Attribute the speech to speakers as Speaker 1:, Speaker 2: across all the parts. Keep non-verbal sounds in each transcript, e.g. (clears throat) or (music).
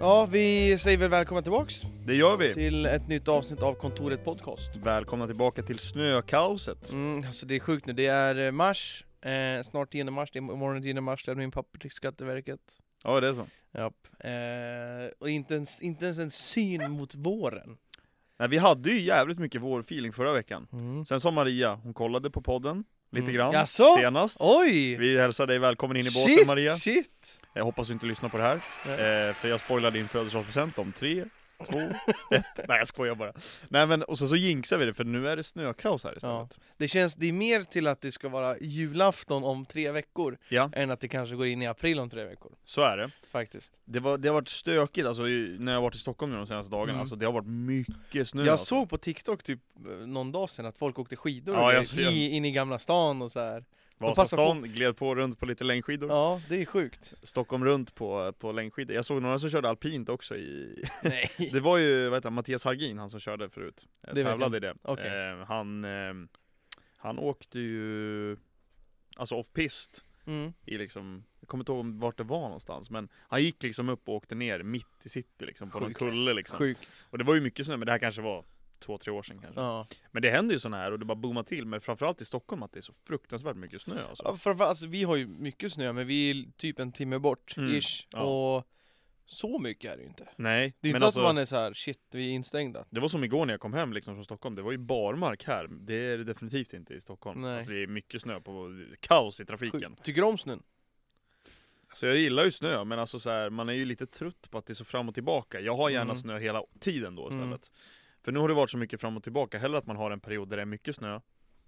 Speaker 1: Ja, vi säger väl välkomna tillbaks
Speaker 2: Det gör vi.
Speaker 1: till ett nytt avsnitt av Kontoret Podcast.
Speaker 2: Välkomna tillbaka till snökaoset.
Speaker 1: Mm, alltså det är sjukt nu, det är eh, mars, eh, snart 10 mars, det är imorgon 10 mars, det är min papper till Skatteverket.
Speaker 2: Ja, det är så.
Speaker 1: Japp. Eh, och inte ens, inte ens en syn mot våren.
Speaker 2: Nej, vi hade ju jävligt mycket vårfeeling förra veckan.
Speaker 1: Mm.
Speaker 2: Sen sa Maria, hon kollade på podden lite
Speaker 1: Mm.
Speaker 2: grann
Speaker 1: Jaså?
Speaker 2: senast.
Speaker 1: Oj!
Speaker 2: Vi hälsar dig välkommen in i båten
Speaker 1: shit,
Speaker 2: Maria.
Speaker 1: shit!
Speaker 2: Jag hoppas du inte lyssnar på det här, eh, för jag spoilar din födelsedagspresent om tre, två, ett. Nej jag skojar bara. Nej men och så, så jinxar vi det, för nu är det snökaos här istället.
Speaker 1: Det känns, det är mer till att det ska vara julafton om tre veckor
Speaker 2: Ja.
Speaker 1: än att det kanske går in i april om tre veckor.
Speaker 2: Så är det.
Speaker 1: Faktiskt.
Speaker 2: Det, var, det har varit stökigt alltså, i- när jag har varit i Stockholm nu de senaste dagarna,
Speaker 1: Mm.
Speaker 2: alltså, det har varit mycket snö.
Speaker 1: Jag
Speaker 2: alltså.
Speaker 1: såg på TikTok typ eh, någon dag sedan att folk åkte skidor
Speaker 2: Ja,
Speaker 1: och
Speaker 2: jag
Speaker 1: grejer i, in i Gamla stan och så här. passar
Speaker 2: Vasastan, gled på runt på lite längdskidor.
Speaker 1: Ja, det är
Speaker 2: (laughs)
Speaker 1: sjukt.
Speaker 2: Stockholm runt på, på längdskidor. Jag såg några som körde alpint också i... (laughs)
Speaker 1: Nej.
Speaker 2: Det var ju, vad heter han, Mattias Hargin, han som körde förut. Eh,
Speaker 1: Det vet
Speaker 2: Tävlade i det.
Speaker 1: Okej.
Speaker 2: Eh, han, eh, han åkte ju, alltså off-pist
Speaker 1: Mm.
Speaker 2: i liksom, jag kommer inte ihåg vart det var någonstans, men han gick liksom upp och åkte ner mitt i city liksom, på någon
Speaker 1: Sjukt.
Speaker 2: kulle liksom.
Speaker 1: Sjukt.
Speaker 2: Och det var ju mycket snö, men det här kanske var två, tre år sedan kanske.
Speaker 1: Ja.
Speaker 2: Men det händer ju sådana här och det bara boomar till, men framförallt i Stockholm att det är så fruktansvärt mycket snö alltså.
Speaker 1: Ja, för, för, alltså, vi har ju mycket snö, men vi är typ en timme bort,
Speaker 2: Mm,
Speaker 1: ish.
Speaker 2: ja.
Speaker 1: Och så mycket är det ju inte.
Speaker 2: Nej,
Speaker 1: Det är
Speaker 2: men
Speaker 1: inte
Speaker 2: alltså-
Speaker 1: att man är så här, shit, vi är instängda.
Speaker 2: Det var som igår när jag kom hem liksom från Stockholm, det var ju barmark här. Det är det definitivt inte i Stockholm.
Speaker 1: Nej.
Speaker 2: Alltså det är mycket snö på, kaos i trafiken.
Speaker 1: Sjukt. Tycker du om snön?
Speaker 2: Så jag gillar ju snö, men alltså så här, man är ju lite trött på att det är så fram och tillbaka. Jag har gärna
Speaker 1: Mm.
Speaker 2: snö hela tiden då istället.
Speaker 1: Mm.
Speaker 2: För nu har det varit så mycket fram och tillbaka, hellre att man har en period där det är mycket snö,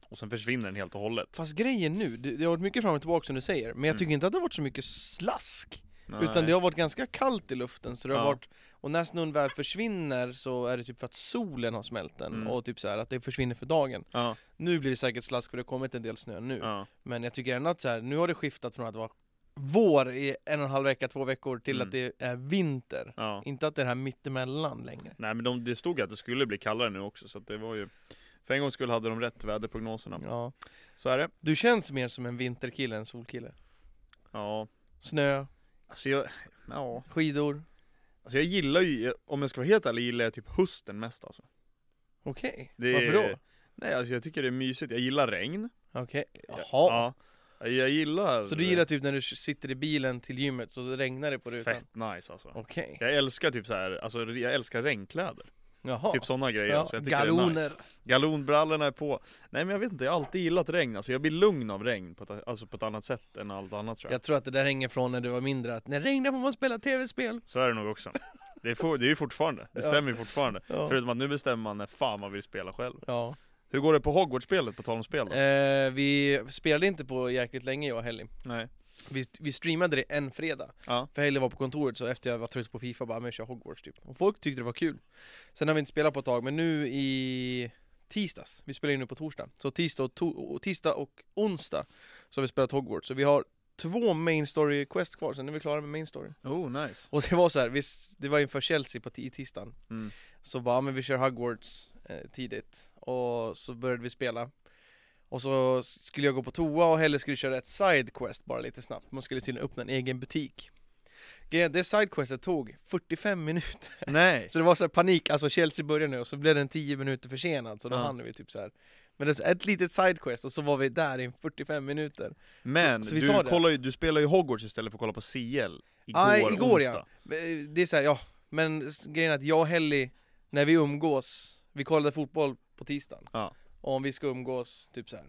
Speaker 2: och sen försvinner den helt och hållet.
Speaker 1: Fast grejen nu, det, det har varit mycket fram och tillbaka som du säger, men jag tycker
Speaker 2: Mm.
Speaker 1: inte att det har varit så mycket slask.
Speaker 2: Nej.
Speaker 1: Utan det har varit ganska kallt i luften, så det har
Speaker 2: Ja.
Speaker 1: varit, och när snön väl försvinner så är det typ för att solen har smält den,
Speaker 2: Mm.
Speaker 1: och typ så här att det försvinner för dagen.
Speaker 2: Ja,
Speaker 1: Nu blir det säkert slask för det har kommit en del snö nu.
Speaker 2: ja.
Speaker 1: Men jag tycker ändå att så här, nu har det skiftat från att vara vår i en och en halv vecka, två veckor, till
Speaker 2: Mm.
Speaker 1: att det är vinter.
Speaker 2: ja.
Speaker 1: Inte att det är det här mittemellan längre.
Speaker 2: Nej men de, det stod ju att det skulle bli kallare nu också, så att det var ju för en gångs skull hade de rätt väderprognoserna.
Speaker 1: Ja.
Speaker 2: Så är det.
Speaker 1: Du känns mer som en vinterkille än solkille.
Speaker 2: Ja.
Speaker 1: Snö,
Speaker 2: Alltså jag, ja.
Speaker 1: skidor,
Speaker 2: Alltså jag gillar ju, om jag ska vara helt ärlig, gillar jag typ hösten mest alltså.
Speaker 1: okej.
Speaker 2: Det-
Speaker 1: Varför då?
Speaker 2: Nej alltså jag tycker det är mysigt, jag gillar regn.
Speaker 1: Okej, jaha.
Speaker 2: Ja. Jag gillar...
Speaker 1: Så du gillar typ när du sitter i bilen till gymmet och så regnar det på rutan?
Speaker 2: Fett nice alltså.
Speaker 1: Okej.
Speaker 2: Jag älskar typ så här, alltså jag älskar regnkläder.
Speaker 1: Jaha.
Speaker 2: Typ sådana grejer.
Speaker 1: Ja,
Speaker 2: så jag tycker Det är
Speaker 1: Galoner.
Speaker 2: nice. Galonbrallorna är på. Nej men jag vet inte, jag har alltid gillat regn. Alltså jag blir lugn av regn på ett, alltså på ett annat sätt än allt annat tror jag.
Speaker 1: Jag tror att det där hänger från när du var mindre, att när det regnar får man spela tv-spel.
Speaker 2: Så är det nog också. Det är, for, det är ju fortfarande, det
Speaker 1: Ja.
Speaker 2: stämmer ju fortfarande.
Speaker 1: Ja.
Speaker 2: Förutom att nu bestämmer man när fan man vill spela själv.
Speaker 1: ja.
Speaker 2: Hur går det på Hogwarts-spelet, på tal om spel då?
Speaker 1: Eh, vi spelade inte på jäkligt länge jag och Helly.
Speaker 2: Nej.
Speaker 1: Vi, vi streamade det en fredag.
Speaker 2: Ja.
Speaker 1: För Helly var på kontoret, så efter jag var trött på Fifa bara, men jag kör Hogwarts typ. Och folk tyckte det var kul. Sen har vi inte spelat på ett tag, men nu i tisdags, vi spelar ju nu på torsdag. Så tisdag och, to- och tisdag och onsdag så har vi spelat Hogwarts. Så vi har två main story quest kvar, sen är vi klara med main story.
Speaker 2: Oh nice.
Speaker 1: Och det var så här, vi, s- det var inför Chelsea på t- i tisdagen
Speaker 2: Mm.
Speaker 1: Så bara, ja, men vi kör Hogwarts eh, tidigt Och så började vi spela Och så s- skulle jag gå på toa och Helle skulle köra ett sidequest bara lite snabbt Man skulle tydligen öppna en egen butik Grejen- det sidequestet tog 45 minuter
Speaker 2: Nej.
Speaker 1: Så det var så här panik, alltså Chelsea började nu och så blev den 10 minuter försenad Så då
Speaker 2: Ja.
Speaker 1: hann vi typ så här. Men det är ett litet sidequest och så var vi där i 45 minuter
Speaker 2: Men
Speaker 1: Så- så vi sa
Speaker 2: du,
Speaker 1: det.
Speaker 2: kollar ju, du spelar ju Hogwarts istället för att kolla på CL igår,
Speaker 1: Aj, igår ja.
Speaker 2: onsdag.
Speaker 1: Eh, Det är så här, ja. Men s- grejen är att jag och Helly, när vi umgås, vi kollade fotboll på tisdagen.
Speaker 2: Ja.
Speaker 1: Och om vi ska umgås, typ så här.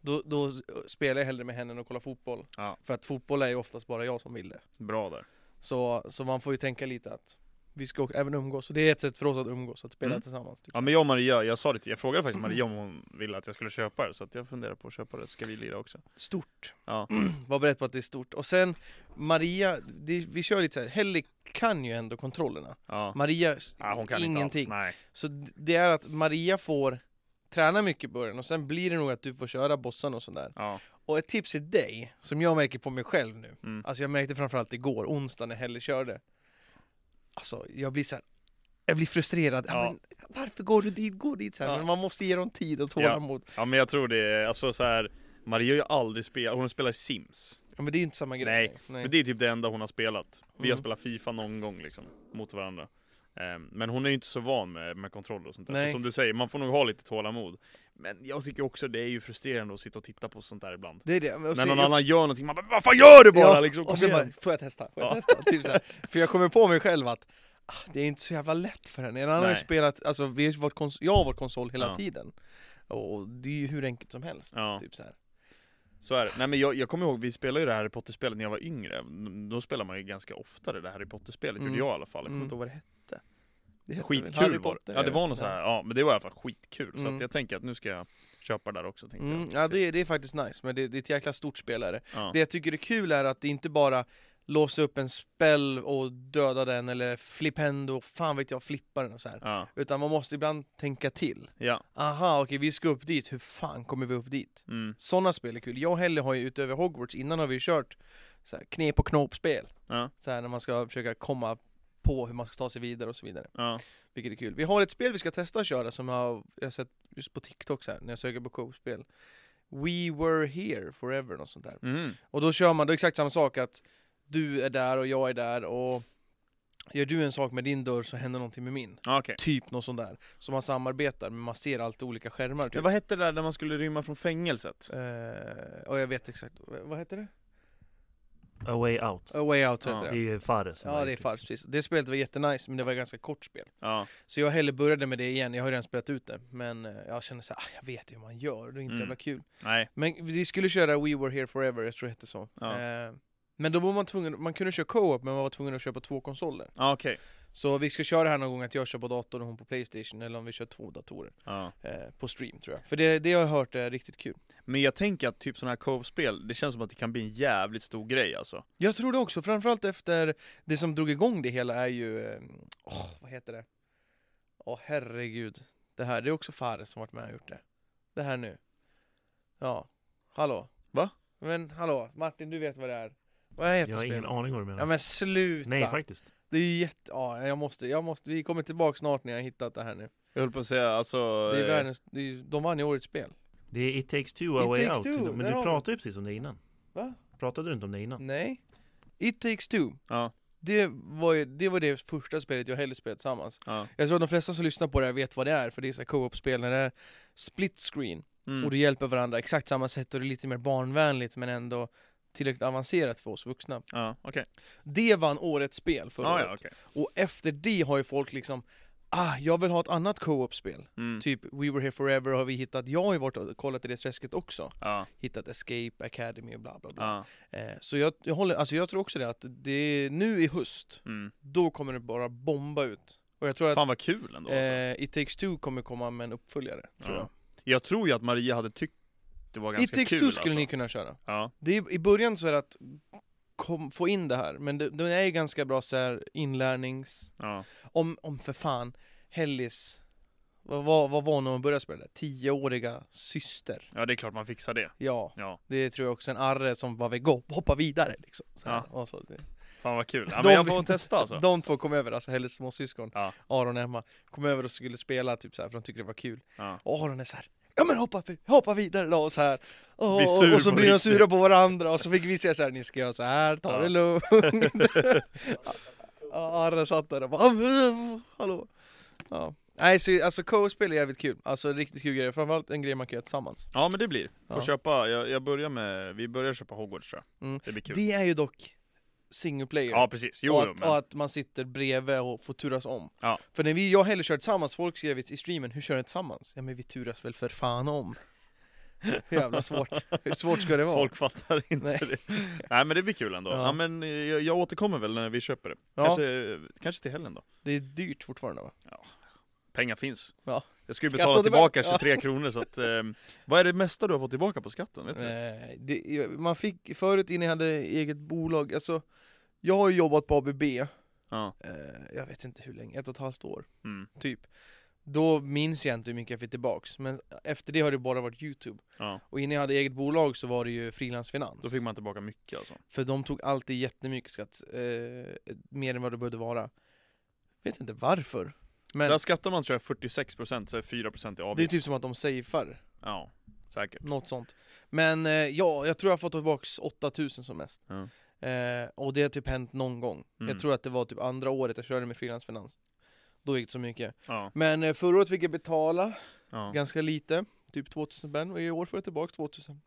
Speaker 1: Då, då spelar jag hellre med henne än att kolla fotboll.
Speaker 2: Ja.
Speaker 1: För att fotboll är ju oftast bara jag som vill det.
Speaker 2: Bra där.
Speaker 1: Så, så man får ju tänka lite att vi ska också även umgås. Så det är ett sätt för oss att umgås, att spela
Speaker 2: Mm.
Speaker 1: tillsammans. Typ.
Speaker 2: Ja men jag och Maria, jag sa det till, jag frågade faktiskt Maria om hon ville att jag skulle köpa det, så att jag funderar på att köpa det, ska vi lira också?
Speaker 1: Stort.
Speaker 2: Ja.
Speaker 1: (clears throat) Var beredd på att det är stort. Och sen, Maria, det, vi kör lite så här. Helly kan ju ändå kontrollerna.
Speaker 2: Ja.
Speaker 1: Maria,
Speaker 2: ja hon kan
Speaker 1: ingenting.
Speaker 2: inte alls, nej.
Speaker 1: Så d- det är att Maria får träna mycket i början och sen blir det nog att du får köra bossarna och sådär.
Speaker 2: Ja.
Speaker 1: Och ett tips till dig, som jag märker på mig själv nu,
Speaker 2: Mm.
Speaker 1: alltså jag märkte framförallt igår, onsdag när Helle körde. Alltså jag blir så här. Jag blir frustrerad. Ja.
Speaker 2: Ja.
Speaker 1: men, varför går du dit? Gå dit så här.
Speaker 2: Ja.
Speaker 1: Men man måste ge dem tid och tålamod.
Speaker 2: ja men jag tror det är, alltså så här. Maria har ju aldrig spelat, hon spelar Sims
Speaker 1: Ja, men det är inte samma grej.
Speaker 2: Nej,
Speaker 1: Nej.
Speaker 2: Men det är typ det enda hon har spelat. Vi har
Speaker 1: Mm.
Speaker 2: spelat Fifa någon gång liksom, mot varandra. Ehm, Men hon är ju inte så van med, med kontroller och sånt där.
Speaker 1: Nej.
Speaker 2: Så som du säger, man får nog ha lite tålamod. Men jag tycker också det är ju frustrerande att sitta och titta på sånt där ibland.
Speaker 1: det är det. Men och
Speaker 2: När
Speaker 1: sen-
Speaker 2: någon
Speaker 1: jag-
Speaker 2: annan gör någonting, man bara Vad fan gör du bara?
Speaker 1: Ja,
Speaker 2: liksom, kom
Speaker 1: och sen
Speaker 2: igen."
Speaker 1: bara, får jag testa? Får jag
Speaker 2: Ja.
Speaker 1: testa? Typ så här. För jag kommer på mig själv att ah, det är inte så jävla lätt för henne. En annan har ju
Speaker 2: Nej.
Speaker 1: spelat, alltså vi har ju varit kons- jag har varit konsol hela
Speaker 2: Ja.
Speaker 1: tiden. Och det är ju hur enkelt som helst.
Speaker 2: Ja,
Speaker 1: Typ så här.
Speaker 2: så är det. Nej men jag, jag kommer ihåg, vi spelade ju det här Harry Potter-spelet när jag var yngre. Då spelade man ju ganska ofta det där Harry Potter-spelet,
Speaker 1: Mm.
Speaker 2: gjorde jag i alla fall. Jag kommer
Speaker 1: Mm.
Speaker 2: inte ihåg vad det hette.
Speaker 1: Det heter väl Harry
Speaker 2: Skitkul var det.
Speaker 1: Potter,
Speaker 2: Ja det
Speaker 1: eller?
Speaker 2: var något så här, ja men det var i alla fall skitkul. Så
Speaker 1: Mm.
Speaker 2: att jag tänker att nu ska jag köpa det där också. Tänkte
Speaker 1: Mm,
Speaker 2: jag.
Speaker 1: ja det, är- det är faktiskt nice, men det, det är ett jäkla stort spelare.
Speaker 2: typ. Ja.
Speaker 1: Det jag tycker är kul är att det inte bara låsa upp en spell och döda den eller flippendo, fan vet jag, flippa den och så här.
Speaker 2: Ja,
Speaker 1: Utan man måste ibland tänka till.
Speaker 2: ja.
Speaker 1: Aha, okej vi ska upp dit, hur fan kommer vi upp dit?
Speaker 2: Mm.
Speaker 1: Sådana spel är kul. Jag och Helle har ju utöver Hogwarts, innan har vi ju kört så här, knep och knåpspel.
Speaker 2: Ja.
Speaker 1: Så här, när man ska försöka komma på hur man ska ta sig vidare och så vidare.
Speaker 2: ja.
Speaker 1: Vilket är kul. Vi har ett spel vi ska testa att köra som jag har, jag har sett just på TikTok så här, när jag söker på co-spel. We were here forever, något sånt där.
Speaker 2: Mm.
Speaker 1: Och då kör man, då är det exakt samma sak att du är där och jag är där och gör du en sak med din dörr så händer någonting med min.
Speaker 2: Ja, Okej.
Speaker 1: Typ något sånt där. Så man samarbetar men man ser alltid olika skärmar
Speaker 2: Men
Speaker 1: typ.
Speaker 2: vad hette det där när man skulle rymma från fängelset?
Speaker 1: Eh, och jag vet exakt, vad heter det?
Speaker 3: A Way Out.
Speaker 1: A Way Out
Speaker 2: Ja,
Speaker 1: heter
Speaker 3: Det är
Speaker 1: det.
Speaker 3: ju Fares som
Speaker 1: Ja
Speaker 3: har
Speaker 1: det är
Speaker 3: gjort
Speaker 1: Fars, precis. Det spelet var jättenice men det var ett ganska kort spel.
Speaker 2: Ja.
Speaker 1: Så jag heller började med det igen, jag har ju redan spelat ut det. Men eh, jag känner så här, ah, jag vet ju hur man gör, det är inte så
Speaker 2: Mm.
Speaker 1: jävla kul.
Speaker 2: Nej.
Speaker 1: Men vi skulle köra We Were Here Forever, jag tror det hette så.
Speaker 2: Ja.
Speaker 1: Eh, men då var man tvungen, man kunde köra co-op men man var tvungen att köpa två konsoler.
Speaker 2: Ja okej.
Speaker 1: Så vi ska köra det här någon gång att jag kör på datorn och hon på Playstation, eller om vi kör två datorer.
Speaker 2: Ja.
Speaker 1: Eh, på stream tror jag. För det, det har jag hört är riktigt kul.
Speaker 2: Men jag tänker att typ sådana här co-op-spel, det känns som att det kan bli en jävligt stor grej alltså.
Speaker 1: Jag tror det också, framförallt efter det som drog igång det hela är ju, eh, åh, vad heter det? Åh herregud. Det här, det är också Fares som varit med och gjort det. Det här nu. Ja, hallå?
Speaker 2: Va?
Speaker 1: Men hallå, Martin du vet vad det är. Vad heter
Speaker 3: det. Jag har ingen
Speaker 1: spelet?
Speaker 3: aning vad du menar.
Speaker 1: Ja men sluta!
Speaker 3: Nej faktiskt.
Speaker 1: Det är ju jätte... Ja, jag måste, jag måste, vi kommer tillbaka snart när jag har hittat det här nu.
Speaker 2: Jag höll på att säga alltså...
Speaker 1: Det är
Speaker 2: eh,
Speaker 1: världens, det är, de vann ju årets spel.
Speaker 3: Det är It Takes Two, A
Speaker 1: It
Speaker 3: Way
Speaker 1: Takes
Speaker 3: Out.
Speaker 1: Two,
Speaker 3: men
Speaker 1: där har
Speaker 3: du
Speaker 1: vi.
Speaker 3: pratade ju precis om det innan.
Speaker 1: Va?
Speaker 3: Pratade du inte om det innan?
Speaker 1: Nej. It takes two.
Speaker 2: Ja.
Speaker 1: Det var, ju, det var det första spelet jag och Helle spelade tillsammans.
Speaker 2: Ja.
Speaker 1: Jag tror att de flesta som lyssnar på det här vet vad det är, för det är så här co-op-spel när det är split screen.
Speaker 2: Mm.
Speaker 1: Och det hjälper varandra exakt samma sätt och det är lite mer barnvänligt men ändå tillräckligt avancerat för oss vuxna.
Speaker 2: Ja okej.
Speaker 1: Det vann årets spel förra
Speaker 2: Ah,
Speaker 1: året.
Speaker 2: Ja ja okej.
Speaker 1: Och efter det har ju folk liksom Ah, jag vill ha ett annat co-op-spel.
Speaker 2: Mm.
Speaker 1: Typ We Were Here Forever har vi hittat, jag har ju varit och kollat i det träsket också.
Speaker 2: Ja.
Speaker 1: Hittat Escape Academy och bla bla bla.
Speaker 2: Ja.
Speaker 1: Eh, så jag, jag håller, alltså jag tror också det att det är nu i höst,
Speaker 2: Mm.
Speaker 1: då kommer det bara bomba ut. Och jag tror att
Speaker 2: Fan vad kul ändå alltså.
Speaker 1: eh, It takes two kommer komma med en uppföljare, tror
Speaker 2: Ja. Jag tror ju att Maria hade tyckt det var
Speaker 1: jag. It
Speaker 2: ganska
Speaker 1: takes
Speaker 2: kul
Speaker 1: two skulle
Speaker 2: alltså.
Speaker 1: ni kunna köra.
Speaker 2: Ja.
Speaker 1: Det är, I början så är det att kom, få in det här, men det, det är ju ganska bra så här inlärnings...
Speaker 2: Ja.
Speaker 1: Om, om för fan, Hellis, vad, vad, vad var hon när hon började spela det? Tioåriga syster.
Speaker 2: ja det är klart man fixar det.
Speaker 1: Ja,
Speaker 2: Ja.
Speaker 1: det tror jag också. En arre som bara vill gå, hoppa vidare liksom. Så här.
Speaker 2: Ja.
Speaker 1: Och så, det,
Speaker 2: Fan vad kul. Ja,
Speaker 1: De-
Speaker 2: men jag får testa alltså.
Speaker 1: (laughs) De två kom över, alltså Helles småsyskon,
Speaker 2: Ja.
Speaker 1: Aron och Emma, kom över och skulle spela typ så här, för de tyckte det var kul.
Speaker 2: Ja.
Speaker 1: Och Aron är så här, ja men hoppa, hoppa vidare då och så här. Och,
Speaker 2: Blir sur
Speaker 1: och så
Speaker 2: på
Speaker 1: blir de
Speaker 2: riktigt.
Speaker 1: sura på varandra och så fick vi säga så här, ni ska göra så här, ta
Speaker 2: Ja.
Speaker 1: det
Speaker 2: (laughs)
Speaker 1: lugnt. och Aron satt där och bara, "Ah, hallå. Ja. Nej, så, alltså co-spel är jävligt kul, alltså riktigt kul grejer, framförallt en grej man kan göra tillsammans.
Speaker 2: Ja men det blir. Får
Speaker 1: Ja.
Speaker 2: köpa, jag, jag börjar med, vi börjar köpa Hogwarts tror jag.
Speaker 1: Mm.
Speaker 2: Det blir kul.
Speaker 1: Det är ju dock single player.
Speaker 2: Ja precis, jo,
Speaker 1: och,
Speaker 2: jo,
Speaker 1: att,
Speaker 2: men,
Speaker 1: och att man sitter bredvid och får turas om.
Speaker 2: Ja.
Speaker 1: För när vi, jag och Helle kör tillsammans, folk skrev i streamen 'Hur kör ni tillsammans?' Ja men vi turas väl för fan om. Hur jävla svårt, hur svårt ska det vara?
Speaker 2: folk (laughs) fattar inte
Speaker 1: Nej.
Speaker 2: det. Nej men det blir kul ändå.
Speaker 1: Ja.
Speaker 2: Ja, men eh, jag, jag återkommer väl när vi köper det.
Speaker 1: Ja.
Speaker 2: Kanske, kanske till helgen då.
Speaker 1: Det är dyrt fortfarande va?
Speaker 2: Pengar finns.
Speaker 1: Ja.
Speaker 2: Jag skulle
Speaker 1: Skatt
Speaker 2: betala
Speaker 1: och tillbaka.
Speaker 2: tillbaka 23 kronor så att, eh, vad är det mesta du har fått tillbaka på skatten? Vet du? det?
Speaker 1: Eh, det, man fick, förut innan jag hade eget bolag, alltså jag har ju jobbat på ABB, eh,
Speaker 2: Ja.
Speaker 1: jag vet inte hur länge, ett och ett halvt år
Speaker 2: Mm.
Speaker 1: typ. Då minns jag inte hur mycket jag fick tillbaks, men efter det har det bara varit Youtube.
Speaker 2: ja.
Speaker 1: Och innan jag hade eget bolag så var det ju frilansfinans.
Speaker 2: Då fick man tillbaka mycket alltså.
Speaker 1: För de tog alltid jättemycket skatt, eh, mer än vad det behövde vara. Vet inte varför. Men
Speaker 2: Där skattar man tror jag 46% så är 4% i
Speaker 1: det är
Speaker 2: avgift.
Speaker 1: typ som att de safear.
Speaker 2: Ja. Säkert.
Speaker 1: Något sånt. Men eh, ja, jag tror jag har fått tillbaks 8000 som mest.
Speaker 2: Ja.
Speaker 1: Eh, och det har typ hänt någon gång.
Speaker 2: Mm.
Speaker 1: Jag tror att det var typ andra året jag körde med frilansfinans. Då gick det så mycket.
Speaker 2: Ja.
Speaker 1: Men eh, förra året fick jag betala
Speaker 2: ja.
Speaker 1: ganska lite, typ 2000 spänn. Och i år får jag tillbaks 2000.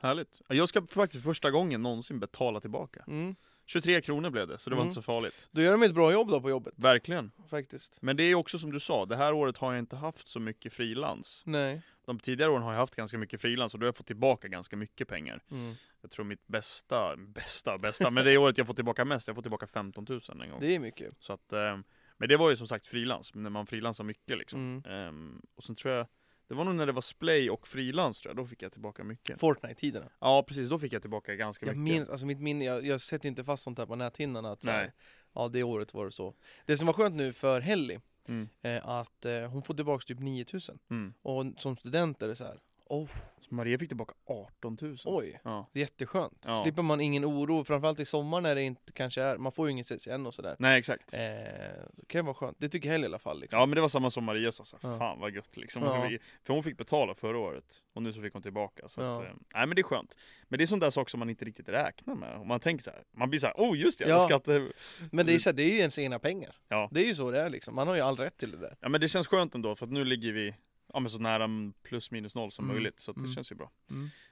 Speaker 2: Härligt. Ja, Jag ska faktiskt första gången någonsin betala tillbaka.
Speaker 1: Mm.
Speaker 2: 23 kronor blev det, så det var
Speaker 1: Mm.
Speaker 2: inte så farligt.
Speaker 1: Då gör de ett bra jobb då på jobbet.
Speaker 2: Verkligen.
Speaker 1: Faktiskt.
Speaker 2: Men det är ju också som du sa, det här året har jag inte haft så mycket frilans.
Speaker 1: Nej.
Speaker 2: De tidigare åren har jag haft ganska mycket frilans och då har jag fått tillbaka ganska mycket pengar.
Speaker 1: Mm.
Speaker 2: Jag tror mitt bästa, bästa, bästa, men det är året jag fått tillbaka mest, jag får tillbaka 15 000 en gång.
Speaker 1: Det är mycket.
Speaker 2: Så att, eh, men det var ju som sagt frilans, när man frilansar mycket liksom.
Speaker 1: Mm.
Speaker 2: Ehm, och sen tror jag, det var nog när det var splay och frilans tror jag, då fick jag tillbaka mycket.
Speaker 1: Fortnite-tiderna.
Speaker 2: Ja precis, då fick jag tillbaka ganska
Speaker 1: Jag
Speaker 2: mycket.
Speaker 1: minns, alltså mitt minne, jag, jag sätter ju inte fast sånt här på näthinnan att så
Speaker 2: Nej.
Speaker 1: här, ja det året var det så. Det som var skönt nu för Helly,
Speaker 2: Mm.
Speaker 1: eh, att eh, hon får tillbaks typ 9000.
Speaker 2: Mm.
Speaker 1: Och som student är det så här, oh,
Speaker 2: Så Maria fick tillbaka 18 000.
Speaker 1: oj,
Speaker 2: Ja.
Speaker 1: det är jätteskönt.
Speaker 2: Ja.
Speaker 1: Slipper man ingen oro, framförallt i sommar när det inte kanske är, man får ju inget CSN och sådär.
Speaker 2: Nej exakt.
Speaker 1: Eh, det kan vara skönt, det tycker Helly i alla fall. Liksom.
Speaker 2: Ja men det var samma som Maria sa, såhär,
Speaker 1: Ja.
Speaker 2: fan vad gött liksom.
Speaker 1: Ja.
Speaker 2: Hon fick- För hon fick betala förra året, och nu så fick hon tillbaka. Så att,
Speaker 1: Ja.
Speaker 2: eh, nej men det är skönt. Men det är sån där sak som man inte riktigt räknar med. Och man tänker så här, man blir så här, oh just det, jag
Speaker 1: Ja.
Speaker 2: skatte...
Speaker 1: Men det är, så här, det är ju ens egna pengar.
Speaker 2: Ja.
Speaker 1: Det är ju så det är liksom, man har ju all rätt till det där.
Speaker 2: Ja men det känns skönt ändå, för att nu ligger vi ja, men så nära plus minus noll som
Speaker 1: Mm.
Speaker 2: möjligt. Så att det
Speaker 1: Mm.
Speaker 2: känns ju bra.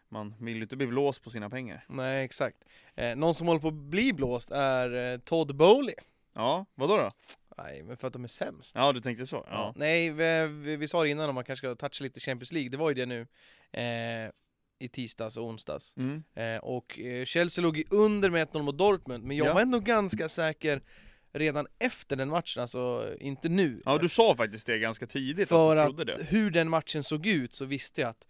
Speaker 2: Man vill ju inte bli blåst på sina pengar.
Speaker 1: Nej exakt. Eh, någon som håller på att bli blåst är eh, Todd Bowley.
Speaker 2: Ja, vadå då?
Speaker 1: Nej, men för att de är sämst.
Speaker 2: Ja du tänkte så? Ja.
Speaker 1: Nej, vi, vi, vi sa det innan om man kanske ska toucha lite Champions League, det var ju det nu eh, i tisdags och onsdags.
Speaker 2: Mm.
Speaker 1: Eh, och eh, Chelsea låg ju under med 1-0 mot Dortmund, men jag
Speaker 2: Ja.
Speaker 1: var ändå ganska säker redan efter den matchen, alltså eh, inte nu.
Speaker 2: Ja du sa faktiskt det ganska tidigt,
Speaker 1: För
Speaker 2: att
Speaker 1: att
Speaker 2: du trodde det.
Speaker 1: hur den matchen såg ut så visste jag att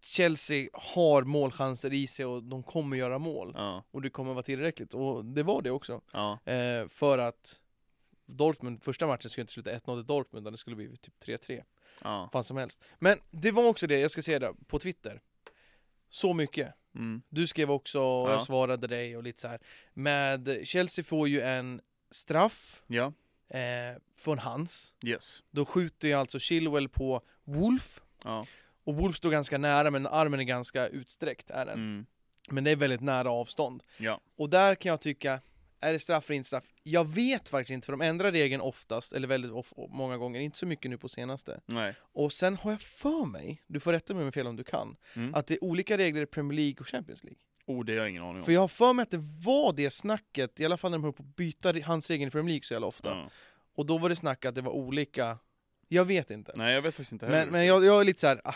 Speaker 1: Chelsea har målchanser i sig och de kommer göra mål.
Speaker 2: Ja,
Speaker 1: Och det kommer vara tillräckligt, och det var det också.
Speaker 2: ja,
Speaker 1: Eh, för att Dortmund, första matchen skulle inte sluta 1-0 till Dortmund, utan det skulle bli typ 3-3.
Speaker 2: ja.
Speaker 1: Fan som helst. Men det var också det, jag ska säga det, på Twitter. Så mycket.
Speaker 2: Mm.
Speaker 1: Du skrev också, och
Speaker 2: Ja.
Speaker 1: jag svarade dig och lite så här. Med Chelsea får ju en straff
Speaker 2: Ja,
Speaker 1: eh, från hans.
Speaker 2: yes.
Speaker 1: Då skjuter ju alltså Chilwell på Wolf.
Speaker 2: Ja.
Speaker 1: Och Wolf står ganska nära, men armen är ganska utsträckt. Är den.
Speaker 2: Mm.
Speaker 1: Men det är väldigt nära avstånd.
Speaker 2: Ja.
Speaker 1: Och där kan jag tycka, är det straff eller inte straff? Jag vet faktiskt inte, för de ändrar regeln oftast, eller väldigt of- många gånger, inte så mycket nu på senaste.
Speaker 2: Nej.
Speaker 1: Och sen har jag för mig, du får rätta mig om jag har fel om du kan,
Speaker 2: Mm.
Speaker 1: att det är olika regler i Premier League och Champions League.
Speaker 2: Oh, det har jag ingen aning om.
Speaker 1: För jag har för mig att det var det snacket, i alla fall när de höll på att byta re- hans egen i Premier League så jävla ofta.
Speaker 2: Ja.
Speaker 1: Och då var det snack att det var olika, jag vet inte.
Speaker 2: Nej, jag vet faktiskt inte heller.
Speaker 1: men men jag, jag är lite så här. Ah,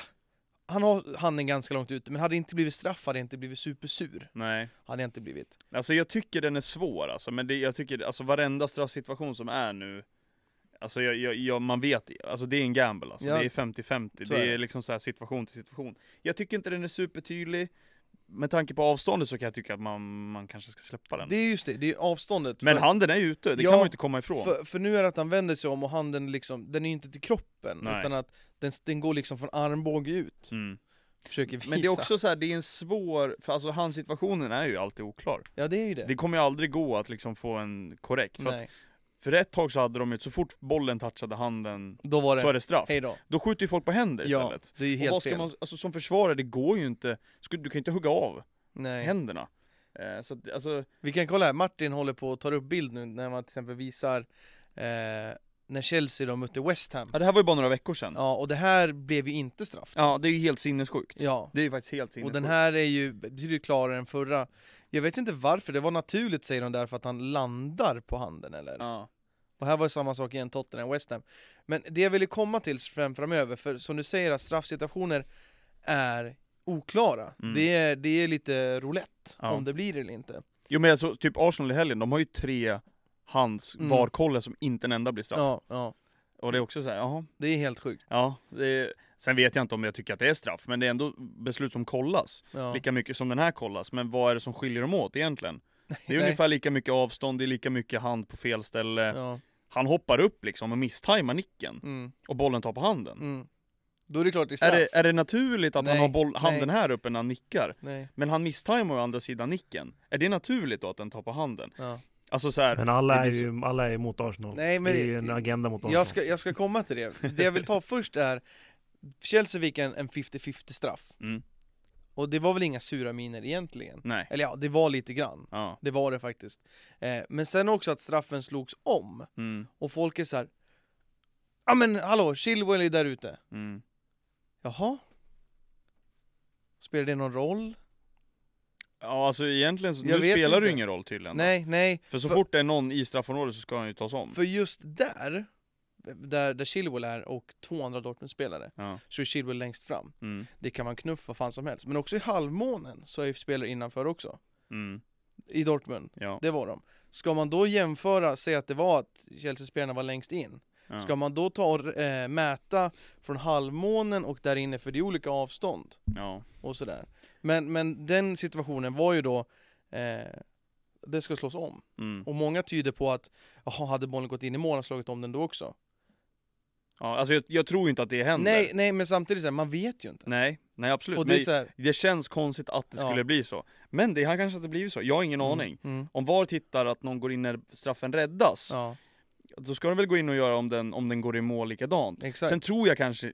Speaker 1: han har handen ganska långt ute, men hade det inte blivit straff hade jag inte blivit supersur.
Speaker 2: Nej,
Speaker 1: Hade jag inte blivit.
Speaker 2: alltså jag tycker den är svår alltså, men det, jag tycker alltså varenda straffsituation som är nu Alltså jag, jag, jag, man vet, alltså det är en gamble alltså,
Speaker 1: Ja.
Speaker 2: det är 50-50,
Speaker 1: Så
Speaker 2: det
Speaker 1: är
Speaker 2: är
Speaker 1: det.
Speaker 2: liksom så här situation till situation Jag tycker inte den är supertydlig Med tanke på avståndet så kan jag tycka att man, man kanske ska släppa den
Speaker 1: Det är just det, det är avståndet.
Speaker 2: Men
Speaker 1: För-
Speaker 2: handen är ju ute, det
Speaker 1: Ja,
Speaker 2: kan man ju inte komma ifrån
Speaker 1: För, för nu är det att han vänder sig om och handen liksom, den är ju inte till kroppen
Speaker 2: Nej.
Speaker 1: utan att den, den går liksom från armbåge ut.
Speaker 2: mm.
Speaker 1: Försöker visa.
Speaker 2: Men det är också så här, det är en svår, för alltså handsituationen är ju alltid oklar
Speaker 1: Ja det är ju det.
Speaker 2: Det kommer ju aldrig gå att liksom få en korrekt, för, att,
Speaker 1: Nej,
Speaker 2: för ett tag så hade de ju, så fort bollen touchade handen
Speaker 1: då var det,
Speaker 2: så är det straff
Speaker 1: hej då.
Speaker 2: Då skjuter ju folk på händer
Speaker 1: Ja,
Speaker 2: istället.
Speaker 1: det är ju
Speaker 2: och vad
Speaker 1: helt
Speaker 2: ska
Speaker 1: fel.
Speaker 2: man, alltså som försvarare, det går ju inte, sku- du kan ju inte hugga av
Speaker 1: Nej.
Speaker 2: händerna. Eh, så att, alltså,
Speaker 1: Vi kan kolla här, Martin håller på och tar upp bild nu när man till exempel visar eh, när Chelsea då mötte West Ham.
Speaker 2: ja, det här var ju bara några veckor sedan. Ja,
Speaker 1: Ja, och det här blev ju inte straff.
Speaker 2: det är ju helt sinnessjukt.
Speaker 1: Ja.
Speaker 2: Det är ju faktiskt helt
Speaker 1: Och
Speaker 2: sinnessjukt.
Speaker 1: den här är ju betydligt klarare än förra. Jag vet inte varför, det var naturligt säger de där för att han landar på handen eller?
Speaker 2: Ja.
Speaker 1: Och här var ju samma sak igen, Tottenham West Ham. Men det jag ville komma till fram framöver, för som du säger att straffsituationer är oklara.
Speaker 2: Mm.
Speaker 1: Det, är, det är lite roulette
Speaker 2: Ja.
Speaker 1: om det blir det eller inte.
Speaker 2: Jo men alltså, typ Arsenal i helgen, de har ju tre hands
Speaker 1: Mm.
Speaker 2: varkollar som inte en enda blir straff.
Speaker 1: Ja, ja.
Speaker 2: Och det är också så här, jaha.
Speaker 1: Det är helt sjukt.
Speaker 2: Ja, det är, sen vet jag inte om jag tycker att det är straff, men det är ändå beslut som kollas.
Speaker 1: Ja.
Speaker 2: Lika mycket som den här kollas, men vad är det som skiljer dem åt egentligen? Det är
Speaker 1: Nej.
Speaker 2: ungefär lika mycket avstånd, det är lika mycket hand på fel ställe.
Speaker 1: Ja.
Speaker 2: Han hoppar upp liksom och misstajmar nicken
Speaker 1: Mm,
Speaker 2: och bollen tar på handen.
Speaker 1: mm. Då är det klart det är
Speaker 2: Är
Speaker 1: straff.
Speaker 2: det, är det naturligt att
Speaker 1: Nej,
Speaker 2: han har boll, handen
Speaker 1: nej.
Speaker 2: här uppe när han nickar?
Speaker 1: Nej.
Speaker 2: Men han misstajmar å andra sidan nicken. Är det naturligt då att den tar på handen?
Speaker 1: Ja.
Speaker 2: Alltså så här,
Speaker 3: Men alla
Speaker 2: det
Speaker 3: är
Speaker 2: blir
Speaker 3: ju alla är mot Arsenal.
Speaker 1: Nej, men
Speaker 3: det är ju
Speaker 1: det-
Speaker 3: en agenda mot Arsenal.
Speaker 1: Jag, ska, jag ska komma till det. Det jag vill ta först är Chelsea fick en, en 50-50 straff.
Speaker 2: Mm.
Speaker 1: Och det var väl inga sura miner egentligen.
Speaker 2: Nej.
Speaker 1: Eller ja, det var lite grann.
Speaker 2: Ja.
Speaker 1: Det var det faktiskt. Eh, men sen också att straffen slogs om.
Speaker 2: Mm.
Speaker 1: Och folk är så här. Ja men hallå, Chilwell är där ute.
Speaker 2: Mm.
Speaker 1: Jaha? Spelar det någon roll?
Speaker 2: Ja, alltså egentligen så,
Speaker 1: Jag
Speaker 2: nu
Speaker 1: vet
Speaker 2: spelar
Speaker 1: inte.
Speaker 2: det ju ingen roll tydligen. då.
Speaker 1: Nej, nej.
Speaker 2: För så
Speaker 1: För-
Speaker 2: fort det är någon i straffområdet så ska han ju tas om.
Speaker 1: För just där, där, där Chilwell är och två andra Dortmund-spelare,
Speaker 2: Ja.
Speaker 1: så är Chilwell längst fram.
Speaker 2: Mm.
Speaker 1: Det kan man knuffa vad fan som helst. Men också i halvmånen så är ju spelare innanför också.
Speaker 2: Mm.
Speaker 1: I Dortmund,
Speaker 2: Ja.
Speaker 1: det var de. Ska man då jämföra, säga att det var att Chelsea-spelarna var längst in.
Speaker 2: Ja.
Speaker 1: Ska man då ta och eh, mäta från halvmånen och där inne, för det är olika avstånd
Speaker 2: ja.
Speaker 1: och sådär. Men, men den situationen var ju då, eh, det ska slås om.
Speaker 2: Mm.
Speaker 1: Och många tyder på att, jaha, hade bollen gått in i mål och slagit om den då också?
Speaker 2: ja. Alltså jag, jag tror inte att det händer.
Speaker 1: Nej, nej men samtidigt så här, man vet ju inte.
Speaker 2: Nej, nej absolut.
Speaker 1: och
Speaker 2: Men
Speaker 1: det
Speaker 2: det,
Speaker 1: är så här,
Speaker 2: känns konstigt att det
Speaker 1: Ja.
Speaker 2: skulle bli så. Men det har kanske inte blivit så, jag har ingen aning.
Speaker 1: Mm,
Speaker 2: Om VAR tittar att någon går in när straffen räddas,
Speaker 1: ja,
Speaker 2: då ska de väl gå in och göra om den, om den går i mål likadant.
Speaker 1: exakt.
Speaker 2: Sen tror jag kanske,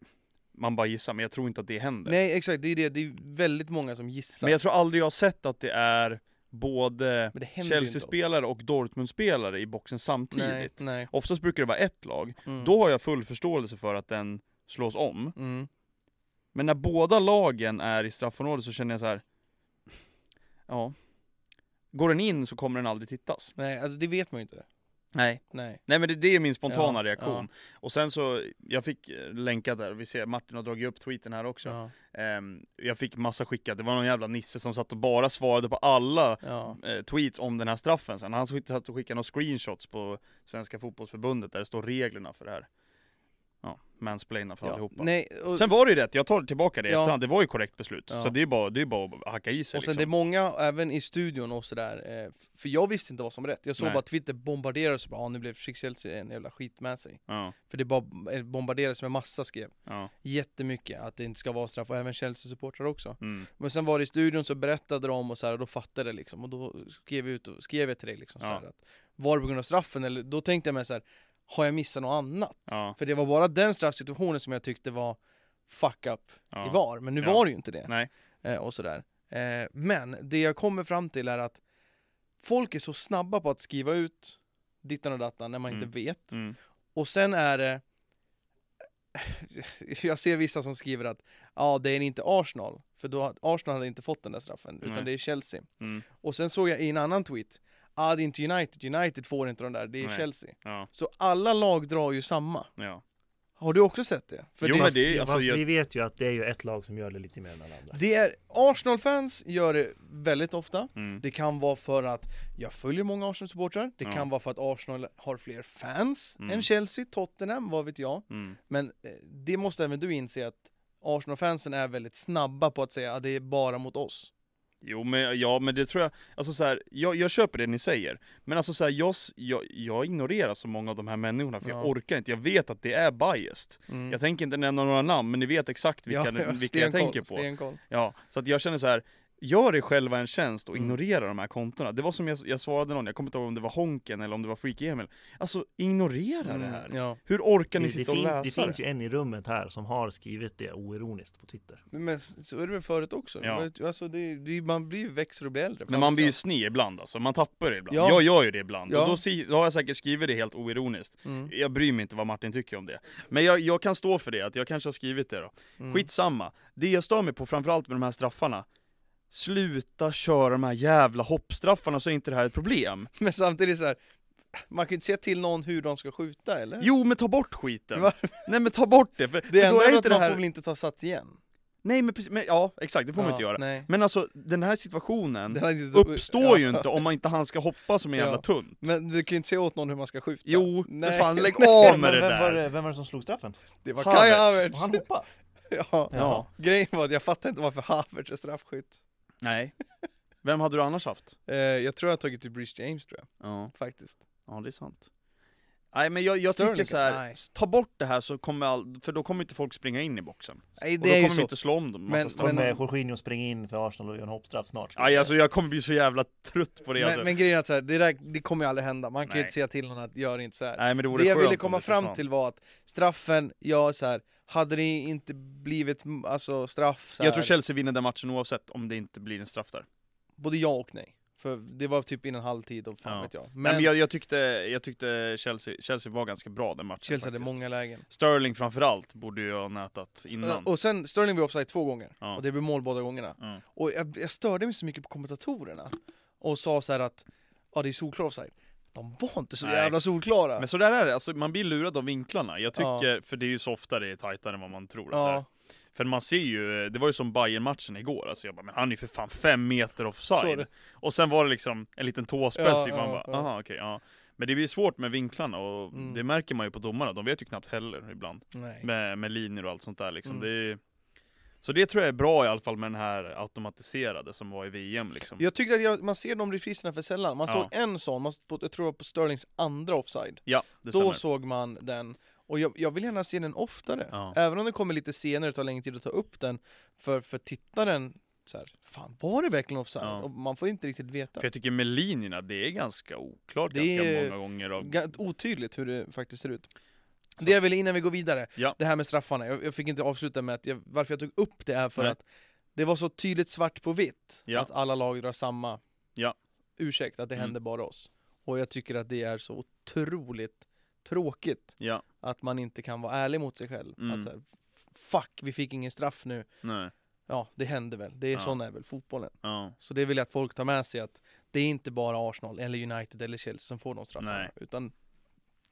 Speaker 2: man bara gissar, men jag tror inte att det händer.
Speaker 1: nej, exakt, det är det. Det är väldigt många som gissar.
Speaker 2: men jag tror aldrig jag har sett att det är både
Speaker 1: Men det händer ju inte.
Speaker 2: Chelsea-spelare och Dortmund-spelare i boxen samtidigt.
Speaker 1: Nej, nej.
Speaker 2: Oftast brukar det vara ett lag.
Speaker 1: Mm.
Speaker 2: Då har jag full förståelse för att den slås om.
Speaker 1: Mm.
Speaker 2: Men när båda lagen är i straffområdet så känner jag så här. Ja. Går den in så kommer den aldrig tittas.
Speaker 1: Nej, alltså det vet man ju inte.
Speaker 2: Nej.
Speaker 1: Nej.
Speaker 2: Nej men det, det är min spontana
Speaker 1: Ja,
Speaker 2: reaktion. Och sen så, jag fick eh, länkat där, vi ser Martin har dragit upp tweeten här också.
Speaker 1: Ja,
Speaker 2: Ehm, jag fick massa skickat, det var någon jävla nisse som satt och bara svarade på alla
Speaker 1: ja.
Speaker 2: eh, tweets om den här straffen sen. Han skick- satt och skickade några screenshots på Svenska Fotbollsförbundet där det står reglerna för det här. Ja, mansplaina för
Speaker 1: ja.
Speaker 2: allihopa.
Speaker 1: Nej, och,
Speaker 2: Sen var det ju rätt, jag tar tillbaka det i
Speaker 1: Ja.
Speaker 2: efterhand, det var ju korrekt beslut.
Speaker 1: Ja.
Speaker 2: Så det är bara, det är bara att hacka i sig
Speaker 1: och sen det är
Speaker 2: liksom.
Speaker 1: många, även i studion och sådär, eh, för jag visste inte vad som var rätt. Jag såg
Speaker 2: Nej.
Speaker 1: bara Twitter bombarderades och bara, ah, nu blev Chelsea en jävla skit med sig.
Speaker 2: Ja,
Speaker 1: För det bara eh, bombarderades med massa skrev.
Speaker 2: ja,
Speaker 1: Jättemycket att det inte ska vara straff, och även Chelsea-supportrar också.
Speaker 2: mm,
Speaker 1: Men sen var det i studion så berättade de och så här, och då fattade jag liksom och då skrev jag, ut och skrev jag till dig liksom så
Speaker 2: Ja.
Speaker 1: här, att Var det på grund av straffen eller? Då tänkte jag mig så här, har jag missat något annat?
Speaker 2: ja,
Speaker 1: För det var bara den straffsituationen som jag tyckte var fuck up i
Speaker 2: ja.
Speaker 1: VAR, men nu
Speaker 2: Ja.
Speaker 1: var det ju inte det.
Speaker 2: Nej.
Speaker 1: Eh, och sådär. Eh, men det jag kommer fram till är att folk är så snabba på att skriva ut dittan och dattan när man
Speaker 2: Mm.
Speaker 1: inte vet.
Speaker 2: Mm.
Speaker 1: Och sen är det eh, (laughs) jag ser vissa som skriver att ja, det är inte Arsenal, för då Arsenal hade inte fått den där straffen, utan
Speaker 2: Nej.
Speaker 1: det är Chelsea.
Speaker 2: Mm.
Speaker 1: Och sen såg jag i en annan tweet, ah, det är inte United, United får inte de där, det är
Speaker 2: Nej.
Speaker 1: Chelsea.
Speaker 2: Ja,
Speaker 1: Så alla lag drar ju samma.
Speaker 2: ja.
Speaker 1: Har du också sett det? För
Speaker 2: Jo,
Speaker 1: det,
Speaker 2: men det är,
Speaker 3: Ja,
Speaker 2: alltså,
Speaker 3: fast vi
Speaker 2: jag,
Speaker 3: vet ju att det är ju ett lag som gör det lite mer än alla andra.
Speaker 1: det är, Arsenal-fans gör det väldigt ofta.
Speaker 2: mm,
Speaker 1: Det kan vara för att jag följer många Arsenal-supportrar, det
Speaker 2: Ja.
Speaker 1: kan vara för att Arsenal har fler fans
Speaker 2: Mm.
Speaker 1: än Chelsea, Tottenham, vad vet jag.
Speaker 2: mm,
Speaker 1: Men eh, det måste även du inse att Arsenal-fansen är väldigt snabba på att säga att det är bara mot oss.
Speaker 2: jo men, ja men det tror jag, alltså så här, jag, jag köper det ni säger. Men alltså så här, jag, s- jag, jag ignorerar så många av de här människorna för
Speaker 1: Ja. Mm.
Speaker 2: jag orkar inte, jag vet att det är biased. Jag tänker inte nämna några namn, men ni vet exakt vilka, vilka jag
Speaker 1: stenkoll,
Speaker 2: tänker på.
Speaker 1: Stenkoll.
Speaker 2: Ja, så att jag känner så här. Gör er själva en tjänst och
Speaker 1: Mm.
Speaker 2: ignorera de här kontona. Det var som jag, jag svarade någon, jag kommer inte ihåg om det var Honken eller om det var Freaky Emil. Alltså, ignorera det här!
Speaker 1: Mm, ja.
Speaker 2: Hur orkar
Speaker 3: Det,
Speaker 2: ni
Speaker 3: det,
Speaker 2: sitta och
Speaker 3: fin,
Speaker 2: läsa
Speaker 3: det
Speaker 2: det?
Speaker 3: finns ju en i rummet här som har skrivit det oironiskt på Twitter.
Speaker 1: Men s- så är det väl förut också?
Speaker 2: Ja.
Speaker 1: Alltså det, det, man blir ju växer och blir äldre.
Speaker 2: Men man blir ju sne ibland alltså, man tappar det ibland.
Speaker 1: Ja.
Speaker 2: Jag gör ju det ibland,
Speaker 1: Ja.
Speaker 2: och då, si- då har jag säkert skrivit det helt oironiskt.
Speaker 1: Mm,
Speaker 2: Jag bryr mig inte vad Martin tycker om det. Men jag, jag kan stå för det, att jag kanske har skrivit det då.
Speaker 1: mm.
Speaker 2: Skitsamma. Det jag stör mig på framförallt med de här straffarna, sluta köra de här jävla hoppstraffarna så är inte det här ett problem.
Speaker 1: Men samtidigt så här, man kan ju inte säga till någon hur de ska skjuta eller?
Speaker 2: Jo men ta bort skiten!
Speaker 1: Va?
Speaker 2: Nej men ta bort det, för,
Speaker 1: (laughs) det
Speaker 2: för
Speaker 1: enda
Speaker 2: då är
Speaker 1: är
Speaker 2: inte
Speaker 1: att
Speaker 2: det
Speaker 1: man
Speaker 2: här...
Speaker 1: får väl inte ta sats igen?
Speaker 2: Nej men precis, men, ja exakt, det får man
Speaker 1: Ja,
Speaker 2: inte göra.
Speaker 1: Nej.
Speaker 2: Men alltså den här situationen
Speaker 1: Den har inte-
Speaker 2: uppstår
Speaker 1: ja.
Speaker 2: ju inte om man inte han ska hoppa som en jävla
Speaker 1: Ja.
Speaker 2: tunt.
Speaker 1: Men du kan ju inte säga åt någon hur man ska skjuta.
Speaker 2: Jo,
Speaker 1: (laughs)
Speaker 2: för
Speaker 1: Nej.
Speaker 2: fan lägg av
Speaker 3: Men
Speaker 2: med det
Speaker 3: vem, Var
Speaker 2: där!
Speaker 3: det, vem var det som slog straffen?
Speaker 1: Det var
Speaker 2: Havertz.
Speaker 1: Kai Havertz!
Speaker 3: Och han hoppade!
Speaker 1: (laughs) Ja.
Speaker 2: Ja.
Speaker 1: Grejen var att jag fattar inte varför Havertz är straffskytt.
Speaker 2: Nej. Vem hade du annars haft?
Speaker 1: Eh, jag tror jag har tagit till Breeze James tror jag,
Speaker 2: Ja,
Speaker 1: faktiskt.
Speaker 2: ja det är sant. Nej men jag, jag
Speaker 1: Sterling
Speaker 2: tycker så
Speaker 1: kan-
Speaker 2: här,
Speaker 1: nej.
Speaker 2: s- ta bort det här så kommer all, för då kommer inte folk springa in i boxen.
Speaker 1: Nej
Speaker 2: Och då kommer vi inte slå om dem
Speaker 1: Men-
Speaker 2: massa straffar.
Speaker 1: men-
Speaker 3: Kommer Jorginho springa in för Arsenal och göra en hoppstraff snart?
Speaker 2: Aj alltså jag kommer bli så jävla trött på det alltså.
Speaker 1: Men, men grejen är att så här, det, där, det kommer ju aldrig hända, man kan ju
Speaker 2: Nej.
Speaker 1: inte säga till någon att gör inte så här.
Speaker 2: Nej men det vore
Speaker 1: Det jag
Speaker 2: skönt
Speaker 1: ville
Speaker 2: om
Speaker 1: komma
Speaker 2: det
Speaker 1: fram
Speaker 2: försvann.
Speaker 1: till var att straffen, jag så här, Hade det inte blivit mm, alltså, straff så
Speaker 2: Jag tror
Speaker 1: här-
Speaker 2: Chelsea vinner den matchen oavsett om det inte blir en straff där.
Speaker 1: Både ja och nej. För det var typ innan halvtid och fan
Speaker 2: Ja.
Speaker 1: vet jag. Men,
Speaker 2: Men, Nej, men jag, jag tyckte, jag tyckte Chelsea, Chelsea var ganska bra den matchen
Speaker 1: Chelsea hade
Speaker 2: faktiskt.
Speaker 1: många lägen.
Speaker 2: Sterling framförallt borde ju ha nätat innan.
Speaker 1: Och sen, Sterling blev offside två gånger.
Speaker 2: Ja.
Speaker 1: Och det blev mål båda gångerna.
Speaker 2: Ja.
Speaker 1: Och jag, jag störde mig så mycket på kommentatorerna. Och sa så här att, ja det är solklar offside. De var inte så
Speaker 2: Nej.
Speaker 1: jävla solklara.
Speaker 2: Men så där är det, alltså, man blir lurad av vinklarna. Jag
Speaker 1: Ja.
Speaker 2: tycker, för det är ju så ofta det är tajtare än vad man tror att det är.
Speaker 1: ja,
Speaker 2: För man ser ju, det var ju som Bayern-matchen igår, alltså jag bara, men han är ju för fan fem meter
Speaker 1: Så är
Speaker 2: offside.
Speaker 1: det.
Speaker 2: Och sen var det liksom en liten
Speaker 1: Ja,
Speaker 2: tåspets, typ. man
Speaker 1: ja,
Speaker 2: bara,
Speaker 1: ja.
Speaker 2: aha okej, ja. Men det blir svårt med vinklarna och
Speaker 1: Mm.
Speaker 2: det märker man ju på domarna, de vet ju knappt heller ibland.
Speaker 1: nej.
Speaker 2: Med, med linjer och allt sånt där liksom.
Speaker 1: Mm.
Speaker 2: Det är, så det tror jag är bra i alla fall med den här automatiserade som var i VM liksom.
Speaker 1: Jag tyckte att jag, man ser de repriserna för sällan. Man
Speaker 2: Ja.
Speaker 1: såg en sån, man, på, jag tror det var på Sterlings andra offside.
Speaker 2: Ja, det
Speaker 1: Då
Speaker 2: stämmer.
Speaker 1: såg man den. Och jag, jag vill gärna se den oftare.
Speaker 2: Ja.
Speaker 1: Även om det kommer lite senare och tar längre tid att ta upp den. För, för tittaren, så här, fan var det verkligen offside?
Speaker 2: Ja.
Speaker 1: Och man får inte riktigt veta.
Speaker 2: För jag tycker med linjerna, det är ganska oklart
Speaker 1: Det
Speaker 2: ganska
Speaker 1: är-
Speaker 2: många gånger. Av...
Speaker 1: Ga- Otydligt hur det faktiskt ser ut.
Speaker 2: Så.
Speaker 1: Det jag ville innan vi går vidare,
Speaker 2: Ja.
Speaker 1: det här med straffarna. Jag, jag fick inte avsluta med att jag, varför jag tog upp det är för
Speaker 2: Nej.
Speaker 1: att det var så tydligt svart på vitt
Speaker 2: Ja.
Speaker 1: att alla lag drar samma
Speaker 2: Ja.
Speaker 1: ursäkt, att det
Speaker 2: Mm.
Speaker 1: händer bara oss. Och jag tycker att det är så otroligt tråkigt
Speaker 2: Ja,
Speaker 1: att man inte kan vara ärlig mot sig själv.
Speaker 2: Mm.
Speaker 1: Att så här, fuck, vi fick ingen straff nu.
Speaker 2: nej,
Speaker 1: Ja, det hände väl. Det är
Speaker 2: Ja.
Speaker 1: sån är väl fotbollen.
Speaker 2: ja.
Speaker 1: Så det vill jag att folk tar med sig att det är inte bara Arsenal eller United eller Chelsea som får de straffarna.
Speaker 2: Nej.
Speaker 1: Utan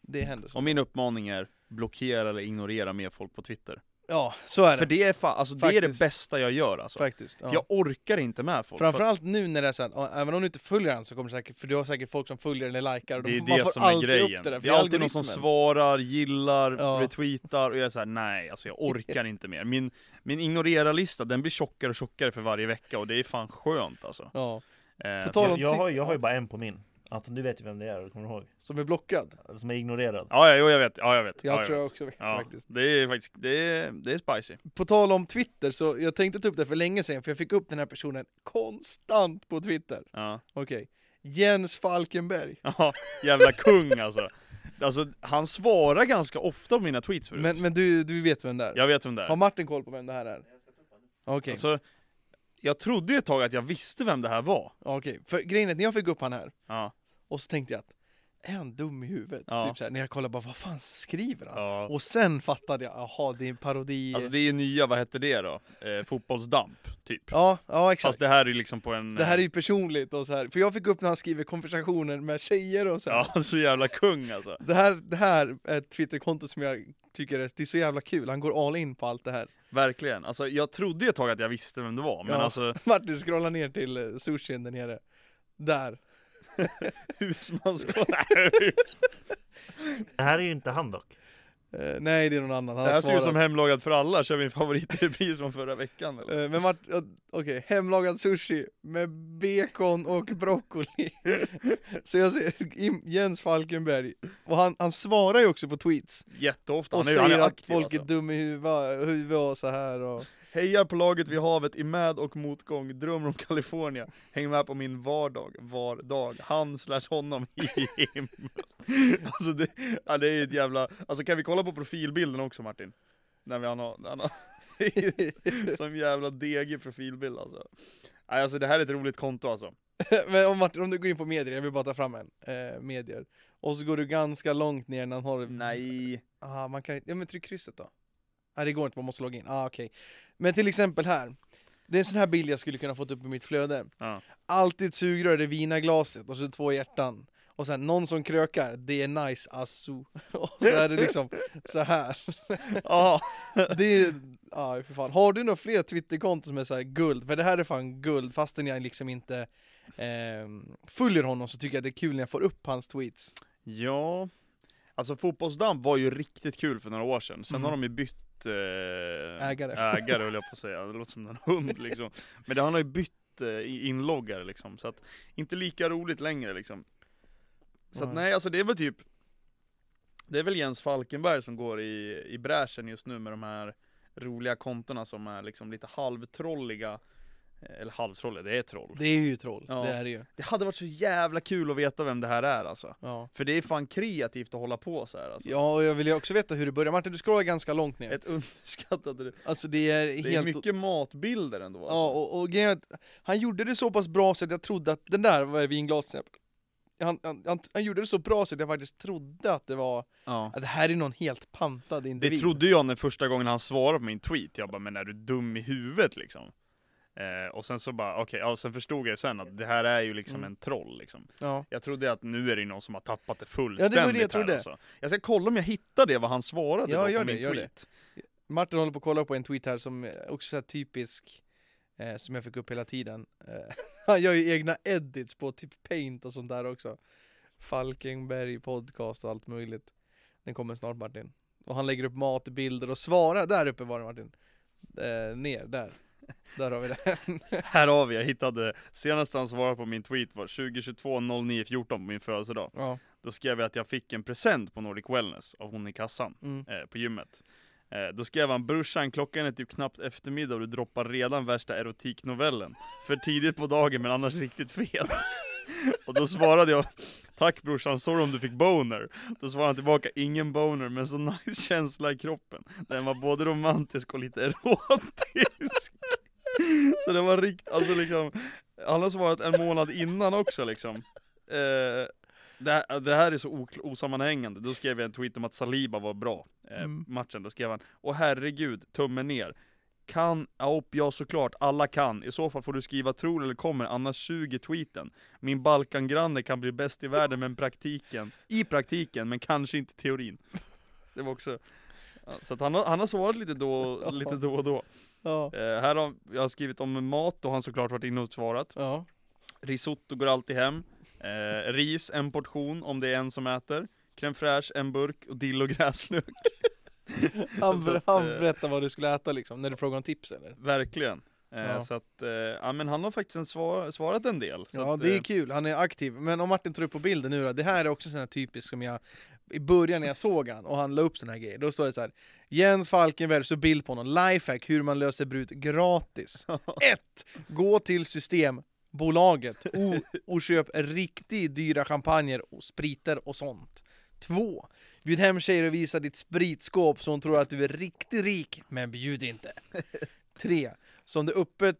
Speaker 1: det händer så.
Speaker 2: Och min uppmaning är, blockera eller ignorera mer folk på Twitter.
Speaker 1: Ja, så är det.
Speaker 2: För det är, fa- alltså, det, är det
Speaker 1: Faktiskt.
Speaker 2: bästa jag gör alltså.
Speaker 1: Faktiskt. Ja.
Speaker 2: Jag orkar inte med folk.
Speaker 1: Framförallt nu när det är så här, ja, även om du inte följer han så kommer det säkert, för du har säkert folk som följer eller likar.
Speaker 2: För
Speaker 1: och de-
Speaker 2: att det
Speaker 1: man
Speaker 2: är det
Speaker 1: får
Speaker 2: som är
Speaker 1: alltid upp
Speaker 2: grejen.
Speaker 1: Det, där,
Speaker 2: Det,
Speaker 1: för
Speaker 2: är alltid någon som
Speaker 1: algoritmen.
Speaker 2: svarar, gillar,
Speaker 1: Ja.
Speaker 2: retweetar och jag är såhär, nej alltså jag
Speaker 1: (laughs)
Speaker 2: orkar inte mer. Min, min ignorera-lista den blir tjockare och tjockare för varje vecka och det är fan skönt alltså.
Speaker 1: Ja,
Speaker 2: Eh,
Speaker 1: På
Speaker 2: så-
Speaker 1: tal om
Speaker 3: Jag, jag, har,
Speaker 1: Twitter.
Speaker 3: jag har ju bara en på min. Anton, du vet ju vem det är, kommer du ihåg?
Speaker 1: som är blockad.
Speaker 3: Som är ignorerad.
Speaker 2: Ja, ja, jo, jag vet. Ja, jag vet.
Speaker 1: Jag
Speaker 2: ja,
Speaker 1: tror jag
Speaker 2: vet.
Speaker 1: också vet
Speaker 2: Ja,
Speaker 1: faktiskt.
Speaker 2: det är faktiskt, det är, det är spicy.
Speaker 1: På tal om Twitter, så jag tänkte ta upp det för länge sedan, för jag fick upp den här personen konstant på Twitter.
Speaker 2: Ja. (laughs)
Speaker 1: Okej. Jens Falkenberg.
Speaker 2: Ja, jävla kung alltså. Alltså, han svarar ganska ofta på mina tweets förut.
Speaker 1: Men, men du, du vet vem det är?
Speaker 2: Jag vet vem det är.
Speaker 1: Har Martin koll på vem det här är? Okej,
Speaker 2: Alltså, jag trodde ju ett tag att jag visste vem det här var.
Speaker 1: okej. För grejen är att när jag fick upp han här,
Speaker 2: Ja.
Speaker 1: och så tänkte jag att, är han dum i huvudet?
Speaker 2: Ja.
Speaker 1: Typ så här, när jag kollade bara, vad fan skriver han?
Speaker 2: ja.
Speaker 1: Och sen fattade jag, jaha det är en parodi.
Speaker 2: Alltså det är ju nya, vad hette det då? Eh, fotbollsdamp, typ.
Speaker 1: ja, ja exakt.
Speaker 2: Fast det här är ju liksom på en...
Speaker 1: det här är ju personligt och så här. För jag fick upp när han skriver konversationer med tjejer och så här.
Speaker 2: eh, Ja, (laughs) så jävla kung alltså.
Speaker 1: Det här, det här är ett Twitterkonto som jag tycker är, det är så jävla kul, han går all in på allt det här. (laughs)
Speaker 2: Verkligen. Alltså jag trodde ju ett tag att jag visste vem det var, men
Speaker 1: Ja. (laughs)
Speaker 2: alltså
Speaker 1: Martin scrollar ner till eh, sushin där nere. Där. (laughs)
Speaker 2: husmanskoll.
Speaker 3: Det här är ju inte han dock.
Speaker 1: Eh, nej det är någon annan, han
Speaker 2: det här ser
Speaker 1: svarar.
Speaker 2: ut som hemlagad för alla, kör vi en favoritrepris från förra veckan eller?
Speaker 1: Eh, Men Martin, ja, okej, hemlagad sushi med bacon och broccoli. (laughs) Så jag ser Im- Jens Falkenberg, och han, han svarar ju också på tweets.
Speaker 2: Jätteofta,
Speaker 1: Och
Speaker 2: han är, ju- han
Speaker 1: säger
Speaker 2: är
Speaker 1: att
Speaker 2: aktiv
Speaker 1: folk
Speaker 2: alltså.
Speaker 1: är dum i huvudet huvud och så här och... (laughs)
Speaker 2: Hejar på laget vid havet i med och motgång, drömmer om Kalifornien. Häng med på min vardag, var dag. Han slash honom i himlen. Alltså det, ja, det är ett jävla, alltså kan vi kolla på profilbilden också Martin? När vi, han har, han har (laughs) som jävla degig profilbild alltså. Nej, alltså det här är ett roligt konto alltså.
Speaker 1: Men om Martin, om du går in på medier, jag vill bara ta fram en, eh, medier. Och så går du ganska långt ner när han har...
Speaker 2: Nej.
Speaker 1: Ah, man kan inte, ja men tryck krysset då. Nej det går inte, man måste logga in. Ah, okej. Men till exempel här. Det är en sån här bild jag skulle kunna fått upp i mitt flöde.
Speaker 2: Ja.
Speaker 1: Alltid ett sugrör, det vina glaset och så två hjärtan. Och sen någon som krökar, det är nice asso. (laughs) Och så är det liksom så här.
Speaker 2: Ja.
Speaker 1: Det är, ja för fan. Har du några fler Twitterkonton som är så här guld? För det här är fan guld, fastän jag liksom inte ehm, följer honom så tycker jag det är kul när jag får upp hans tweets.
Speaker 2: Ja, alltså fotbollsdamm var ju riktigt kul för några år sedan. Sen
Speaker 1: Mm.
Speaker 2: har de ju bytt eh,
Speaker 1: Ägare.
Speaker 2: ägare (laughs) höll jag på att säga. Det låter som en hund liksom. Men det, han har ju bytt eh, i- inloggare liksom, så att inte lika roligt längre liksom. Så att
Speaker 1: Nej.
Speaker 2: nej, alltså det är väl typ Det är väl Jens Falkenberg som går i, i bräschen just nu med de här roliga kontona som är liksom lite halvtrolliga Eller halvtroll, det är troll.
Speaker 1: Det är ju troll,
Speaker 2: Ja.
Speaker 1: det är det ju.
Speaker 2: Det hade varit så jävla kul att veta vem det här är alltså.
Speaker 1: Ja.
Speaker 2: För det är fan kreativt att hålla på så här alltså.
Speaker 1: ja, och jag vill ju också veta hur det börjar. Martin, du scrollar ganska långt ner.
Speaker 2: Ett underskattat... Det
Speaker 1: Alltså det är helt...
Speaker 2: är mycket matbilder ändå alltså.
Speaker 1: Ja, och, och grejen är att han gjorde det så pass bra så att jag trodde att den där var vinglaset. Han, han, han, han gjorde det så bra så att jag faktiskt trodde att det var,
Speaker 2: Ja.
Speaker 1: att det här är någon helt pantad
Speaker 2: Det
Speaker 1: individ.
Speaker 2: trodde jag när första gången han svarade på min tweet, jag bara men är du dum i huvudet liksom? Eh, och sen så bara, okej, ja, sen förstod jag sen att det här är ju liksom
Speaker 1: Mm.
Speaker 2: en troll liksom.
Speaker 1: Ja.
Speaker 2: Jag trodde att nu är det ju någon som har tappat det
Speaker 1: det
Speaker 2: fullständigt
Speaker 1: var det jag
Speaker 2: här,
Speaker 1: trodde.
Speaker 2: alltså. Jag ska kolla om jag hittar det, vad han svarade
Speaker 1: Ja,
Speaker 2: då
Speaker 1: gör
Speaker 2: på
Speaker 1: det,
Speaker 2: min
Speaker 1: gör det.
Speaker 2: tweet.
Speaker 1: Martin håller på att kolla på en tweet här som är också så här typisk, eh, som jag fick upp hela tiden. Eh, (laughs) han gör ju egna edits på typ paint och sånt där också. Falkenberg podcast och allt möjligt. Den kommer snart Martin. Och han lägger upp matbilder och svarar, där uppe var det Martin. Eh, ner, där. Där har vi det. (laughs)
Speaker 2: Här har vi, jag hittade, senast han svarade på min tweet var 2022 09.14 på min födelsedag.
Speaker 1: ja.
Speaker 2: Då skrev jag att jag fick en present på Nordic Wellness av hon i kassan.
Speaker 1: Mm.
Speaker 2: eh, på gymmet. Eh, då skrev han brorsan, klockan är typ knappt eftermiddag och du droppar redan värsta erotiknovellen. För tidigt på dagen men annars riktigt fet. (laughs) och då svarade jag, tack brorsan, sorry om du fick boner. Då svarade han tillbaka, ingen boner men så nice känsla i kroppen. Den var både romantisk och lite (laughs) erotisk. så det var riktigt, alltså liksom, han har svarat en månad innan också liksom. Eh, det här, det här är så ok- osammanhängande, då skrev jag en tweet om att Saliba var bra eh,
Speaker 1: Mm.
Speaker 2: matchen, då skrev han Åh herregud, tummen ner Kan, ja upp, ja såklart, alla kan, i så fall får du skriva tror eller kommer, annars 20 tweeten Min Balkangranne kan bli bäst i världen men praktiken, i praktiken men kanske inte i teorin Det var också ja, så att han, har, han har svarat lite då, lite då och då.
Speaker 1: Ja.
Speaker 2: Eh, här har jag har skrivit om mat, och han såklart varit inne och svarat.
Speaker 1: Ja.
Speaker 2: Risotto går alltid hem. Eh, ris, en portion om det är en som äter. Crème fraîche, en burk och dill och (laughs) gräslök.
Speaker 1: Han,
Speaker 2: Så
Speaker 1: ber-
Speaker 2: att,
Speaker 1: han
Speaker 2: eh,
Speaker 1: berättar vad du skulle äta liksom, när du frågar om tips eller?
Speaker 2: Verkligen. Eh,
Speaker 1: Ja.
Speaker 2: Så att, eh, ja men han har faktiskt en svar, svarat en del. Så
Speaker 1: Ja
Speaker 2: att,
Speaker 1: det är
Speaker 2: eh,
Speaker 1: kul, han är aktiv. Men om Martin tar upp på bilden nu då, det här är också sån här typiskt som jag I början när jag såg han och han la upp såna här grejer, då står det så här Jens Falkenberg, så bild på honom, lifehack hur man löser brut
Speaker 2: (laughs)
Speaker 1: gratis. 1. Gå till Systembolaget och, och köp riktigt dyra champagner och spriter och sånt. 2. Bjud hem tjejer och visa ditt spritskåp så hon tror att du är riktigt rik, men bjud
Speaker 2: (laughs)
Speaker 1: inte. 3. Som det öppet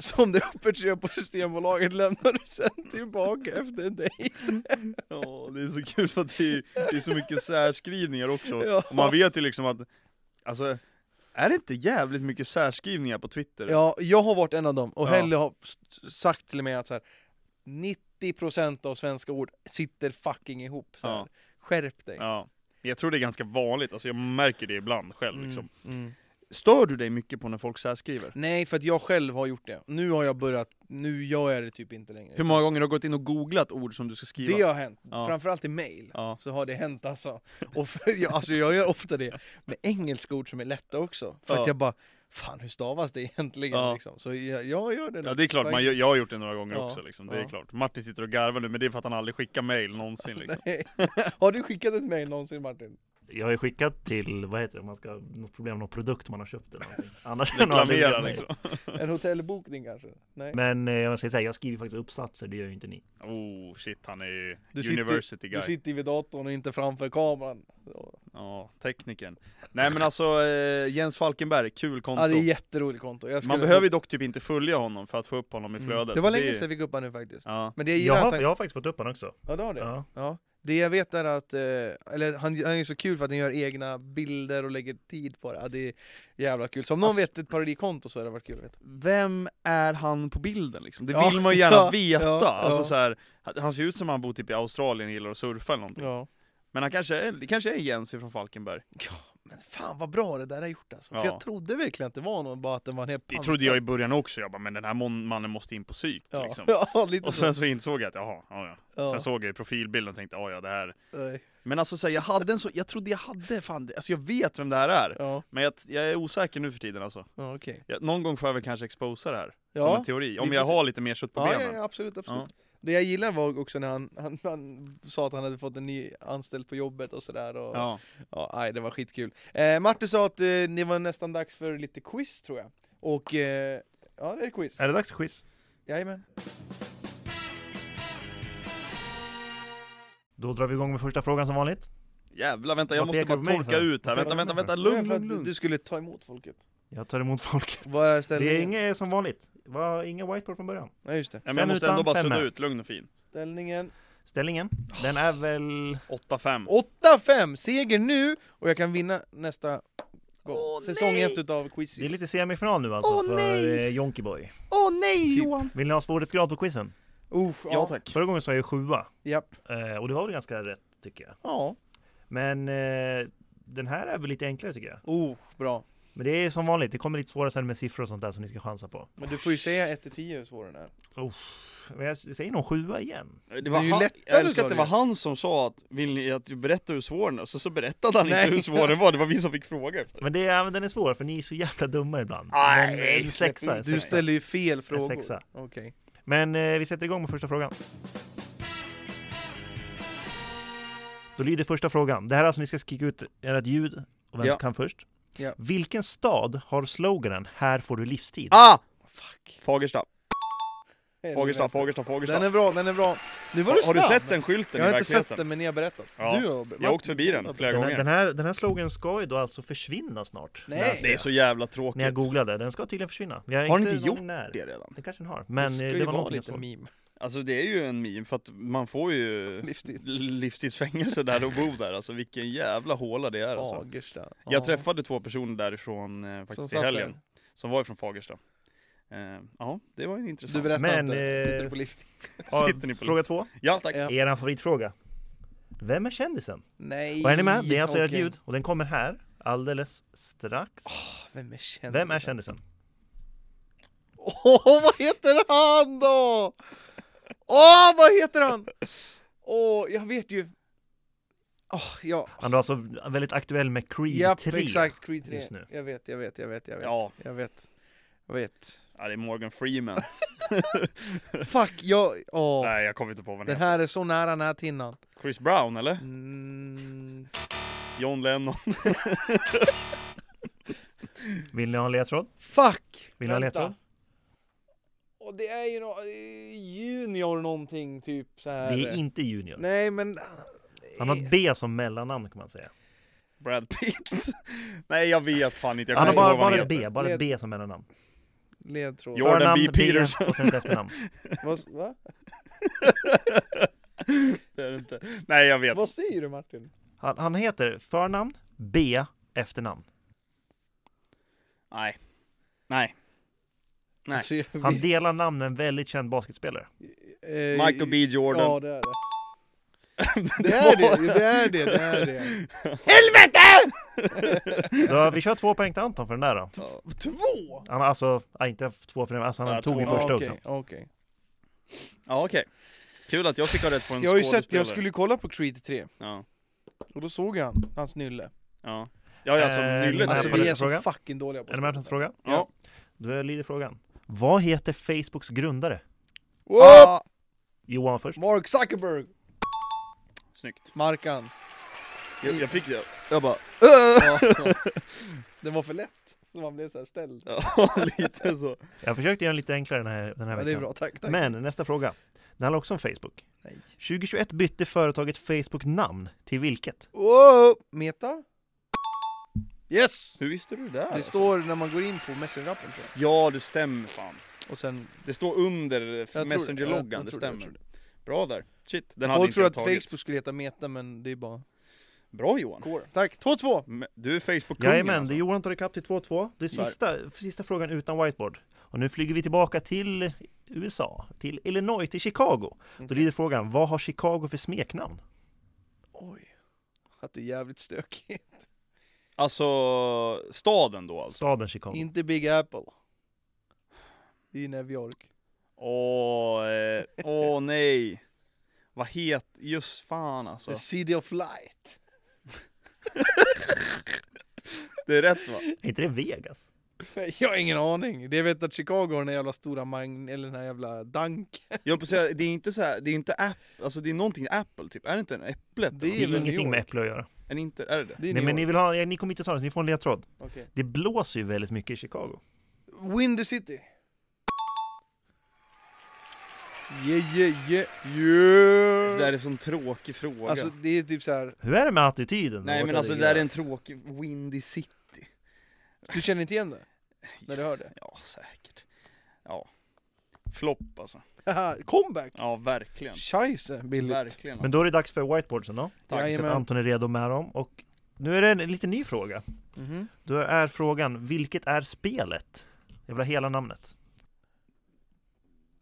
Speaker 1: som det öppet köp på Systembolaget lämnar du sen tillbaka efter en dejt.
Speaker 2: ja, det är så kul för att det är, det är så mycket särskrivningar också.
Speaker 1: (laughs) Ja.
Speaker 2: Och man vet ju liksom att, alltså, är det inte jävligt mycket särskrivningar på Twitter?
Speaker 1: Ja, jag har varit en av dem och
Speaker 2: Ja.
Speaker 1: Helle har s- sagt till mig att så här, 90% av svenska ord sitter fucking ihop. Så här.
Speaker 2: Ja.
Speaker 1: Skärp dig.
Speaker 2: Ja. Jag tror det är ganska vanligt, alltså jag märker det ibland själv
Speaker 1: Mm,
Speaker 2: liksom.
Speaker 1: mm.
Speaker 2: Stör du dig mycket på när folk särskriver?
Speaker 1: Nej, för att jag själv har gjort det. Nu har jag börjat, nu gör jag det typ inte längre.
Speaker 2: Hur många gånger har du gått in och googlat ord som du ska skriva?
Speaker 1: Det har hänt,
Speaker 2: Ja.
Speaker 1: framförallt i mail.
Speaker 2: Ja.
Speaker 1: Så har det hänt alltså. Och för, jag, alltså jag gör ofta det med engelska ord som är lätta också. För
Speaker 2: Ja.
Speaker 1: att jag bara, fan hur stavas det egentligen?
Speaker 2: Ja.
Speaker 1: Liksom. Så jag, jag gör det.
Speaker 2: Ja det är klart, man, gör- jag har gjort det några gånger
Speaker 1: Ja,
Speaker 2: också liksom. det
Speaker 1: ja.
Speaker 2: är klart. Martin sitter och garvar nu men det är för att han aldrig skickar mail någonsin
Speaker 1: (laughs)
Speaker 2: liksom.
Speaker 1: Nej. Har du skickat ett mail någonsin Martin?
Speaker 3: Jag har ju skickat till, vad heter det, om man ska, något problem med någon produkt man har köpt eller någonting. Annars har jag nog aldrig
Speaker 2: Reklamera
Speaker 3: gett mig.
Speaker 2: liksom.
Speaker 1: En hotellbokning kanske? Nej.
Speaker 3: Men eh, jag ska säga, jag skriver faktiskt uppsatser, det gör ju inte ni.
Speaker 2: Oh shit, han är ju
Speaker 1: Du sitter-
Speaker 2: university
Speaker 1: Du
Speaker 2: guy.
Speaker 1: sitter vid datorn och inte framför kameran.
Speaker 2: Ja, tekniken. Nej men alltså eh, Jens Falkenberg, kul konto.
Speaker 1: Ja, det är jätteroligt konto. Jag skulle-
Speaker 2: man behöver ju dock typ inte följa honom för att få upp honom i flödet.
Speaker 1: Mm. Det var
Speaker 2: är
Speaker 1: länge
Speaker 2: ju-
Speaker 1: sedan jag fick upp han nu faktiskt.
Speaker 2: Ja.
Speaker 1: Men det jag
Speaker 3: Jag
Speaker 1: gillar att
Speaker 3: har,
Speaker 1: han...
Speaker 3: jag har faktiskt fått upp den också.
Speaker 1: Ja, du har det?
Speaker 3: Ja.
Speaker 1: Ja. Det jag vet är att, eh, eller han, han är så kul för att han gör egna bilder och lägger tid på det. Ja, det är jävla kul. Så om någon
Speaker 2: Alltså-
Speaker 1: vet ett parodikonto så hade det varit kul att veta.
Speaker 2: Vem är han på bilden liksom? Det
Speaker 1: Ja,
Speaker 2: vill man ju
Speaker 1: (laughs)
Speaker 2: gärna
Speaker 1: ja,
Speaker 2: veta.
Speaker 1: ja,
Speaker 2: alltså,
Speaker 1: ja.
Speaker 2: Så här, han ser ut som han bor typ i Australien och gillar att surfa eller någonting.
Speaker 1: Ja.
Speaker 2: Men han kanske är, det kanske är Jens från Falkenberg.
Speaker 1: Men fan vad bra det där har gjort alltså.
Speaker 2: Ja.
Speaker 1: För jag trodde verkligen att det var någon, bara att den var en hel
Speaker 2: Det
Speaker 1: pampa.
Speaker 2: trodde jag i början också, jag bara men den här mon- mannen måste in på psyk
Speaker 1: (laughs) ja.
Speaker 2: liksom.
Speaker 1: ja, lite
Speaker 2: Och
Speaker 1: så.
Speaker 2: sen så insåg jag att jaha, ja, ja.
Speaker 1: Ja.
Speaker 2: Sen såg jag ju profilbilden och tänkte ja, ja det här.
Speaker 1: Nej.
Speaker 2: Men alltså så här, jag hade en så, jag trodde jag hade, fan, det- alltså jag vet vem det här är.
Speaker 1: Ja,
Speaker 2: Men jag, jag är osäker nu för tiden alltså.
Speaker 1: ja okej.
Speaker 2: Jag, någon gång får jag väl kanske exposa det här, som
Speaker 1: Ja.
Speaker 2: en typ teori.
Speaker 1: vi
Speaker 2: Om
Speaker 1: får
Speaker 2: jag
Speaker 1: se.
Speaker 2: har lite mer kött på
Speaker 1: Ja, ja,
Speaker 2: benen.
Speaker 1: ja, absolut, absolut. Det jag gillar var också när han, han, han sa att han hade fått en ny anställd på jobbet och sådär. Och, ja.
Speaker 2: Ja.
Speaker 1: nej, det var skitkul. Eh, Martin sa att eh, det var nästan dags för lite quiz tror jag. Och eh, Ja, det är quiz.
Speaker 3: Är det dags för quiz?
Speaker 1: Jajamän.
Speaker 3: Då drar vi igång med första frågan som vanligt.
Speaker 2: Jävlar vänta, jag
Speaker 3: Vad
Speaker 2: måste
Speaker 3: pekar
Speaker 2: bara
Speaker 3: du på mig
Speaker 2: torka
Speaker 3: för?
Speaker 2: ut här.
Speaker 3: Vad
Speaker 2: Vänta,
Speaker 3: pekar du
Speaker 2: vänta, vänta,
Speaker 3: på mig för?
Speaker 1: Nej,
Speaker 2: lugn,
Speaker 1: för att
Speaker 2: lugn, lugn.
Speaker 1: Du skulle ta emot folket.
Speaker 3: Jag tar emot folk.
Speaker 1: Vad är
Speaker 3: Det
Speaker 1: ställningen?
Speaker 3: är inget som vanligt. Var ingen whiteboard från början.
Speaker 1: Nej, just det.
Speaker 2: Ja, men
Speaker 3: Fem
Speaker 2: jag måste
Speaker 3: utan,
Speaker 2: ändå bara
Speaker 3: fem
Speaker 2: sudda
Speaker 3: med.
Speaker 2: ut, lugn och fin.
Speaker 1: Ställningen
Speaker 2: Mm.
Speaker 3: Ställningen, den är väl...
Speaker 2: 8-5.
Speaker 1: 8-5! Seger nu och jag kan vinna nästa gång.
Speaker 2: Åh,
Speaker 1: Säsong
Speaker 2: nej!
Speaker 1: 1 utav Quizizz.
Speaker 3: Det är lite semifinal nu alltså
Speaker 2: Åh,
Speaker 3: för
Speaker 2: nej!
Speaker 3: eh, Jonkeyboy.
Speaker 2: Åh nej
Speaker 1: Typ.
Speaker 2: Johan!
Speaker 3: Vill ni ha svårighetsgrad på quizen?
Speaker 1: Uff, ja.
Speaker 2: Ja tack.
Speaker 3: Förra gången sa jag sjua.
Speaker 1: Japp.
Speaker 3: Eh, och det var väl ganska rätt tycker jag.
Speaker 2: Ja.
Speaker 3: Men eh, den här är väl lite enklare tycker jag.
Speaker 1: Oh, bra.
Speaker 3: Men det är som vanligt, det kommer lite svårare sen med siffror och sånt där som ni ska chansa på.
Speaker 1: Men du får ju säga 1-10 hur svår den är.
Speaker 3: Men jag säger nog sjua igen.
Speaker 2: Det var
Speaker 1: Det är ju
Speaker 2: han,
Speaker 1: lättare,
Speaker 2: jag älskar
Speaker 1: sa
Speaker 2: att det
Speaker 1: du.
Speaker 2: var han som sa att, vill ni att du berättar hur svår den är? Så, så berättade han
Speaker 1: Nej.
Speaker 2: inte hur svår den var, det var vi som fick fråga
Speaker 1: (laughs)
Speaker 2: efter.
Speaker 3: Men det är, men den är svår för ni är så jävla dumma ibland.
Speaker 2: Nej,
Speaker 3: men, eh, en
Speaker 2: släpp
Speaker 3: sexa, en
Speaker 2: ut.
Speaker 1: Du
Speaker 3: sexa.
Speaker 1: ställer ju fel
Speaker 3: En
Speaker 1: frågor.
Speaker 3: sexa.
Speaker 1: Okej.
Speaker 3: Men eh, vi sätter igång med första frågan. Då lyder första frågan. Det här är alltså ni ska skrika ut ert ljud och vem
Speaker 1: Ja.
Speaker 3: som kan först.
Speaker 1: Ja.
Speaker 3: Vilken stad har sloganen Här får du livstid?
Speaker 2: Ah!
Speaker 1: Fuck.
Speaker 2: Fagersta, Fagersta,
Speaker 1: Helvete.
Speaker 2: Fagersta, Fagersta.
Speaker 1: Den är bra, den är bra. Nu var du
Speaker 2: Har,
Speaker 1: snabb.
Speaker 2: du sett den skylten
Speaker 1: Jag har
Speaker 2: i
Speaker 1: inte sett
Speaker 2: verkligheten?
Speaker 1: den, men ni har berättat.
Speaker 2: Ja.
Speaker 1: Du har...
Speaker 2: Jag har åkt förbi den flera
Speaker 3: Den här,
Speaker 2: gånger.
Speaker 3: den, här, den här slogan ska ju då alltså försvinna snart.
Speaker 1: Nej.
Speaker 3: läste
Speaker 2: Det är
Speaker 3: jag.
Speaker 2: så jävla tråkigt.
Speaker 3: När jag googlade. Den ska tydligen försvinna. Vi har,
Speaker 2: Har den
Speaker 3: inte
Speaker 2: inte
Speaker 3: någon
Speaker 2: gjort
Speaker 3: när.
Speaker 2: det redan.
Speaker 3: Det kanske den har. Men eh,
Speaker 1: eh, det liksom-
Speaker 3: det,
Speaker 1: ska
Speaker 3: det
Speaker 1: ju vara
Speaker 3: var någonting jag
Speaker 1: lite
Speaker 3: såg.
Speaker 1: meme.
Speaker 2: Alltså det är ju en meme, för att man får ju
Speaker 1: Livstid.
Speaker 2: livstidsfängelse där och bo där. Alltså vilken jävla håla det är alltså.
Speaker 1: Fagersta.
Speaker 2: Jag träffade två personer därifrån eh, faktiskt i
Speaker 1: satt
Speaker 2: helgen,
Speaker 1: där.
Speaker 2: som var ifrån Fagersta. Eh, ja, det var ju
Speaker 1: Du
Speaker 2: intressant.
Speaker 1: berättar
Speaker 3: Men,
Speaker 1: inte.
Speaker 3: eh,
Speaker 1: Sitter du på livstid?
Speaker 2: (laughs)
Speaker 3: Ja,
Speaker 2: Sitter ni på
Speaker 3: fråga två.
Speaker 2: Ja tack!
Speaker 1: Ja.
Speaker 3: Er favoritfråga. Vem är kändisen?
Speaker 1: Nej.
Speaker 3: Och är ni med? Det är alltså ert
Speaker 1: okej.
Speaker 3: ljud. Och den kommer här alldeles strax.
Speaker 1: Vem är kändisen?
Speaker 3: Vem är kändisen?
Speaker 1: Åh, (laughs) vad heter han då? Åh, vad heter han? Åh, jag vet ju. Åh, ja.
Speaker 3: Han är alltså väldigt aktuell med Creed
Speaker 1: Japp,
Speaker 3: 3.
Speaker 1: exakt. Creed 3.
Speaker 3: just nu.
Speaker 1: Jag vet, jag vet, jag vet, jag vet.
Speaker 2: Ja.
Speaker 1: Jag vet. Jag vet.
Speaker 2: Ja, det är
Speaker 1: (laughs)
Speaker 2: Morgan Freeman.
Speaker 1: Fuck, jag... Åh.
Speaker 2: Nej, jag kommer inte på vad den
Speaker 1: Den
Speaker 2: heter.
Speaker 1: här är så nära näthinnan.
Speaker 2: Chris Brown eller?
Speaker 1: Mm.
Speaker 2: John Lennon. (laughs)
Speaker 3: Vill ni ha en ledtråd?
Speaker 1: Fuck!
Speaker 3: Vill ni ha en
Speaker 1: Vänta.
Speaker 3: ledtråd?
Speaker 1: Och det är ju nå eh, junior någonting typ så
Speaker 3: Det
Speaker 1: här.
Speaker 3: är inte Junior.
Speaker 1: Nej men... ah,
Speaker 3: Han har ett B som mellannamn kan man säga.
Speaker 2: Brad Pitt. (laughs) Nej, jag vet fan inte. Jag
Speaker 3: Han har
Speaker 2: kommer
Speaker 3: bara,
Speaker 2: inte ihåg vad
Speaker 3: bara
Speaker 2: han
Speaker 1: Led-
Speaker 2: heter.
Speaker 3: ett B, bara ett B som mellannamn.
Speaker 1: Ledtråd.
Speaker 2: Jordan
Speaker 3: Förnamn,
Speaker 2: B. Peterson.
Speaker 3: B och sen ett efternamn.
Speaker 1: Vad, va?
Speaker 2: Det är det inte. Nej, jag vet.
Speaker 1: Vad säger du Martin?
Speaker 3: Han, han heter förnamn, B, efternamn.
Speaker 2: Nej. Nej. Nej.
Speaker 1: Alltså, jag vet-
Speaker 3: Han delar namn med en väldigt känd basketspelare.
Speaker 1: eh,
Speaker 2: Michael B. Jordan.
Speaker 1: Ja det är
Speaker 3: (laughs)
Speaker 1: det. Det är det, det är det, det är det.
Speaker 2: Helvete!
Speaker 3: Då, vi kör två poäng till Anton för den där då.
Speaker 1: Två!
Speaker 3: Han har alltså, nej, inte två för den, alltså han
Speaker 2: Ja,
Speaker 3: tog
Speaker 2: två.
Speaker 3: ju
Speaker 2: Ja,
Speaker 3: första
Speaker 1: okej,
Speaker 3: också.
Speaker 1: okej.
Speaker 2: Ja, okej. Kul att jag fick ha rätt på en
Speaker 1: Jag har ju sett,
Speaker 2: skådespelare.
Speaker 1: jag skulle ju kolla på Creed 3
Speaker 2: Ja.
Speaker 1: och då såg jag han, hans nylle.
Speaker 2: Ja. Ja, alltså
Speaker 3: Eh,
Speaker 2: nyllet
Speaker 3: men
Speaker 1: Alltså
Speaker 2: är
Speaker 3: på
Speaker 1: vi
Speaker 2: ju...
Speaker 1: är
Speaker 3: nästa
Speaker 1: så
Speaker 3: fråga?
Speaker 1: fucking dåliga på
Speaker 3: Är det med på nästa fråga?
Speaker 2: Ja.
Speaker 3: Då lyder frågan. Vad heter Facebooks grundare?
Speaker 1: Wow!
Speaker 3: Johan först.
Speaker 1: Mark Zuckerberg!
Speaker 2: Snyggt.
Speaker 1: Markan.
Speaker 2: Jag, jag fick det. (laughs) Jag bara...
Speaker 1: (laughs) Ja, ja. Det var för lätt, så man blev så här ställd.
Speaker 2: Ja, lite så.
Speaker 3: Jag försökte göra den lite enklare den här, den här
Speaker 1: Ja, det är
Speaker 3: veckan.
Speaker 1: bra, tack. tack.
Speaker 3: Men nästa fråga. Den handlar också om Facebook.
Speaker 1: Nej.
Speaker 3: 2021 bytte företaget Facebook namn till vilket?
Speaker 1: Wow! Meta? Yes!
Speaker 2: Hur visste du det där?
Speaker 1: Det står när man går in på Messenger-appen tror jag.
Speaker 2: Ja, det stämmer fan.
Speaker 1: Och sen...
Speaker 2: Det står under
Speaker 1: tror det. Jag- jag
Speaker 2: Messenger-loggan, det
Speaker 1: tror det, jag tror
Speaker 2: stämmer. Bra där. Shit, den hade
Speaker 1: Folk
Speaker 2: inte
Speaker 1: tror
Speaker 2: jag
Speaker 1: att
Speaker 2: tagit.
Speaker 1: Facebook skulle heta Meta, men det är bara...
Speaker 2: Bra Johan.
Speaker 1: Tack! 2-2!
Speaker 2: Men Du är Facebook-kungen
Speaker 3: Jajamän,
Speaker 2: alltså.
Speaker 3: det Johan tar ikapp till 2-2. Det är sista, sista frågan utan whiteboard. Och nu flyger vi tillbaka till USA, till Illinois, till Chicago. Då lyder frågan, vad har Chicago för smeknamn?
Speaker 1: Oj. Att det är jävligt stökigt.
Speaker 2: Alltså, staden då alltså?
Speaker 3: Staden Chicago.
Speaker 1: Inte Big Apple. Det är ju New York.
Speaker 2: Åh, eh,
Speaker 1: (laughs)
Speaker 2: åh nej. Vad het, just fan alltså.
Speaker 1: The City of Light. (laughs)
Speaker 2: Det är rätt va?
Speaker 3: Är inte det Vegas?
Speaker 1: Jag har ingen aning. Det jag vet att Chicago har den här jävla stora magn... Eller den här jävla dank.
Speaker 2: Jag höll på att säga, det är inte så här, det är inte app, alltså det är någonting Apple typ, är det inte en äpplet?
Speaker 1: Det
Speaker 3: Det
Speaker 1: väl
Speaker 3: är
Speaker 1: New
Speaker 3: ingenting med
Speaker 1: York.
Speaker 3: Äpple att göra.
Speaker 2: Är det inte, är det det?
Speaker 1: Det är
Speaker 3: Nej
Speaker 1: New
Speaker 3: men ni,
Speaker 1: York.
Speaker 3: vill ha, ja, ni kommer inte ta det, så ni får en ledtråd.
Speaker 1: Okej.
Speaker 3: Det blåser ju väldigt mycket i Chicago.
Speaker 1: Windy City. Yeah, yeah, yeah,
Speaker 2: Det
Speaker 1: yeah.
Speaker 2: där är en sån tråkig fråga.
Speaker 1: Alltså det är typ så här.
Speaker 3: Hur är det med attityden?
Speaker 2: Nej men alltså det där är en tråkig Windy City.
Speaker 1: du känner inte igen det? När du hör det?
Speaker 2: Ja, säkert. Ja. Flopp alltså.
Speaker 1: Haha, (laughs) Comeback!
Speaker 2: (laughs) Ja, verkligen.
Speaker 1: Scheisse, billigt.
Speaker 2: Verkligen.
Speaker 3: Men då är det dags för whiteboardsen då.
Speaker 2: Tack.
Speaker 3: Så
Speaker 1: Jajamän.
Speaker 3: att Anton är redo med dem. Och nu är det en lite ny fråga.
Speaker 1: Mhm.
Speaker 3: Då är frågan, vilket är spelet? Jag vill ha hela namnet.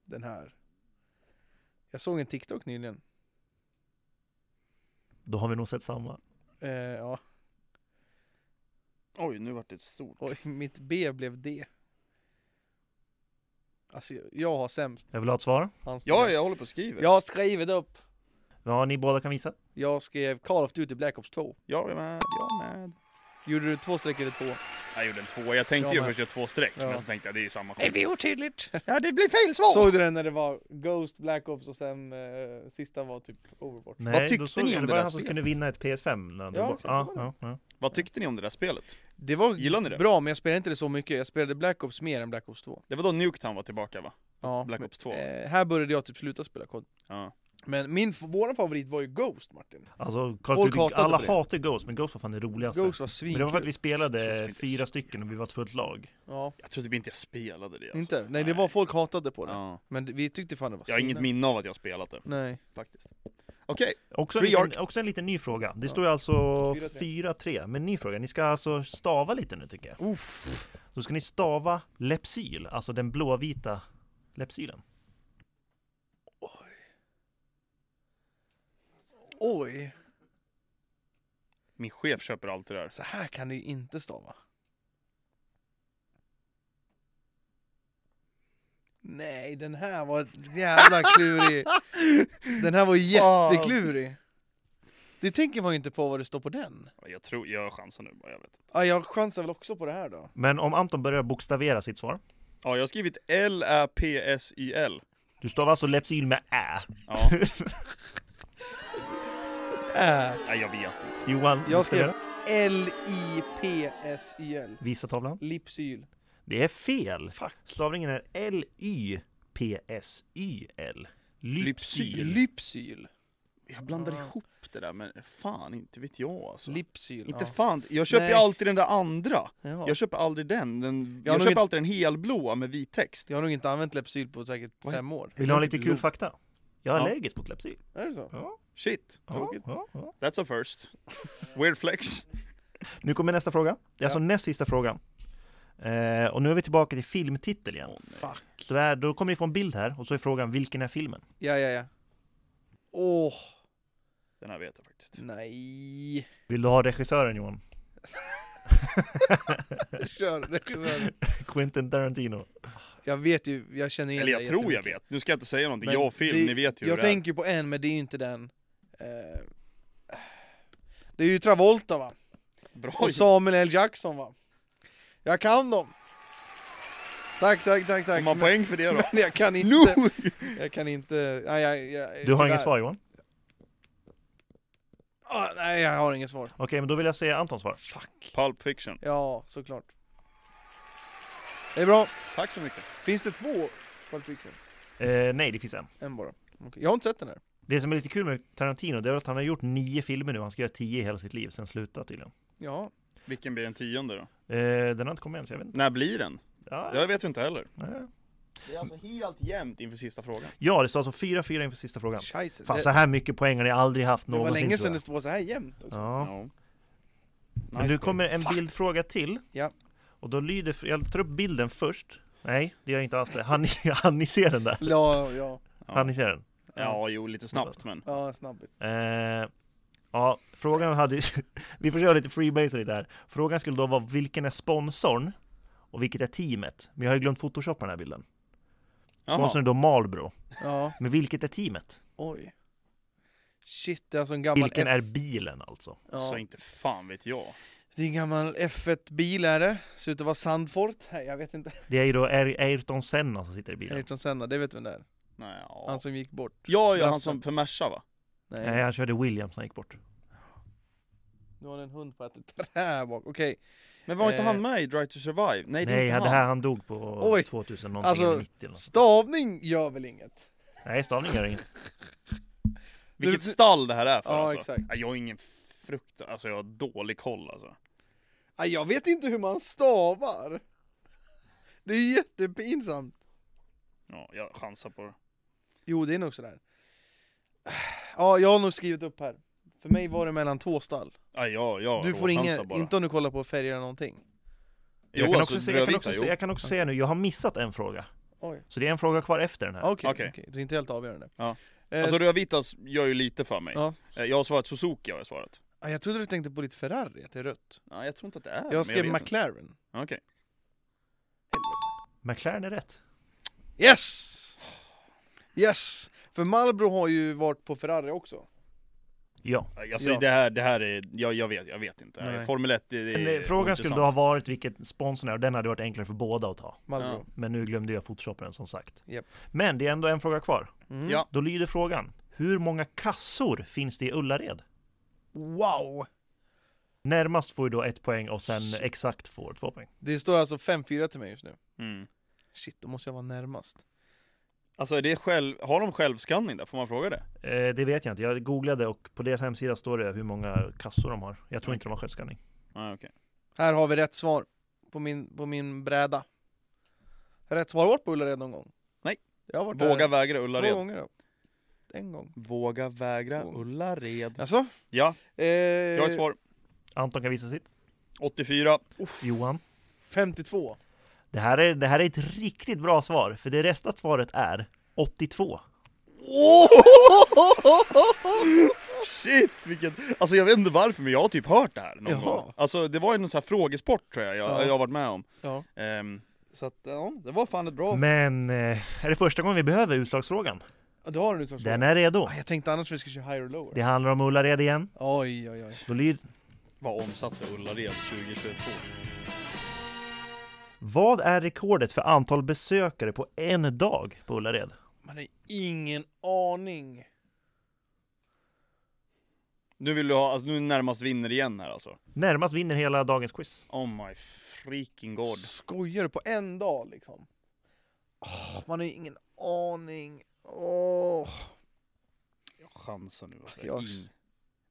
Speaker 1: Den här. Jag såg en TikTok nyligen.
Speaker 3: Då har vi nog sett samma.
Speaker 1: Eh, ja.
Speaker 2: alltså. Oj, nu vart det ett stort.
Speaker 1: Och (laughs) mitt B blev D. Alltså jag- jag har sämst.
Speaker 3: Jag vill ha ett svar.
Speaker 1: Hans
Speaker 2: Ja, jag håller på och skriver.
Speaker 1: Jag har skrivit upp.
Speaker 3: Ja, ni båda kan visa.
Speaker 1: Jag skrev Call of Duty Black Ops 2.
Speaker 2: Jag är med, jag är med.
Speaker 1: Gjorde du två streck eller två?
Speaker 2: Jag gjorde en två. Jag tänkte
Speaker 1: Jag
Speaker 2: ju
Speaker 1: med.
Speaker 2: först göra två streck,
Speaker 1: Ja.
Speaker 2: men så tänkte jag det är ju samma
Speaker 1: Det
Speaker 2: skit.
Speaker 1: blir (laughs) otydligt.
Speaker 2: Ja, det blir fel svar!
Speaker 1: Såg du den när det var Ghost, Black Ops och sen eh, sista var typ Overwatch?
Speaker 3: Nej,
Speaker 2: Vad tyckte
Speaker 3: då såg
Speaker 2: ni
Speaker 3: jag-
Speaker 2: om
Speaker 3: det
Speaker 2: det
Speaker 3: var
Speaker 2: där
Speaker 3: han som
Speaker 2: spelet?
Speaker 3: skulle vinna ett PS5. När han
Speaker 1: Ja,
Speaker 3: drog bort.
Speaker 1: exakt, det
Speaker 3: ja,
Speaker 1: var det.
Speaker 3: ja, ja.
Speaker 2: Vad tyckte ni om det där spelet?
Speaker 1: Det var
Speaker 2: Gillar ni det?
Speaker 1: bra, men jag spelade inte det så mycket. Jag spelade Black Ops mer än Black Ops 2.
Speaker 2: Det var då Nuketown var tillbaka va?
Speaker 1: Ja,
Speaker 2: Black
Speaker 1: men,
Speaker 2: Ops 2.
Speaker 1: Eh, här började jag typ sluta spela kod.
Speaker 2: Ja.
Speaker 1: Men min, vår favorit var ju Ghost Martin.
Speaker 3: Alltså, Call of
Speaker 1: Folk
Speaker 3: Duty,
Speaker 1: hatar
Speaker 3: alla
Speaker 1: på det.
Speaker 3: hatar Ghost, men Ghost var fan det roligaste.
Speaker 1: Ghost var
Speaker 3: men det var
Speaker 1: svinkul.
Speaker 3: för att vi
Speaker 2: Jag tror
Speaker 3: spelade
Speaker 2: inte
Speaker 3: fyra
Speaker 2: så.
Speaker 3: stycken och vi var ett fullt lag.
Speaker 1: Ja,
Speaker 2: Jag tror typ inte jag spelade det alltså.
Speaker 1: inte? Nej, det var folk hatade på det.
Speaker 2: Ja.
Speaker 1: Men det- vi tyckte fan det var
Speaker 2: Jag har inget
Speaker 1: svinnice.
Speaker 2: minne av att jag har spelat det,
Speaker 1: Nej.
Speaker 2: faktiskt. Okej,
Speaker 3: Också en,
Speaker 2: Free
Speaker 3: liten, också en liten ny fråga. Det
Speaker 1: Ja.
Speaker 3: står ju alltså
Speaker 1: 4-3.
Speaker 3: 4-3, men ny fråga. Ni ska alltså stava lite nu tycker jag.
Speaker 1: Uff.
Speaker 3: Då ska ni stava Lepsyl, alltså den blåvita Lepsylen.
Speaker 1: Oj,
Speaker 2: min chef köper allt det där.
Speaker 1: så här kan du ju inte stava. Nej, den här var jävla klurig. (laughs) Den här var jätteklurig. Det tänker man ju inte på vad det står på den.
Speaker 2: Jag tror, jag har chansen nu bara, jag vet.
Speaker 1: Ja, jag chansar väl också på det här då.
Speaker 3: Men om Anton börjar bokstavera sitt svar.
Speaker 2: Ja, jag har skrivit L-Ä-P-S-Y-L.
Speaker 3: Du stavar alltså Lepsyl med Ä.
Speaker 2: (laughs) Ja,
Speaker 1: Äh,
Speaker 2: nej, jag vet inte.
Speaker 3: Johan,
Speaker 1: Jag
Speaker 3: bokstavera.
Speaker 1: skrev L-I-P-S-Y-L.
Speaker 3: Visa tavlan.
Speaker 1: Lipsyl.
Speaker 3: Det är fel.
Speaker 1: Fuck.
Speaker 3: Stavningen är L-Y-P-S-Y-L.
Speaker 2: Lypsyl.
Speaker 3: Lypsyl.
Speaker 1: Lipsyl.
Speaker 2: Jag blandar
Speaker 1: Ah.
Speaker 2: ihop det där, men fan inte vet jag alltså.
Speaker 1: Lipsyl.
Speaker 2: Inte
Speaker 1: ja.
Speaker 2: fan, jag köper ju
Speaker 1: Nej.
Speaker 2: alltid den där andra.
Speaker 1: Ja.
Speaker 2: Jag köper aldrig den. den
Speaker 1: Jag har
Speaker 2: jag
Speaker 1: nog
Speaker 2: köper
Speaker 1: inte-
Speaker 2: alltid den helblåa med vit text.
Speaker 1: Jag har nog inte använt Lepsyl på säkert
Speaker 2: Vad
Speaker 1: fem år.
Speaker 3: Vill du ha lite kul fakta? Jag är
Speaker 2: Ja.
Speaker 3: allergisk mot Lepsyl.
Speaker 1: Är det så?
Speaker 3: Ja,
Speaker 2: Shit,
Speaker 3: ja, ja, ja.
Speaker 2: that's a first. Weird flex.
Speaker 3: Nu kommer nästa fråga. Det är alltså näst sista frågan. Eh, och nu är vi tillbaka till filmtitel igen.
Speaker 1: Fuck.
Speaker 3: Så här, då kommer ni få en bild här och så är frågan vilken är filmen?
Speaker 1: Ja, ja, ja. Åh,
Speaker 2: Den här vet jag faktiskt. (laughs)
Speaker 1: nej.
Speaker 3: Vill du ha
Speaker 1: (laughs)
Speaker 3: regissören Johan?
Speaker 1: Kör regissören.
Speaker 3: Quentin Tarantino.
Speaker 1: Eh, Jag vet ju, jag känner igen
Speaker 2: Eller jag
Speaker 1: dig
Speaker 2: tror jag
Speaker 1: jättemycket.
Speaker 2: vet. Nu ska jag inte säga någonting.
Speaker 1: Men
Speaker 2: jag och film,
Speaker 1: det-
Speaker 2: ni vet ju hur
Speaker 1: Jag
Speaker 2: det är.
Speaker 1: tänker på en, men det är ju inte den. Eh, Det är ju Travolta va?
Speaker 2: Bra
Speaker 1: Och Samuel L. Jackson va? Jag kan dem! Tack, tack, tack, tack.
Speaker 2: Får man
Speaker 1: Men-
Speaker 2: poäng för det då?
Speaker 1: (laughs) Men jag kan inte... Jag kan inte... Nej, jag, jag,
Speaker 3: Du har
Speaker 1: tyvärr.
Speaker 3: inget svar Johan?
Speaker 1: Ah, nej, jag har inget svar.
Speaker 3: Okej, men då vill jag se Antons svar.
Speaker 1: Fuck.
Speaker 2: Pulp Fiction.
Speaker 1: Ja, såklart. Det är bra.
Speaker 2: Tack så mycket.
Speaker 1: Finns det två Pulp Fiction?
Speaker 3: Eh, nej, det finns en.
Speaker 1: En bara. Okej. Jag har inte sett den här.
Speaker 3: Det som är lite kul med Tarantino, det är att han har gjort nio filmer nu. Han ska göra tio i hela sitt liv, sen sluta tydligen.
Speaker 1: Ja.
Speaker 2: Vilken blir den tionde då?
Speaker 3: Eh, den har inte kommit än, så jag vet inte.
Speaker 2: När blir den?
Speaker 3: Ja,
Speaker 2: Det vet vi inte heller.
Speaker 3: nej.
Speaker 2: Det är alltså helt jämnt inför sista frågan.
Speaker 3: ja det står alltså 4-4 inför sista frågan.
Speaker 1: Scheisse.
Speaker 3: Fan,
Speaker 1: det,
Speaker 3: så här mycket poäng har ni aldrig haft
Speaker 1: det var
Speaker 3: någonsin
Speaker 1: länge sedan
Speaker 3: tror
Speaker 1: det
Speaker 3: jag.
Speaker 1: stod så här jämnt. Också.
Speaker 3: Ja.
Speaker 2: Ja.
Speaker 3: Men nu kommer en
Speaker 1: Fuck.
Speaker 3: bildfråga till.
Speaker 1: Ja.
Speaker 3: Och då lyder, jag tar upp bilden först. Nej, det gör jag inte alls det. Han, (laughs) han ni ser den där.
Speaker 1: Ja, ja.
Speaker 3: Han ni ser den.
Speaker 2: Ja, jo, lite snabbt men.
Speaker 1: Ja, snabbis.
Speaker 3: Eh, ja, frågan hade (laughs) Vi får köra lite freebase lite här. Frågan skulle då vara vilken är sponsorn? Och vilket är teamet? Men jag har ju glömt photoshoppa den här bilden. Sponsorn är då Marlboro.
Speaker 1: Ja,
Speaker 3: Men vilket är teamet?
Speaker 1: oj. Shit, det är alltså en gammal...
Speaker 3: Vilken
Speaker 1: F-
Speaker 3: är bilen alltså?
Speaker 2: Så
Speaker 1: ja.
Speaker 2: inte fan vet jag.
Speaker 1: Det är en gammal F1-bil är det. Ser ut att vara Sandfort. Nej, jag vet inte.
Speaker 3: Det är ju då Air- Ayrton Senna som sitter i bilen.
Speaker 1: Ayrton Senna, det vet du vem det är.
Speaker 2: Nej, ja.
Speaker 1: Han som gick bort.
Speaker 2: ja, ja, han
Speaker 1: Lasse.
Speaker 2: som för Merca va?
Speaker 3: Nej, han körde Williams när han gick bort.
Speaker 1: Nu har en hund på ett träd bak. Okej.
Speaker 2: Men var inte
Speaker 1: Eh.
Speaker 2: han med i Drive to Survive? Nej, det är
Speaker 3: Nej,
Speaker 2: inte
Speaker 3: han,
Speaker 2: han.
Speaker 3: det här han dog på
Speaker 1: Oj.
Speaker 3: 2000 någonting
Speaker 1: Alltså,
Speaker 3: eller 90 eller något.
Speaker 1: Stavning gör väl inget?
Speaker 3: Nej, stavning gör inget.
Speaker 2: Vilket
Speaker 1: Du- du-
Speaker 2: stall det här är för
Speaker 1: Ja,
Speaker 2: alltså.
Speaker 1: exakt.
Speaker 2: Ja, Jag har ingen frukt, alltså jag har dålig koll alltså.
Speaker 1: Nej, jag vet inte hur man stavar. Det är ju jättepinsamt.
Speaker 2: Ja, jag chansar på det.
Speaker 1: Jo, det är nog sådär. Ja, jag har nog skrivit upp här. För mig var det mellan två stall.
Speaker 2: Ja, jag, jag
Speaker 1: Du får
Speaker 2: råchansar
Speaker 1: inga, inte om du kollar på färger eller någonting.
Speaker 3: Jag kan,
Speaker 2: alltså,
Speaker 3: också säga, jag, kan
Speaker 2: rödvita,
Speaker 3: också
Speaker 2: jo.
Speaker 3: säga, jag kan också säga nu, jag har missat en fråga.
Speaker 1: Oj.
Speaker 3: Så det är en fråga kvar efter den här.
Speaker 1: Okej, okej.
Speaker 2: Okej.
Speaker 1: Det är inte helt avgörande.
Speaker 2: Ja.
Speaker 1: Eh,
Speaker 2: Alltså rödvitas gör ju lite för mig.
Speaker 1: Ja.
Speaker 2: Eh, Jag har svarat Suzuki har jag svarat.
Speaker 1: ah, jag trodde du tänkte på ditt Ferrari, att det är rött.
Speaker 2: Ja, jag tror inte att det är men
Speaker 1: Jag skrev
Speaker 2: vet inte.
Speaker 1: McLaren.
Speaker 2: Ja, Okej.
Speaker 3: McLaren är rätt.
Speaker 1: Yes! Yes! För Marlboro har ju varit på Ferrari också.
Speaker 3: Ja.
Speaker 2: Okay. Alltså
Speaker 1: Ja.
Speaker 2: det här, det här är, jag, jag vet, jag vet inte.
Speaker 1: Nej.
Speaker 2: Formel 1, det, det
Speaker 3: Men,
Speaker 2: är
Speaker 3: eh, frågan skulle då ha
Speaker 2: ointressant.
Speaker 3: varit vilken sponsorn är och den hade varit enklare för båda att ta.
Speaker 1: Marlboro.
Speaker 3: Men nu glömde jag photoshopen som sagt.
Speaker 1: Japp.
Speaker 3: Men det är ändå en fråga kvar.
Speaker 1: Mm.
Speaker 2: Ja.
Speaker 3: Då lyder frågan, hur många kassor finns det i Ullared?
Speaker 1: Wow!
Speaker 3: Närmast får ju då ett poäng och sen exakt får två poäng.
Speaker 1: Det står alltså 5-4 till mig just nu.
Speaker 2: Mm.
Speaker 1: Shit, då måste jag vara närmast.
Speaker 2: Alltså är det själv, har de självskanning där? Får man fråga det?
Speaker 3: Eh, det vet jag inte, jag googlade och på deras hemsida står det hur många kassor de har. Jag tror inte de har självskanning.
Speaker 2: Ah, okej.
Speaker 1: Här har vi rätt svar på min, på min bräda. Rätt svar har varit på Ullared någon gång?
Speaker 2: Nej.
Speaker 1: Jag har varit
Speaker 2: Våga
Speaker 1: där
Speaker 2: vägra
Speaker 1: två
Speaker 2: Ullared.
Speaker 1: gånger då. En gång.
Speaker 2: Våga vägra
Speaker 1: Två.
Speaker 2: Ullared.
Speaker 1: Alltså?
Speaker 2: Ja,
Speaker 1: Eh,
Speaker 2: jag har ett svar.
Speaker 3: Anton kan visa sitt.
Speaker 1: (laughs)
Speaker 2: 84.
Speaker 3: Johan?
Speaker 1: 52.
Speaker 3: Det här är, det här är ett riktigt bra svar, för det resta svaret är 82.
Speaker 2: Shit vilket, alltså jag vet inte varför men jag har typ hört det här någon
Speaker 1: Jaha.
Speaker 2: gång. Alltså det var ju någon sån här frågesport tror jag, jag,
Speaker 1: Ja.
Speaker 2: jag har varit med om.
Speaker 1: Ja.
Speaker 2: Ehm, så att ja, det var fan ett bra...
Speaker 3: Men eh, är det första gången vi behöver utslagsfrågan?
Speaker 1: Ja, Du har en utslagsfråga.
Speaker 3: Den är redo.
Speaker 1: Ah, jag tänkte annars vi skulle köra higher och lower.
Speaker 3: Det handlar om Ullared igen.
Speaker 1: Oj, oj, oj.
Speaker 3: Då lyder...
Speaker 2: Vad omsatte Ullared 2022?
Speaker 3: Vad är rekordet för antal besökare på en dag på Ullared?
Speaker 1: Man har ingen aning.
Speaker 2: Nu vill du ha, alltså nu närmast vinner igen här alltså.
Speaker 3: Närmast vinner hela dagens quiz.
Speaker 2: Oh my freaking god.
Speaker 1: Skojar du? På en dag liksom? Åh, man har ju ingen aning. Åh. (laughs)
Speaker 2: Jag chansar nu alltså.
Speaker 1: Jag-
Speaker 2: In.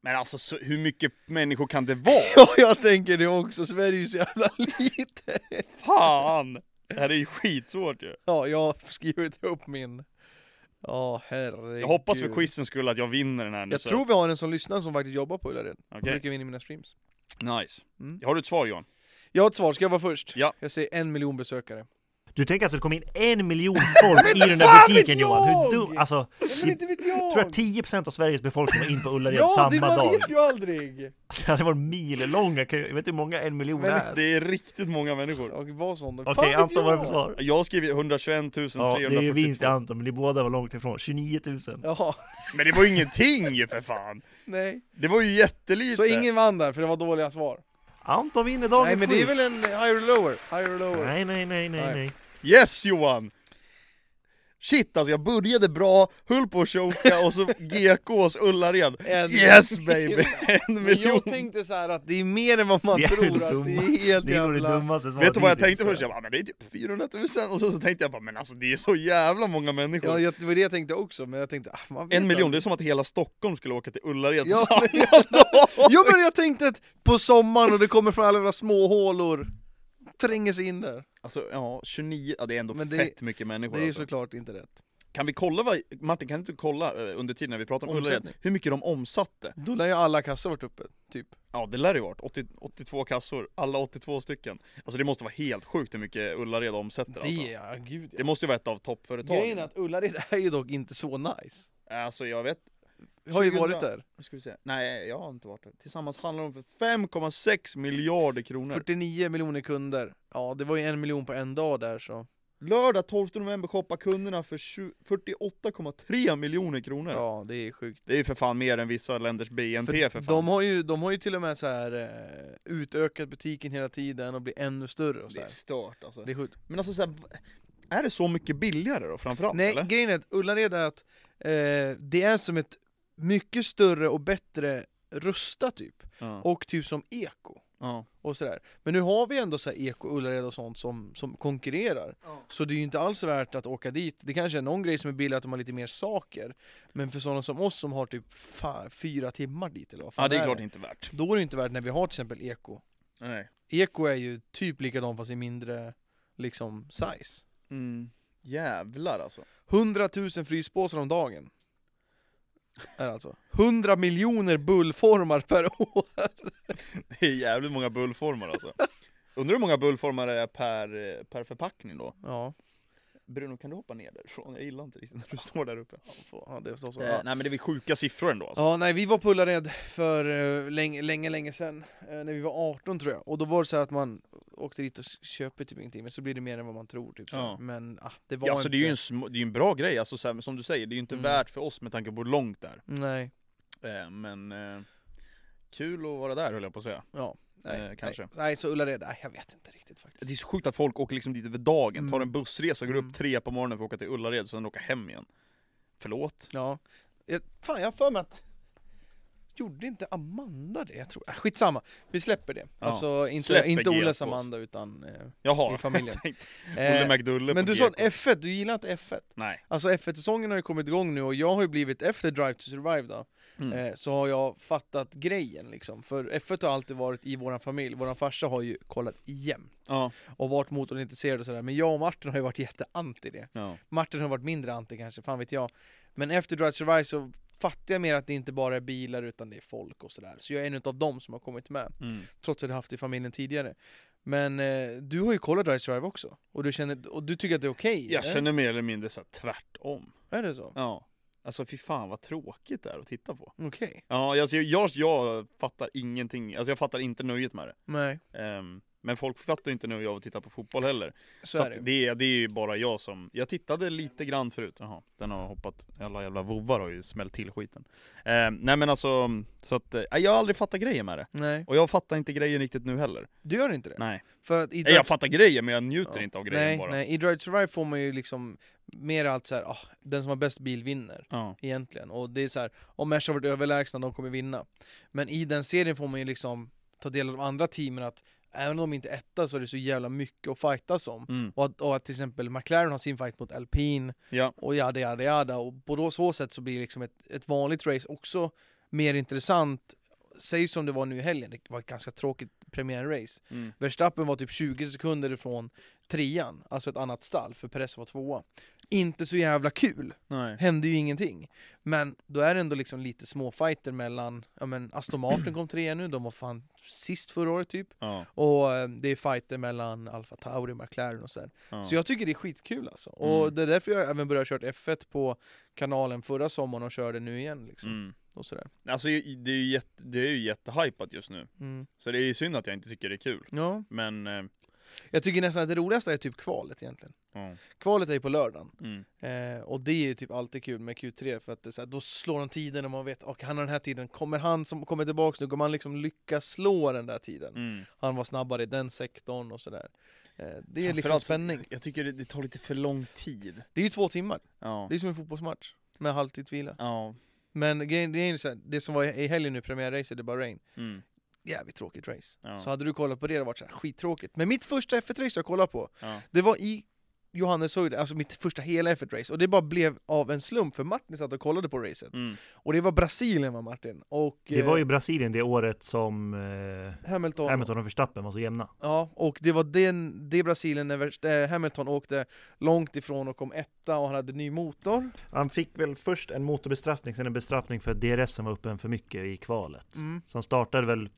Speaker 2: Men alltså så, hur mycket människor kan det vara?
Speaker 1: Ja, jag tänker det också. Sverige är ju så jävla (laughs) litet.
Speaker 2: Fan! Det här är ju skitsvårt ju.
Speaker 1: Ja, jag har skrivit upp min. Ja, herregud.
Speaker 2: Jag hoppas för quizen skull att jag vinner den här nu.
Speaker 1: Jag
Speaker 2: så-
Speaker 1: tror vi har en som lyssnar som faktiskt jobbar på Ullared. Okay.
Speaker 2: Okej.
Speaker 1: brukar vinna mina streams.
Speaker 2: Nice.
Speaker 1: Mm.
Speaker 2: Har du ett svar Johan?
Speaker 1: Jag har ett svar, ska jag vara först?
Speaker 2: Ja.
Speaker 1: Jag säger en miljon besökare.
Speaker 3: Du tänker alltså att det kom in
Speaker 1: (laughs)
Speaker 3: en miljon folk i den där butiken
Speaker 1: vet
Speaker 3: Johan? Hur
Speaker 1: jag!
Speaker 3: dum... Alltså,
Speaker 1: Men inte vet jag!
Speaker 3: tror jag 10% av Sveriges befolkning var in på Ullared
Speaker 1: ja, det
Speaker 3: samma
Speaker 1: man
Speaker 3: dag.
Speaker 1: vet ju aldrig!
Speaker 3: (laughs) Det hade varit millånga köer. Jag vet inte hur många en miljon
Speaker 1: Men-
Speaker 3: är.
Speaker 2: Det är riktigt många människor.
Speaker 1: Jag var sån då.
Speaker 3: Okej,
Speaker 1: Fan vet
Speaker 3: Anton vad är det
Speaker 1: jag!
Speaker 3: för svar?
Speaker 2: Jag har skrivit 121
Speaker 3: Ja, det är ju vinst i
Speaker 2: 342.
Speaker 3: Anton, men ni båda var långt ifrån. 29 000.
Speaker 1: Ja,
Speaker 2: Men det var ju ingenting ju för fan!
Speaker 1: nej.
Speaker 2: Det var ju jättelite!
Speaker 1: Så ingen vann där, för det var dåliga svar.
Speaker 3: Anton vinner dagens
Speaker 1: nej, men det är
Speaker 3: quiz.
Speaker 1: väl en higher or lower? Higher or lower.
Speaker 3: Nej, nej, nej, nej,
Speaker 1: Nej.
Speaker 3: nej.
Speaker 2: Yes Johan! Shit alltså jag började bra, höll på att choka
Speaker 1: (laughs)
Speaker 2: och så GKs Ullared.
Speaker 1: En
Speaker 2: yes baby! En
Speaker 1: Men jag
Speaker 2: miljon!
Speaker 1: tänkte så här att det är mer än vad man
Speaker 3: Det är
Speaker 1: tror,
Speaker 3: dumma.
Speaker 1: att det är helt
Speaker 3: Det var det
Speaker 1: jävla...
Speaker 3: dummaste svaret
Speaker 2: Vet du vad jag
Speaker 3: hittills,
Speaker 2: tänkte
Speaker 3: tror
Speaker 2: först? Jag bara, men det är typ 400 000 och så, så tänkte jag bara, men alltså det är så jävla många människor.
Speaker 1: Ja, jag, det var det jag tänkte också, men jag tänkte... Ah, man vet
Speaker 2: en miljon, det
Speaker 1: aldrig.
Speaker 2: är som att hela Stockholm skulle åka till Ullared
Speaker 1: Ja,
Speaker 2: ja, (laughs)
Speaker 1: Jo men jag tänkte att på sommaren och det kommer från alla jävla småhålor, tränger sig in där.
Speaker 2: Alltså ja, 29, ja, det är ändå
Speaker 1: Men det-
Speaker 2: fett mycket människor
Speaker 1: Det är ju
Speaker 2: alltså.
Speaker 1: såklart inte rätt.
Speaker 2: Kan vi kolla vad, Martin kan inte du kolla eh, under tiden när vi pratar om
Speaker 1: Omsättning.
Speaker 2: Ullared, hur mycket de omsatte?
Speaker 1: Då lär ju alla kassor varit uppe, typ.
Speaker 2: Ja det lär det ju varit, 80, 82 kassor, alla 82 stycken. Alltså det måste vara helt sjukt hur mycket Ullared omsätter alltså.
Speaker 1: ja, gud
Speaker 2: Det måste ju vara ett av
Speaker 1: Grejen
Speaker 2: toppföretagen.
Speaker 1: är att Ullared är ju dock inte så nice.
Speaker 2: Alltså jag vet,
Speaker 1: Jag har ju
Speaker 2: 2000.
Speaker 1: varit där.
Speaker 2: nu ska vi se, nej jag har inte varit där. Tillsammans handlar de om för 5,6 miljarder kronor.
Speaker 1: 49 miljoner kunder. Ja, det var ju en miljon på en dag där så.
Speaker 2: Lördag 12 november shoppar kunderna för 20 48,3 miljoner kronor.
Speaker 1: Ja, det är sjukt.
Speaker 2: Det är ju för fan mer än vissa länders BNP för, fan.
Speaker 1: De har, ju, de har ju till och med så här eh, utökat butiken hela tiden och blir ännu större och så
Speaker 2: Det är
Speaker 1: här.
Speaker 2: stört alltså.
Speaker 1: Det är sjukt.
Speaker 2: Men alltså så här, v- är det så mycket billigare då framförallt
Speaker 1: Nej,
Speaker 2: eller?
Speaker 1: grejen är att Ullared är att eh, det är som ett mycket större och bättre Rusta typ,
Speaker 2: Ja.
Speaker 1: och typ som Eko.
Speaker 2: Ja.
Speaker 1: och sådär. Men nu har vi ändå så här Eko, Ullared och sånt som, som konkurrerar. Så det är ju inte alls värt att åka dit. Det kanske är någon grej som är billig att de har lite mer saker. Men för sådana som oss som har typ fa- fyra timmar dit eller vad fan
Speaker 2: ja, det är klart inte värt.
Speaker 1: Då är det inte värt när vi har till exempel Eko.
Speaker 2: Nej.
Speaker 1: Eko är ju typ likadan fast i mindre liksom size.
Speaker 2: Mm. Jävlar alltså.
Speaker 1: 100 000 fryspåsar om dagen. Är alltså. 100 miljoner bullformar per (laughs) år.
Speaker 2: (laughs) Det är jävligt många bullformar alltså. (laughs) Undrar hur många bullformar det är per, eh, per förpackning då?
Speaker 1: Ja,
Speaker 2: Bruno kan du hoppa ner därifrån? Jag gillar inte riktigt när du (laughs) står där uppe.
Speaker 1: ja det så så.
Speaker 2: Eh,
Speaker 1: Ja.
Speaker 2: nej men det är väl sjuka siffror ändå alltså.
Speaker 1: Ja, nej, vi var på Ullared för eh, länge, länge, länge sedan. eh, när vi var 18 tror jag. Och då var det så här att man åkte dit och köper typ ingenting, men så blir det mer än vad man tror. Typ, så. här.
Speaker 2: Ja.
Speaker 1: Men ah, det var
Speaker 2: Ja, alltså,
Speaker 1: inte...
Speaker 2: det är ju en, sm- det är ju en bra grej, alltså, så här, som du säger, det är ju inte
Speaker 1: Mm.
Speaker 2: värt för oss med tanke på hur långt det är.
Speaker 1: Nej,
Speaker 2: Eh, men eh, kul att vara där höll jag på att säga.
Speaker 1: ja. Nej,
Speaker 2: Eh, kanske.
Speaker 1: Nej, nej, så Ullared, nej, jag vet inte riktigt faktiskt.
Speaker 2: Det är så sjukt att folk åker liksom dit över dagen, tar
Speaker 1: Mm.
Speaker 2: en bussresa, går
Speaker 1: Mm.
Speaker 2: upp tre på morgonen för att åka till Ullared och sen åka hem igen. Förlåt?
Speaker 1: Ja. Jag, fan, jag har för mig att... Gjorde inte Amanda det? Jag tror... ah, Skitsamma, vi släpper det.
Speaker 2: Ja.
Speaker 1: Alltså inte,
Speaker 2: Släpper
Speaker 1: inte
Speaker 2: GK.
Speaker 1: Olles Amanda utan... Eh,
Speaker 2: Jaha,
Speaker 1: I familjen.
Speaker 2: (laughs) jag tänkte,
Speaker 1: eh,
Speaker 2: Olle McDulle
Speaker 1: men
Speaker 2: på
Speaker 1: du sa att
Speaker 2: GK.
Speaker 1: F1, du gillar inte F1?
Speaker 2: Nej.
Speaker 1: Alltså F1-säsongen har ju kommit igång nu och jag har ju blivit, efter Drive to Survive då,
Speaker 2: Mm.
Speaker 1: eh, så har jag fattat grejen liksom. För F1 har alltid varit i våran familj, våran farsa har ju kollat jämt
Speaker 2: Ja.
Speaker 1: och varit motorintresserad och sådär. Men jag och Martin har ju varit jätteanti det.
Speaker 2: ja.
Speaker 1: Martin har varit mindre anti kanske, fan vet jag. Men efter Drive to Survive så fattar jag mer att det inte bara är bilar utan det är folk och sådär. Så jag är en av dem som har kommit med,
Speaker 2: Mm.
Speaker 1: trots att jag haft det i familjen tidigare. Men eh, du har ju kollat Drive to Survive också, och du, känner, och du tycker att det är okej?
Speaker 2: Jag
Speaker 1: eller?
Speaker 2: känner mer eller mindre så här, tvärtom.
Speaker 1: Är det så?
Speaker 2: Ja. Alltså fy fan vad tråkigt det är att titta på.
Speaker 1: Okej.
Speaker 2: Ja, alltså, jag, jag fattar ingenting, alltså jag fattar inte nöjet med det.
Speaker 1: Nej,
Speaker 2: Ehm, men folk fattar ju inte nu jag tittar på fotboll heller.
Speaker 1: så,
Speaker 2: Så,
Speaker 1: är det.
Speaker 2: att det, är- det är ju bara jag som, jag tittade lite grann förut, jaha, den har hoppat, alla jävla vovvar har ju smält till skiten. Ehm, nej men alltså, så att, eh, jag har aldrig fattat grejen med det.
Speaker 1: Nej,
Speaker 2: Och jag fattar inte grejen riktigt nu heller.
Speaker 1: du gör inte det?
Speaker 2: Nej.
Speaker 1: För att i
Speaker 2: Nej, Jag fattar grejen men jag njuter
Speaker 1: Ja.
Speaker 2: inte av grejen
Speaker 1: nej,
Speaker 2: bara.
Speaker 1: Nej, i Drive to Survive får man ju liksom mer allt så här, ah, den som har bäst bil vinner
Speaker 2: Ja.
Speaker 1: egentligen. Och det är så här, om Merca har varit överlägsna, de kommer vinna. Men i den serien får man ju liksom ta del av de andra teamen att även om de inte är etta så är det så jävla mycket att fightas om.
Speaker 2: Mm.
Speaker 1: Och att, och att till exempel McLaren har sin fight mot Alpine
Speaker 2: Ja.
Speaker 1: och jada jada jada. Och på då så sätt så blir liksom ett, ett vanligt race också mer intressant. Säg som det var nu i helgen, det var ett ganska tråkigt premiärrace.
Speaker 2: Mm.
Speaker 1: Verstappen var typ 20 sekunder ifrån trean, alltså ett annat stall, för Perez var tvåa. Inte så jävla kul,
Speaker 2: Nej.
Speaker 1: hände ju ingenting. Men då är det ändå liksom lite småfighter mellan, ja men Aston Martin kom trea nu, de var fan sist förra året typ.
Speaker 2: Ja.
Speaker 1: Och eh, det är fighter mellan Alfa Tauri, McLaren och sådär.
Speaker 2: Ja.
Speaker 1: Så jag tycker det är skitkul alltså. Och
Speaker 2: Mm.
Speaker 1: det är därför jag även började köra F1 på kanalen förra sommaren och körde nu igen liksom.
Speaker 2: Mm.
Speaker 1: Och sådär.
Speaker 2: Alltså det är ju, jätte, det är ju jättehypat just nu.
Speaker 1: Mm.
Speaker 2: Så det är ju synd att jag inte tycker det är kul.
Speaker 1: Ja.
Speaker 2: Men, eh,
Speaker 1: Jag tycker nästan att det roligaste är typ kvalet egentligen.
Speaker 2: ja.
Speaker 1: Kvalet är ju på lördagen.
Speaker 2: Mm.
Speaker 1: Eh, och det är ju typ alltid kul med Q3 för att det är så här, då slår de tiden och man vet och han har den här tiden, kommer han som kommer tillbaks nu, kommer han liksom lyckas slå den där tiden?
Speaker 2: Mm.
Speaker 1: Han var snabbare i den sektorn och sådär. Eh, det är liksom
Speaker 2: Framförallt så-
Speaker 1: spänning.
Speaker 2: Jag tycker det, det tar lite för lång tid.
Speaker 1: Det är ju två timmar,
Speaker 2: Ja.
Speaker 1: det är som en fotbollsmatch med halvtidsvila.
Speaker 2: Ja.
Speaker 1: Men grejen, grejen är så här, det som var i i helgen nu, premiärracet i Bahrain,
Speaker 2: Mm.
Speaker 1: jävligt tråkigt race.
Speaker 2: Ja.
Speaker 1: Så hade du kollat på det, det hade varit så här, skittråkigt. Men mitt första F1-race jag kollade på,
Speaker 2: Ja.
Speaker 1: det var i Johanneshöjd, alltså mitt första hela F1-race, och det bara blev av en slump för Martin satt och kollade på racet.
Speaker 2: Mm.
Speaker 1: Och det var Brasilien va Martin? Och
Speaker 3: Det var ju
Speaker 1: eh,
Speaker 3: Brasilien det året som eh,
Speaker 1: Hamilton.
Speaker 3: Hamilton och Verstappen var så jämna.
Speaker 1: Ja, och det var den, det Brasilien när Verst- eh, Hamilton åkte långt ifrån och kom etta och han hade ny motor.
Speaker 3: Han fick väl först en motorbestraffning, sen en bestraffning för att DRS som var öppen för mycket i kvalet.
Speaker 1: Mm.
Speaker 3: Så han startade väl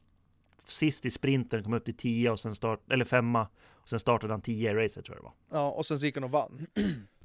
Speaker 3: sist i sprinten, kom upp till 10 och sen start, eller femma. Och sen startade han 10 i racet tror jag det var.
Speaker 1: Ja, och sen så gick han och vann.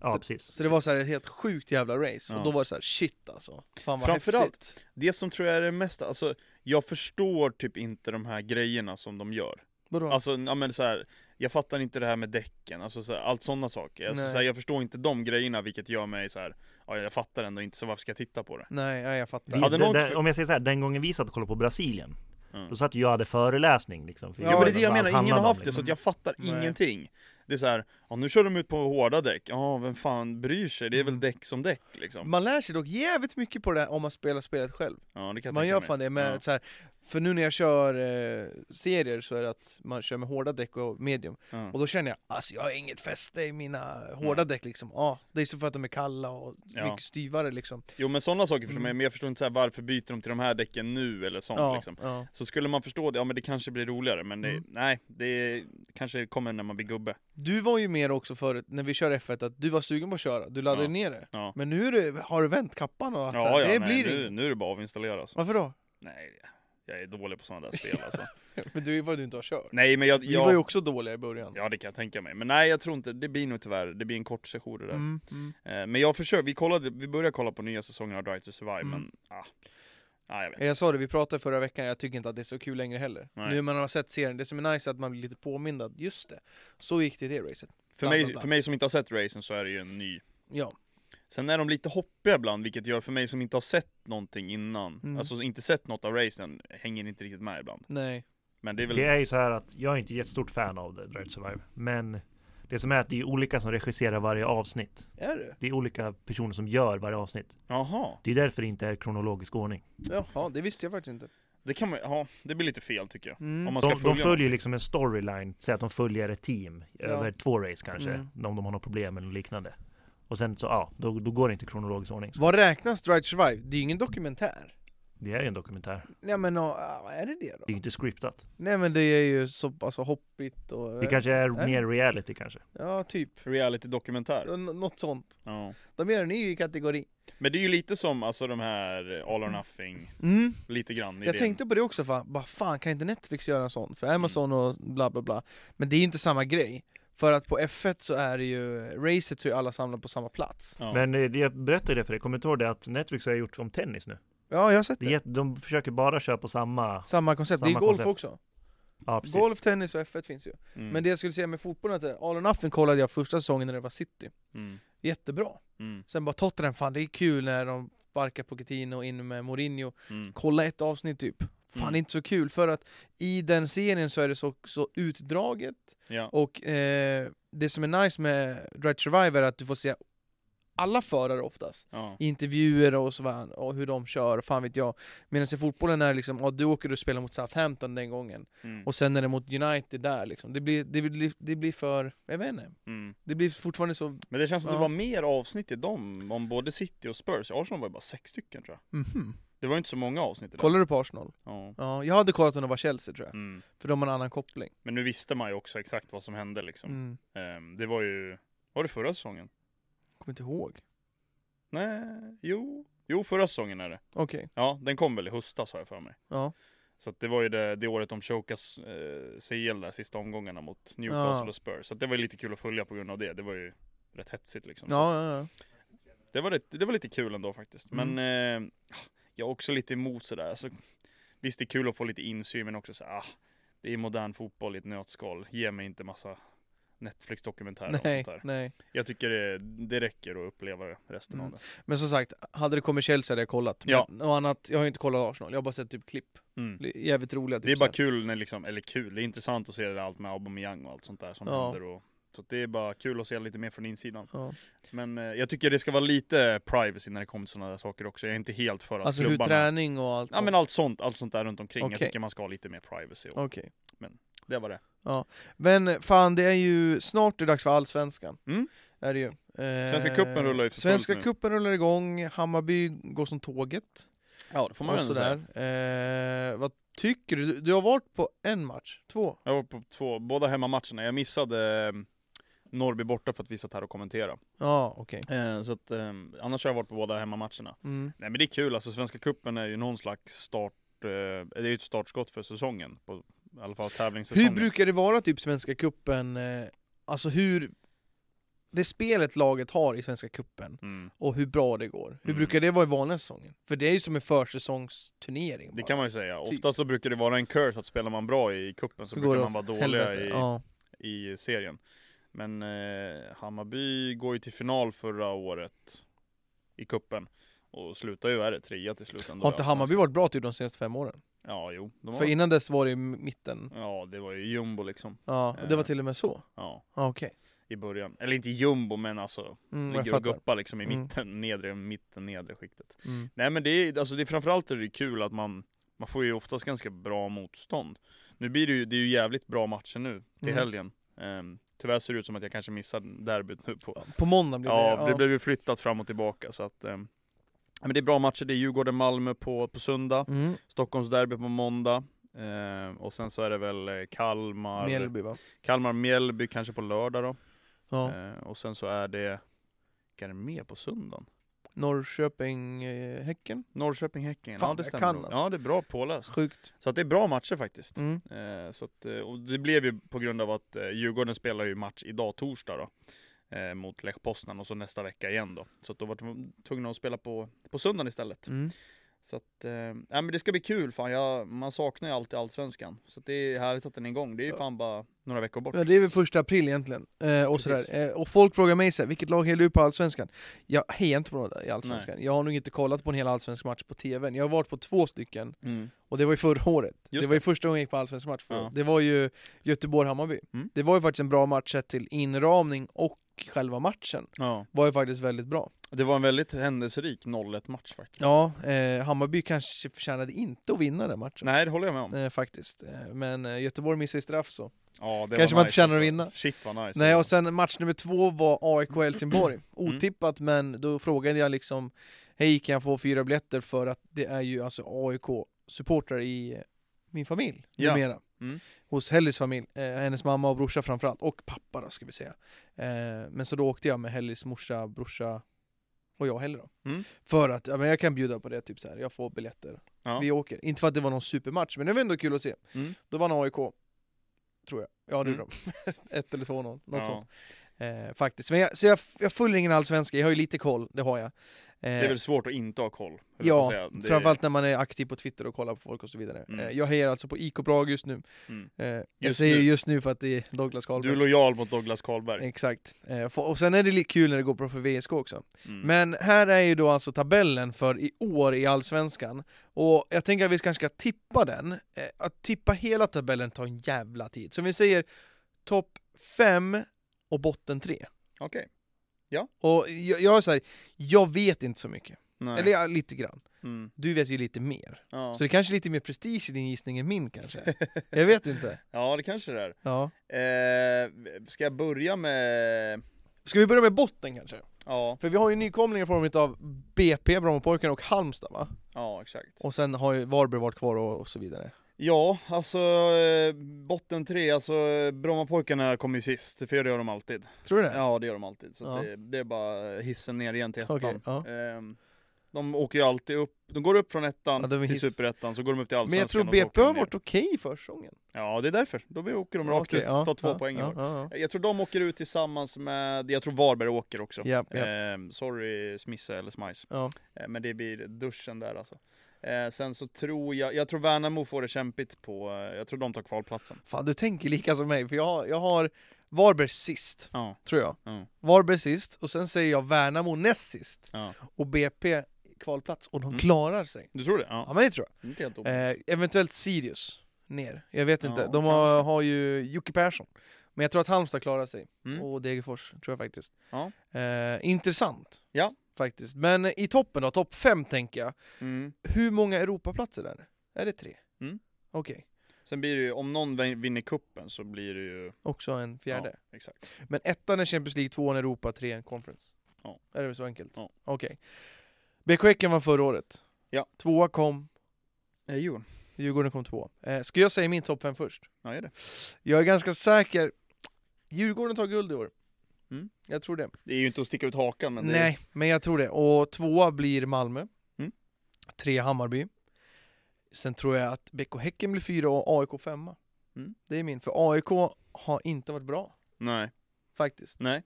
Speaker 3: Ja, precis.
Speaker 1: Så det var så här ett helt sjukt jävla race, och
Speaker 2: Ja.
Speaker 1: då var det så här shit alltså. Fan vad häftigt.
Speaker 2: Framförallt, det som tror jag är det mesta, alltså jag förstår typ inte de här grejerna som de gör.
Speaker 1: Vadå?
Speaker 2: Alltså, ja men så här, jag fattar inte det här med däcken, alltså så här, allt sådana saker. Alltså,
Speaker 1: Nej.
Speaker 2: så här, jag förstår inte de grejerna, vilket gör mig så här, ja jag fattar ändå inte, så varför ska jag titta på det?
Speaker 1: Nej, ja, jag fattar.
Speaker 3: Vi,
Speaker 2: Hade
Speaker 3: den,
Speaker 2: någon-
Speaker 3: den, om jag säger så här, den gången vi satt och kollade på Brasilien,
Speaker 2: Mm.
Speaker 3: då satt jag och hade föreläsning liksom. för
Speaker 1: Ja,
Speaker 2: Ja, men det
Speaker 3: vet
Speaker 2: är det
Speaker 3: vad
Speaker 2: jag
Speaker 3: allt
Speaker 2: menar, ingen
Speaker 3: handlade
Speaker 2: har
Speaker 3: om,
Speaker 2: haft det,
Speaker 3: liksom.
Speaker 2: så att jag fattar
Speaker 1: Nej.
Speaker 2: ingenting. Det är så här, ja, nu kör de ut på hårda däck, ja vem fan bryr sig? Det är
Speaker 1: Mm.
Speaker 2: väl däck som däck liksom.
Speaker 1: Man lär sig dock jävligt mycket på det där om man spelar spelet själv.
Speaker 2: Ja, det kan jag
Speaker 1: Man
Speaker 2: tänka
Speaker 1: gör
Speaker 2: mig.
Speaker 1: fan det med
Speaker 2: Ja.
Speaker 1: så här, för nu när jag kör eh, serier så är det att man kör med hårda däck och medium.
Speaker 2: Ja.
Speaker 1: Och då känner jag, alltså jag har inget fäste i mina hårda
Speaker 2: Nej.
Speaker 1: däck liksom. Ja, det är så för att de är kalla och
Speaker 2: Mm. Ja.
Speaker 1: mycket styvare liksom.
Speaker 2: Jo men sådana saker förstår man men jag förstår inte så här, varför byter de till de här däcken nu eller sånt
Speaker 1: Mm. Ja,
Speaker 2: liksom.
Speaker 1: ja.
Speaker 2: Så skulle man förstå det, ja men det kanske blir roligare men det,
Speaker 1: Mm.
Speaker 2: nej, det kanske kommer när man blir gubbe.
Speaker 1: Du var ju mer också förut, när vi kör F1, att du var sugen på att köra, du laddade
Speaker 2: Ja.
Speaker 1: ner det.
Speaker 2: Ja.
Speaker 1: Men nu är det, har du vänt kappan och att
Speaker 2: Ja, ja,
Speaker 1: det
Speaker 2: nej,
Speaker 1: blir
Speaker 2: nu,
Speaker 1: inget.
Speaker 2: nu är det bara att avinstallera alltså.
Speaker 1: Varför då?
Speaker 2: Nej, jag är dålig på sådana där spel
Speaker 1: (laughs)
Speaker 2: alltså.
Speaker 1: Men du är vad du inte har kört.
Speaker 2: Nej men jag,
Speaker 1: Vi var ju
Speaker 2: jag
Speaker 1: också dåliga i början.
Speaker 2: ja det kan jag tänka mig. Men nej jag tror inte, det blir nog tyvärr, det blir en kort session det där.
Speaker 1: Mm, mm.
Speaker 2: Eh, Men jag försöker, vi kollade, vi började kolla på nya säsongen av Drive to Survive
Speaker 1: Mm.
Speaker 2: men, ah, ah, jag vet
Speaker 1: Eh, Jag sa det, vi pratade förra veckan, jag tycker inte att det är så kul längre heller.
Speaker 2: Nej.
Speaker 1: Nu när man har sett serien, det som är nice är att man blir lite påmind att just det, så gick det i det racet.
Speaker 2: för
Speaker 1: bla,
Speaker 2: mig,
Speaker 1: bla, bla.
Speaker 2: för mig som inte har sett racen så är det ju en ny
Speaker 1: Ja.
Speaker 2: Sen är de lite hoppiga ibland, vilket gör för mig som inte har sett någonting innan,
Speaker 1: Mm.
Speaker 2: alltså inte sett något av racen, hänger inte riktigt med ibland.
Speaker 1: Nej.
Speaker 2: Men det är väl...
Speaker 3: Det är ju så här att jag är inte jättestort fan av The Drive to Survive. Men det som är att det är olika som regisserar varje avsnitt.
Speaker 1: Är du?
Speaker 3: Det är olika personer som gör varje avsnitt.
Speaker 2: Jaha,
Speaker 3: Det är därför det inte är kronologisk ordning.
Speaker 1: Jaha, det visste jag faktiskt inte.
Speaker 2: det kan man ja, det blir lite fel tycker jag.
Speaker 1: Mm.
Speaker 2: Om man ska
Speaker 3: De, de
Speaker 2: följa
Speaker 3: följer liksom en storyline, säg att de följer ett team
Speaker 1: Ja.
Speaker 3: över två race kanske,
Speaker 1: Mm.
Speaker 3: om de har något problem eller liknande. Och sen så, ja, då, då går det inte i kronologisk ordning.
Speaker 1: Vad räknas Drive to Survive? Det är ju ingen dokumentär.
Speaker 3: Det är ju en dokumentär.
Speaker 1: Nej men, ja, vad är det det då?
Speaker 3: Det är ju inte scriptat.
Speaker 1: Nej men det är ju så alltså, hoppigt och...
Speaker 3: Det kanske är
Speaker 1: Nej.
Speaker 3: mer reality kanske.
Speaker 1: Ja, typ.
Speaker 2: reality-dokumentär.
Speaker 1: N- Något sånt.
Speaker 2: Ja.
Speaker 1: De är en ny kategori.
Speaker 2: Men det är ju lite som alltså de här All or Nothing,
Speaker 1: Mm.
Speaker 2: lite grann i
Speaker 1: Jag
Speaker 2: det.
Speaker 1: tänkte på det också, fan, bara fan kan inte Netflix göra en sån? För Amazon och bla bla bla. Men det är ju inte samma grej. För att på F1 så är det ju, racet så är ju alla samlade på samma plats.
Speaker 2: Ja.
Speaker 3: Men eh, det- jag berättade det för dig, kommer du ihåg det att Netflix har gjort om tennis nu?
Speaker 1: Ja, jag har sett
Speaker 3: Det är,
Speaker 1: det.
Speaker 3: jätte- de försöker bara köra på samma...
Speaker 1: Samma koncept, det är
Speaker 3: Samma
Speaker 1: golf
Speaker 3: koncept.
Speaker 1: också.
Speaker 3: Ja, precis.
Speaker 1: Golf, tennis och F1 finns ju.
Speaker 2: Mm.
Speaker 1: Men det jag skulle säga med fotbollen, att All or Nothing kollade jag första säsongen när det var City.
Speaker 2: Mm.
Speaker 1: Jättebra.
Speaker 2: Mm.
Speaker 1: Sen bara Tottenham, fan det är kul när de sparkar Pochettino och in med Mourinho.
Speaker 2: Mm.
Speaker 1: kolla ett avsnitt typ. Fan
Speaker 2: Mm.
Speaker 1: det är inte så kul för att i den serien så är det så, så utdraget
Speaker 2: Ja.
Speaker 1: och eh, det som är nice med Dread Survivor är att du får se alla förare oftast.
Speaker 2: Ja.
Speaker 1: Intervjuer och så vad- och hur de kör, fan vet jag. Medan i fotbollen är det liksom, ja du åker och spelar mot Southampton den gången
Speaker 2: Mm.
Speaker 1: och sen är det mot United där liksom. Det blir, det blir, det blir för, jag vet inte,
Speaker 2: Mm.
Speaker 1: det blir fortfarande så,
Speaker 2: Men det känns som det
Speaker 1: Ja.
Speaker 2: var mer avsnitt i dem, om både City och Spurs. Arsenal var ju bara sex stycken tror jag.
Speaker 1: mhm.
Speaker 2: Det var ju inte så många avsnitt i det.
Speaker 1: Kollar du på Arsenal?
Speaker 2: Ja.
Speaker 1: Ja, jag hade kollat om det var Chelsea tror jag,
Speaker 2: Mm.
Speaker 1: för de har en annan koppling.
Speaker 2: Men nu visste man ju också exakt vad som hände liksom.
Speaker 1: Mm.
Speaker 2: Ehm, det var ju, var det förra säsongen?
Speaker 1: Kommer inte ihåg.
Speaker 2: Nej, jo. Jo, förra säsongen är det.
Speaker 1: Okej,
Speaker 2: Ja, den kom väl i höstas har jag för mig.
Speaker 1: ja.
Speaker 2: Så att det var ju det, det året de chokas eh, CL där, sista omgångarna mot Newcastle
Speaker 1: Ja.
Speaker 2: och Spurs. Så att det var ju lite kul att följa på grund av det. Det var ju rätt hetsigt liksom. Så
Speaker 1: Ja, ja, ja.
Speaker 2: Det, var rätt, det var lite kul ändå faktiskt. Men
Speaker 1: Mm.
Speaker 2: eh, jag är också lite emot sådär. Alltså, visst, det är kul att få lite insyn, men också så ah, det är modern fotboll i ett nötskal. Ge mig inte massa Netflix-dokumentärer och
Speaker 1: Nej,
Speaker 2: sånt där.
Speaker 1: nej.
Speaker 2: Jag tycker det, det räcker att uppleva resten av det.
Speaker 1: Men som sagt, hade det kommit Chelsea hade jag kollat.
Speaker 2: Ja.
Speaker 1: Men, och annat, jag har ju inte kollat Arsenal, jag har bara sett typ klipp.
Speaker 2: Mm.
Speaker 1: Det är Jävligt roliga typ
Speaker 2: Det är bara
Speaker 1: så
Speaker 2: kul när liksom, eller kul, det är intressant att se det där allt med Aubameyang och allt sånt där som
Speaker 1: Ja.
Speaker 2: händer och så att det är bara kul att se lite mer från insidan.
Speaker 1: här. Ja.
Speaker 2: Men eh, jag tycker det ska vara lite privacy när det kommer till sådana där saker också. Jag är inte helt för att
Speaker 1: Alltså hur
Speaker 2: klubbarna...
Speaker 1: träning och allt.
Speaker 2: Ja men allt sånt, allt sånt där runt omkring. Jag
Speaker 1: Okej.
Speaker 2: tycker man ska ha lite mer privacy. Och...
Speaker 1: Okej.
Speaker 2: Det var det.
Speaker 1: Men fan, det är ju snart det är dags för Allsvenskan.
Speaker 2: Mm.
Speaker 1: Är det ju. Eh,
Speaker 2: Svenska cupen rullar ju för fullt
Speaker 1: Svenska
Speaker 2: nu.
Speaker 1: cupen rullar igång, Hammarby går som tåget.
Speaker 2: Ja det får
Speaker 1: och sådär. Eh, vad tycker du? Du har varit på en match? Två?
Speaker 2: Jag var på två, båda hemmamatcherna. Jag missade eh, Norrby borta för att vi satt här och kommentera.
Speaker 1: Ja, okej.
Speaker 2: Eh, så att, eh, annars har jag varit på båda hemmamatcherna.
Speaker 1: Mm.
Speaker 2: Nej men det är kul, alltså Svenska Cupen är ju någon slags start, eh, det är ju ett startskott för säsongen. På, I alla fall tävlingssäsongen.
Speaker 1: Hur brukar det vara typ Svenska Cupen, eh, alltså hur det spelet laget har i Svenska Cupen
Speaker 2: mm.
Speaker 1: och hur bra det går. Hur
Speaker 2: Mm.
Speaker 1: brukar det vara i vanliga säsongen? För det är ju som en försäsongsturnering.
Speaker 2: Det
Speaker 1: bara.
Speaker 2: kan man ju säga.
Speaker 1: Typ.
Speaker 2: Oftast så brukar det vara en curse att spelar man bra i kuppen så,
Speaker 1: Så går
Speaker 2: brukar
Speaker 1: det
Speaker 2: man
Speaker 1: åt
Speaker 2: vara dåliga
Speaker 1: Helvete.
Speaker 2: i,
Speaker 1: Ja.
Speaker 2: i serien. Men eh, Hammarby går ju till final förra året i kuppen och slutar ju, är det trea till slut ändå?
Speaker 1: Har inte
Speaker 2: i
Speaker 1: Hammarby
Speaker 2: Allsvenskan.
Speaker 1: varit bra typ de senaste fem åren?
Speaker 2: Ja, jo. De
Speaker 1: För
Speaker 2: var...
Speaker 1: innan dess var det i mitten.
Speaker 2: Ja, det var ju jumbo liksom.
Speaker 1: Ja, det var till och med så.
Speaker 2: Ja,
Speaker 1: Ja, okej.
Speaker 2: i början. Eller inte jumbo, men alltså
Speaker 1: Mm, jag
Speaker 2: ligger och
Speaker 1: fattar.
Speaker 2: guppar liksom i
Speaker 1: Mm.
Speaker 2: mitten, nedre, mitten, nedre skiktet.
Speaker 1: Mm.
Speaker 2: Nej men det är, alltså det är framförallt är det kul att man, man får ju oftast ganska bra motstånd. Nu blir det ju, det är ju jävligt bra matcher nu till
Speaker 1: Mm.
Speaker 2: helgen. Ehm, tyvärr ser det ut som att jag kanske missar derbyt nu på
Speaker 1: På måndag blir det.
Speaker 2: Ja, det blev ju flyttat fram och tillbaka så att ehm, men det är bra matcher, det är Djurgården-Malmö på, på söndag,
Speaker 1: Mm.
Speaker 2: Stockholmsderby på måndag, ehm, och sen så är det väl eh, Kalmar,
Speaker 1: Mjällby va?
Speaker 2: Kalmar-Mjällby kanske på lördag då,
Speaker 1: Ja.
Speaker 2: Ehm, och sen så är det, vilka är det mer på söndagen?
Speaker 1: Norrköping, eh, Häcken.
Speaker 2: Norrköping-Häcken,
Speaker 1: Fan,
Speaker 2: ja det
Speaker 1: jag
Speaker 2: stämmer
Speaker 1: kan
Speaker 2: nog.
Speaker 1: alltså.
Speaker 2: Ja det är bra påläst.
Speaker 1: Sjukt.
Speaker 2: Så att det är bra matcher faktiskt.
Speaker 1: Mm.
Speaker 2: Eh, så att, eh, och det blev ju på grund av att eh, Djurgården spelar ju match idag torsdag då. Eh, mot Lech Poznan och så nästa vecka igen då. Så att då var de tvungna att spela på, på söndagen istället.
Speaker 1: Mm.
Speaker 2: Så att, eh, nej, men det ska bli kul fan. Jag, man saknar ju alltid Allsvenskan. Så att det är härligt att den är igång. Det är ju
Speaker 1: Ja.
Speaker 2: fan bara några veckor bort.
Speaker 1: Ja, det är väl första april egentligen. Eh, och, sådär. Eh, och folk frågar mig så här, vilket lag hejar du på Allsvenskan? Jag hejar inte på något i Allsvenskan. Jag har nog inte kollat på en hel Allsvensk match på TVn. Jag har varit på två stycken,
Speaker 2: Mm.
Speaker 1: och det var ju förra året.
Speaker 2: Just
Speaker 1: det var ju första gången jag gick på Allsvensk match förra
Speaker 2: Ja.
Speaker 1: året. Det var ju Göteborg-Hammarby.
Speaker 2: Mm.
Speaker 1: Det var ju faktiskt en bra match sett till inramning och själva matchen.
Speaker 2: Ja.
Speaker 1: Var ju faktiskt väldigt bra.
Speaker 2: Det var en väldigt händelserik 0-1 match faktiskt.
Speaker 1: Ja, eh, Hammarby kanske förtjänade inte att vinna den matchen.
Speaker 2: Nej, det håller jag med om.
Speaker 1: Eh, faktiskt. Eh, Men eh, Göteborg missade ju straff så.
Speaker 2: Ja,
Speaker 1: Kanske
Speaker 2: det var alltså.
Speaker 1: man inte känner att vinna.
Speaker 2: Shit vad nice. Mm.
Speaker 1: Nej, och sen match nummer två var AIK Helsingborg. Otippat, men då frågade jag liksom Hej, kan jag få fyra biljetter? För att det är ju alltså AIK-supportrar i eh, min familj
Speaker 2: Ja.
Speaker 1: numera.
Speaker 2: Mm.
Speaker 1: Hos Hellis familj, eh, hennes mamma och brorsa framförallt, och pappa då ska vi säga. Eh, men så då åkte jag med Hellis morsa, brorsa och jag heller då.
Speaker 2: Mm.
Speaker 1: För att ja, men jag kan bjuda på det, typ så här. jag får biljetter.
Speaker 2: Ja.
Speaker 1: Vi åker. Inte för att det var någon supermatch, men det var ändå kul att se.
Speaker 2: Mm.
Speaker 1: Då vann AIK, tror jag. Ja, det
Speaker 2: Mm.
Speaker 1: gjorde de. (laughs) Ett eller två, någon, något
Speaker 2: Ja.
Speaker 1: sånt. Eh, faktiskt. Men jag, så jag, jag följer ingen allsvenska, jag har ju lite koll, det har jag. Eh,
Speaker 2: Det är väl svårt att inte ha koll. höll jag på att
Speaker 1: ja,
Speaker 2: säga. Det-
Speaker 1: framförallt när man är aktiv på Twitter och kollar på folk och så vidare.
Speaker 2: Mm.
Speaker 1: Eh, jag hejar alltså på IK Brage just nu.
Speaker 2: Mm.
Speaker 1: Eh, jag
Speaker 2: Just
Speaker 1: säger
Speaker 2: nu.
Speaker 1: just nu för att det är Douglas
Speaker 2: Du är
Speaker 1: Karlberg.
Speaker 2: lojal mot Douglas Karlberg.
Speaker 1: Exakt. Eh, f- och sen är det lite kul när det går bra för VSK också.
Speaker 2: Mm.
Speaker 1: Men här är ju då alltså tabellen för i år i Allsvenskan. Och jag tänker att vi kanske ska tippa den. Eh, Att tippa hela tabellen tar en jävla tid. Så vi säger topp 5 och botten 3.
Speaker 2: Okej.
Speaker 1: Och jag, jag är så här, jag vet inte så mycket.
Speaker 2: Nej.
Speaker 1: Eller ja, lite grann.
Speaker 2: Mm.
Speaker 1: Du vet ju lite mer.
Speaker 2: Ja.
Speaker 1: Så det kanske är lite mer prestige i din gissning än min
Speaker 2: (laughs)
Speaker 1: kanske. Jag vet inte.
Speaker 2: ja, det kanske det
Speaker 1: Ja.
Speaker 2: är. Eh, ska jag börja med...
Speaker 1: Ska vi börja med botten kanske?
Speaker 2: Ja,
Speaker 1: För vi har ju nykomlingar i form av BP, Brommapojkarna och Halmstad va?
Speaker 2: ja exakt.
Speaker 1: Och sen har ju Varberg varit kvar och, och så vidare.
Speaker 2: Ja, alltså eh, botten tre, alltså eh, Brommapojkarna kommer ju sist, för det gör de alltid.
Speaker 1: Tror du det?
Speaker 2: Ja, det gör de alltid. Så att
Speaker 1: Ja.
Speaker 2: det, det är bara hissen ner igen till ettan.
Speaker 1: Okej, ja.
Speaker 2: Ehm, de åker ju alltid upp, de går upp från ettan
Speaker 1: Ja, de är
Speaker 2: till
Speaker 1: hiss.
Speaker 2: superettan, så går de upp till allsvenskan
Speaker 1: Men jag tror
Speaker 2: och så åker
Speaker 1: BP
Speaker 2: de
Speaker 1: har
Speaker 2: ner.
Speaker 1: varit okej i försäsongen.
Speaker 2: Ja, det är därför. Då åker de rakt
Speaker 1: Okej,
Speaker 2: ut, tar två poäng i
Speaker 1: ja,
Speaker 2: år.
Speaker 1: ja,
Speaker 2: Jag tror de åker ut tillsammans med, jag tror Varberg åker också.
Speaker 1: ja. Japp, japp.
Speaker 2: Ehm, sorry Smisse eller Smajs.
Speaker 1: Ja.
Speaker 2: Eh, men det blir duschen där alltså. Eh, sen så tror jag, jag tror Värnamo får det kämpigt på, eh, jag tror de tar kvalplatsen.
Speaker 1: Fan, du tänker lika som mig, för jag har, jag har Varberg sist,
Speaker 2: Ja,
Speaker 1: tror jag.
Speaker 2: Mm.
Speaker 1: Varberg sist, och sen säger jag Värnamo näst sist.
Speaker 2: ja.
Speaker 1: Och BP kvalplats, och de
Speaker 2: Mm.
Speaker 1: klarar sig.
Speaker 2: Du tror det? Ja,
Speaker 1: Ja men det tror jag.
Speaker 2: inte helt omöjligt.
Speaker 1: Eh, eventuellt Sirius ner. Jag vet
Speaker 2: Ja,
Speaker 1: inte, de har,
Speaker 2: kanske.
Speaker 1: har ju Jocke Persson. Men jag tror att Halmstad klarar sig.
Speaker 2: Mm.
Speaker 1: Och Degerfors, tror jag faktiskt.
Speaker 2: Ja.
Speaker 1: Eh, intressant.
Speaker 2: Ja.
Speaker 1: Faktiskt. Men i toppen då, topp fem tänker jag.
Speaker 2: Mm.
Speaker 1: Hur många Europaplatser är det? Är det tre?
Speaker 2: Mm.
Speaker 1: Okej,
Speaker 2: Sen blir det ju, om någon vin- vinner kuppen så blir det ju,
Speaker 1: också en fjärde.
Speaker 2: ja, exakt.
Speaker 1: Men ettan är Champions League, tvåan Europa, trean Conference.
Speaker 2: Ja.
Speaker 1: Är det väl så enkelt?
Speaker 2: Ja.
Speaker 1: Okej. BK Häcken vann förra året.
Speaker 2: Ja.
Speaker 1: Tvåa kom,
Speaker 2: Eh, Djurgården?
Speaker 1: Djurgården kom tvåa. Eh, ska jag säga min topp fem först?
Speaker 2: Ja, är det.
Speaker 1: Jag är ganska säker. Djurgården tar guld i år.
Speaker 2: Mm.
Speaker 1: Jag tror det.
Speaker 2: Det är ju inte att sticka ut hakan men det
Speaker 1: Nej, men jag tror det. Och tvåa blir Malmö.
Speaker 2: Mm.
Speaker 1: Tre Hammarby. Sen tror jag att BK Häcken blir fyra och AIK femma.
Speaker 2: Mm.
Speaker 1: Det är min, för AIK har inte varit bra
Speaker 2: Nej.
Speaker 1: faktiskt.
Speaker 2: Nej.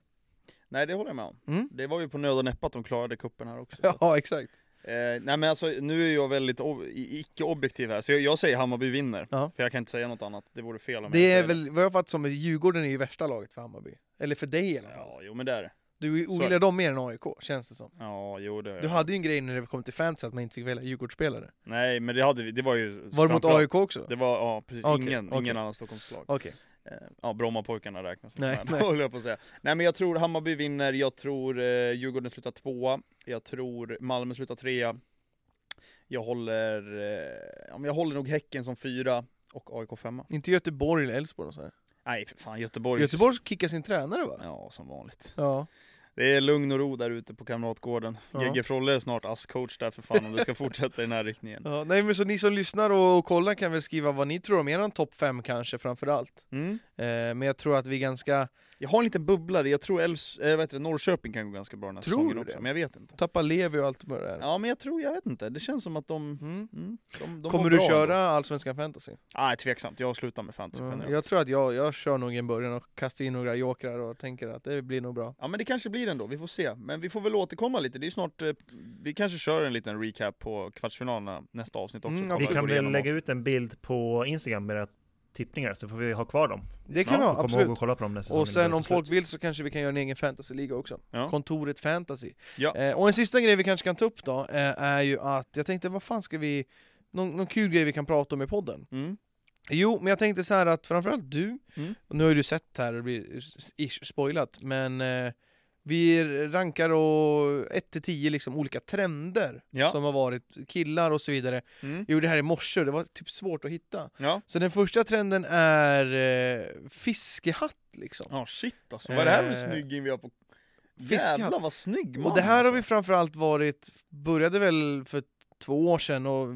Speaker 2: Nej, det håller jag med om.
Speaker 1: Mm.
Speaker 2: Det var ju på nöd och näppe att de klarade kuppen här också. så att-
Speaker 1: (laughs) Ja, exakt.
Speaker 2: Eh, nej men alltså nu är jag väldigt ob- i- icke-objektiv här, så jag, jag säger Hammarby vinner.
Speaker 1: Ja.
Speaker 2: För jag kan inte säga något annat, det vore fel om jag
Speaker 1: Det är
Speaker 2: säger
Speaker 1: väl, vad jag fattat som, Djurgården är ju värsta laget för Hammarby. Eller för dig i alla fall.
Speaker 2: Ja, jo men det Eh. är det.
Speaker 1: Du
Speaker 2: Så-
Speaker 1: ogillar dem mer än AIK, känns det som.
Speaker 2: Ja, jo det
Speaker 1: Du hade ju en grej när det kom till fantasy att man inte fick välja Djurgårdsspelare.
Speaker 2: Nej men det hade vi, det var ju
Speaker 1: Var det mot
Speaker 2: framförallt-
Speaker 1: AIK också?
Speaker 2: Det var, ja precis,
Speaker 1: Okej,
Speaker 2: ingen,
Speaker 1: okej.
Speaker 2: ingen annan Stockholmslag
Speaker 1: Okej.
Speaker 2: Eh, Ja, Brommapojkarna räknas inte
Speaker 1: Nej,
Speaker 2: med,
Speaker 1: nej.
Speaker 2: (laughs) höll jag på att säga. Nej men jag tror Hammarby vinner, jag tror eh, Djurgården slutar tvåa, jag tror Malmö slutar trea. Jag håller, eh, ja, men jag håller nog Häcken som fyra och AIK femma.
Speaker 1: Inte Göteborg eller Elfsborg och så här.
Speaker 2: Nej för fan, Göteborg.
Speaker 1: Göteborg kickar sin tränare va?
Speaker 2: Ja, som vanligt.
Speaker 1: Ja.
Speaker 2: Det är lugn och ro där ute på Kamratgården.
Speaker 1: Ja.
Speaker 2: GG Frolle är snart ASS-coach där för fan om det ska fortsätta i den här riktningen.
Speaker 1: (laughs) ja. Nej men så ni som lyssnar och, och kollar kan väl skriva vad ni tror om eran topp 5 kanske framförallt.
Speaker 2: Mm.
Speaker 1: Eh, men jag tror att vi är ganska
Speaker 2: Jag har en liten bubblare, jag tror Elfs, eh, vad heter det, Norrköping kan gå ganska bra den här
Speaker 1: Tror
Speaker 2: säsongen
Speaker 1: du
Speaker 2: också,
Speaker 1: det?
Speaker 2: men jag vet inte.
Speaker 1: tappar Levi och allt vad det är.
Speaker 2: Ja men jag tror, jag vet inte, det känns som att de,
Speaker 1: Mm.
Speaker 2: mm, de, de mår
Speaker 1: Kommer du
Speaker 2: bra ändå.
Speaker 1: köra Allsvenskan Fantasy?
Speaker 2: Nej, tveksamt. Jag slutar med fantasy
Speaker 1: Ja,
Speaker 2: generellt.
Speaker 1: jag tror att jag, jag kör nog i början och kastar in några jokrar och tänker att det blir nog bra.
Speaker 2: Ja men det kanske blir ändå, vi får se. Men vi får väl återkomma lite, det är ju snart, eh, vi kanske kör en liten recap på kvartsfinalerna nästa avsnitt också.
Speaker 1: Mm,
Speaker 2: Kollar
Speaker 3: Vi
Speaker 1: absolut.
Speaker 2: hur det
Speaker 3: kan
Speaker 2: går
Speaker 3: väl
Speaker 2: igenom
Speaker 3: lägga
Speaker 2: avsnitt.
Speaker 3: ut en bild på Instagram med era tippningar så får vi ha kvar dem.
Speaker 1: Det kan
Speaker 2: Ja,
Speaker 1: vi ha,
Speaker 3: Kom ihåg
Speaker 1: absolut.
Speaker 3: att kolla på dem nästa säsong
Speaker 1: Och
Speaker 3: när det
Speaker 1: sen
Speaker 3: går
Speaker 1: om
Speaker 3: till
Speaker 1: folk
Speaker 3: slut.
Speaker 1: vill så kanske vi kan göra en egen fantasyliga också.
Speaker 2: Ja.
Speaker 1: Kontoret Fantasy.
Speaker 2: Ja.
Speaker 1: Eh, och en sista grej vi kanske kan ta upp då, eh, är ju att jag tänkte vad fan ska vi, någon, någon kul grej vi kan prata om i podden?
Speaker 2: Mm.
Speaker 1: Jo, men jag tänkte så här att framförallt du,
Speaker 2: Mm.
Speaker 1: och nu har ju du sett här och det blir ish spoilat, men eh, vi rankar och 1 till 10 liksom olika trender
Speaker 2: Ja.
Speaker 1: som har varit, killar och så vidare.
Speaker 2: Mm.
Speaker 1: Jag gjorde det här i morse och det var typ svårt att hitta.
Speaker 2: Ja.
Speaker 1: Så den första trenden är eh, fiskehatt liksom.
Speaker 2: Ja shit alltså, vad är det här för
Speaker 1: Eh,
Speaker 2: snygging vi har på...
Speaker 1: fiskhatt.
Speaker 2: Jävlar vad snygg man
Speaker 1: Och det här har
Speaker 2: alltså.
Speaker 1: vi framförallt varit, började väl för två år sedan och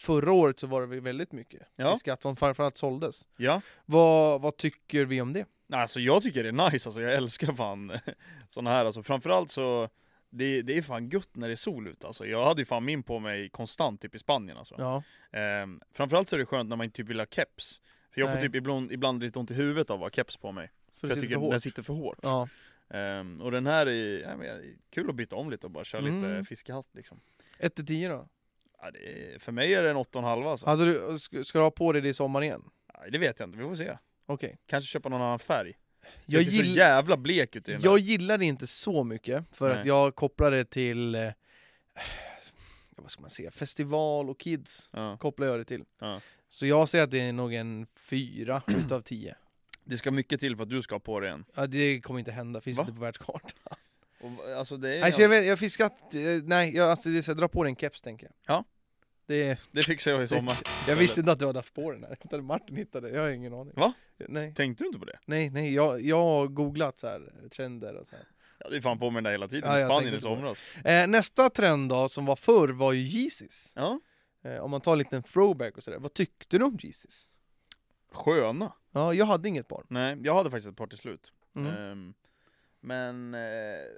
Speaker 1: förra året så var det väl väldigt mycket
Speaker 2: Ja.
Speaker 1: fiskat som framförallt såldes.
Speaker 2: Ja,
Speaker 1: Vad, vad tycker vi om det?
Speaker 2: Nej, alltså jag tycker det är nice alltså, jag älskar fan (laughs) såna här alltså. Framförallt så, det, det är fan gött när det är sol ute alltså. Jag hade ju fan min på mig konstant typ i Spanien alltså.
Speaker 1: Ja.
Speaker 2: Ehm, framförallt så är det skönt när man typ vill ha keps. För jag får
Speaker 1: Nej.
Speaker 2: typ ibland, ibland lite ont i huvudet av att ha keps på mig.
Speaker 1: För det
Speaker 2: För jag
Speaker 1: sitter
Speaker 2: tycker
Speaker 1: för hårt.
Speaker 2: den sitter för hårt.
Speaker 1: Ja.
Speaker 2: Ehm, och den här är, ja, men, är kul att byta om lite och bara köra lite
Speaker 1: Mm.
Speaker 2: fiskehatt liksom.
Speaker 1: 1 till 10 då?
Speaker 2: Ja, det är, för mig är det en 8,5 alltså.
Speaker 1: Hade du, ska, ska du ha på dig det i sommar igen?
Speaker 2: Nej, det vet jag inte, vi får se.
Speaker 1: Okej.
Speaker 2: Kanske köpa någon annan färg.
Speaker 1: Jag,
Speaker 2: Jag ser så
Speaker 1: gill,
Speaker 2: jävla blek ut i den
Speaker 1: jag
Speaker 2: där.
Speaker 1: gillar det inte så mycket för att
Speaker 2: Nej.
Speaker 1: jag kopplar det till, eh, vad ska man säga, festival och kids
Speaker 2: Ja.
Speaker 1: kopplar jag det till.
Speaker 2: Ja.
Speaker 1: Så jag säger att det är nog en fyra utav tio.
Speaker 2: Det ska mycket till för att du ska ha på dig en.
Speaker 1: Ja, det kommer inte hända, finns
Speaker 2: Va?
Speaker 1: inte på världskartan.
Speaker 2: Och, alltså, det, är,
Speaker 1: Nej, så jag, vet, jag fiskat, eh, nej, jag, alltså, det är så jag drar på dig en keps tänker jag.
Speaker 2: Ja.
Speaker 1: Det,
Speaker 2: det fixar jag i sommar.
Speaker 1: jag visste inte att du hade haft på den här, utan Martin hittade, jag har ingen aning.
Speaker 2: Va?
Speaker 1: Nej,
Speaker 2: Tänkte du inte på det?
Speaker 1: nej, nej jag, jag har googlat så här, trender och så här.
Speaker 2: Jag hade ju fan på mig den där hela tiden
Speaker 1: Ja,
Speaker 2: i
Speaker 1: jag
Speaker 2: Spanien
Speaker 1: tänkte
Speaker 2: i
Speaker 1: på det.
Speaker 2: somras.
Speaker 1: Eh, nästa trend då, som var förr, var ju Jesus.
Speaker 2: Ja.
Speaker 1: Eh, om man tar en liten throwback och sådär, vad tyckte du om Jesus?
Speaker 2: Sköna.
Speaker 1: Ja, jag hade inget par.
Speaker 2: Nej, jag hade faktiskt ett par till slut.
Speaker 1: Mm.
Speaker 2: Ehm, men eh,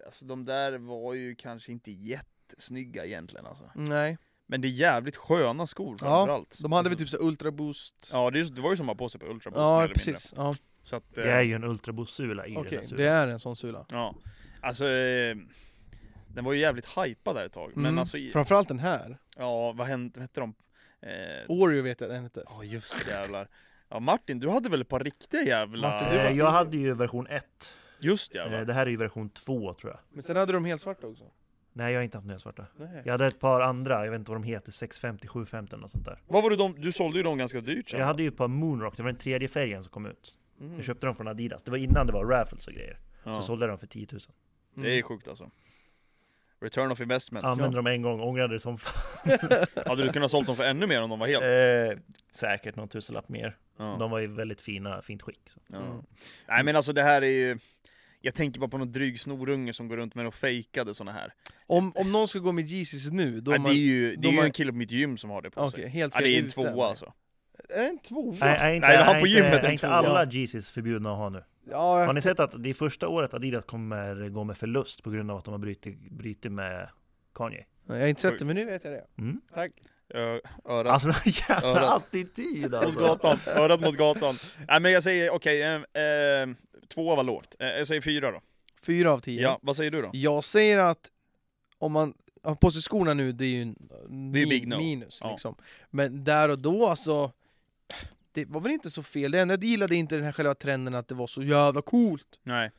Speaker 2: alltså de där var ju kanske inte jättesnygga egentligen alltså.
Speaker 1: Nej,
Speaker 2: Men det är jävligt sköna skor framförallt.
Speaker 1: de hade väl
Speaker 2: Alltså,
Speaker 1: typ så här Ultra Boost.
Speaker 2: Ja det, är, ju- det var ju som att ha på sig på Ultra Boost, mer
Speaker 1: Ja,
Speaker 2: eller mindre.
Speaker 1: precis. Ja.
Speaker 2: Så att, eh,
Speaker 3: Det är ju en alltså. ultraboost-sula i den
Speaker 1: Okej,
Speaker 3: där
Speaker 1: det
Speaker 3: sulan.
Speaker 1: är en sån sula.
Speaker 2: Ja. Alltså eh, den var ju jävligt hypad där ett tag. Men
Speaker 1: Mm.
Speaker 2: alltså, i-
Speaker 1: Framförallt den här.
Speaker 2: ja vad hände, vad hette de? Eh,
Speaker 1: Oreo vet jag att den hette.
Speaker 2: Ja just det, jävlar. Ja Martin, du hade väl ett par riktiga jävla...
Speaker 1: Martin,
Speaker 3: Eh,
Speaker 1: du-
Speaker 3: Jag hade ju version 1.
Speaker 2: Just
Speaker 3: Eh,
Speaker 2: jävlar.
Speaker 3: Det här är ju version 2 tror jag.
Speaker 1: Men sen hade de helt svarta också.
Speaker 3: Nej, jag har inte haft nya svarta.
Speaker 1: Nej.
Speaker 3: Jag hade ett par andra, jag vet inte vad de heter, 650, 750 eller något sånt där.
Speaker 2: Vad var det de, du sålde ju dem ganska dyrt sen.
Speaker 3: Jag hade ju ett par Moonrock, det var den tredje färgen som kom ut.
Speaker 1: Mm.
Speaker 3: Jag köpte dem från Adidas, det var innan det var raffles och grejer. Så
Speaker 2: ja.
Speaker 3: sålde jag dem för 10 000.
Speaker 1: Mm.
Speaker 2: Det är sjukt alltså. Return of investment.
Speaker 3: Använde dem en gång, ångrade det som fan.
Speaker 2: Hade du kunnat sålt dem för ännu mer om de var helt?
Speaker 3: Eh, säkert någon tusenlapp mer.
Speaker 2: Ja,
Speaker 3: De var ju väldigt fina, fint skick. Så.
Speaker 2: ja.
Speaker 1: Mm.
Speaker 2: Nej men alltså det här är ju Jag tänker bara på någon dryg snorunge som går runt med och fejkade såna här
Speaker 1: Om, om någon ska gå med Jesus nu, då
Speaker 2: Nej,
Speaker 1: är
Speaker 2: Det är
Speaker 1: man...
Speaker 2: ju, det
Speaker 1: då
Speaker 2: är ju
Speaker 1: man-
Speaker 2: en kille på mitt gym som har det på
Speaker 1: Okej,
Speaker 2: sig
Speaker 1: helt
Speaker 2: ja,
Speaker 1: fel
Speaker 2: Det är en
Speaker 1: ute.
Speaker 2: tvåa alltså
Speaker 1: Är det en tvåa?
Speaker 3: Nej, är inte,
Speaker 2: Nej, han
Speaker 3: är
Speaker 2: på
Speaker 3: inte-
Speaker 2: gymmet är
Speaker 3: är
Speaker 2: en
Speaker 3: inte
Speaker 2: tvåa.
Speaker 3: alla Jesus förbjudna att ha nu?
Speaker 1: Ja,
Speaker 3: Har ni sett att det är första året Adidas kommer gå med förlust på grund av att de har brutit, brutit med Kanye?
Speaker 1: jag har inte sett det,
Speaker 2: Sjukt.
Speaker 1: men nu vet jag det.
Speaker 3: Mm.
Speaker 1: Tack.
Speaker 2: Ö, Örat
Speaker 3: Alltså (laughs) den här jävla
Speaker 2: Örat.
Speaker 3: attityd
Speaker 2: mot
Speaker 3: alltså!
Speaker 2: gatan, örat mot gatan Nej men jag säger okej, eh, eh, tvåa var lågt eh, Jag säger fyra då
Speaker 1: Fyra av tio.
Speaker 2: Ja, vad säger du då?
Speaker 1: Jag säger att om man har på sig skorna nu, det är ju en
Speaker 2: Det är
Speaker 1: min-
Speaker 2: big no.
Speaker 1: minus.
Speaker 2: Ja.
Speaker 1: Liksom. Men där och då alltså, det var väl inte så fel. Det enda jag gillade inte den här själva trenden att det var så jävla coolt.
Speaker 2: Nej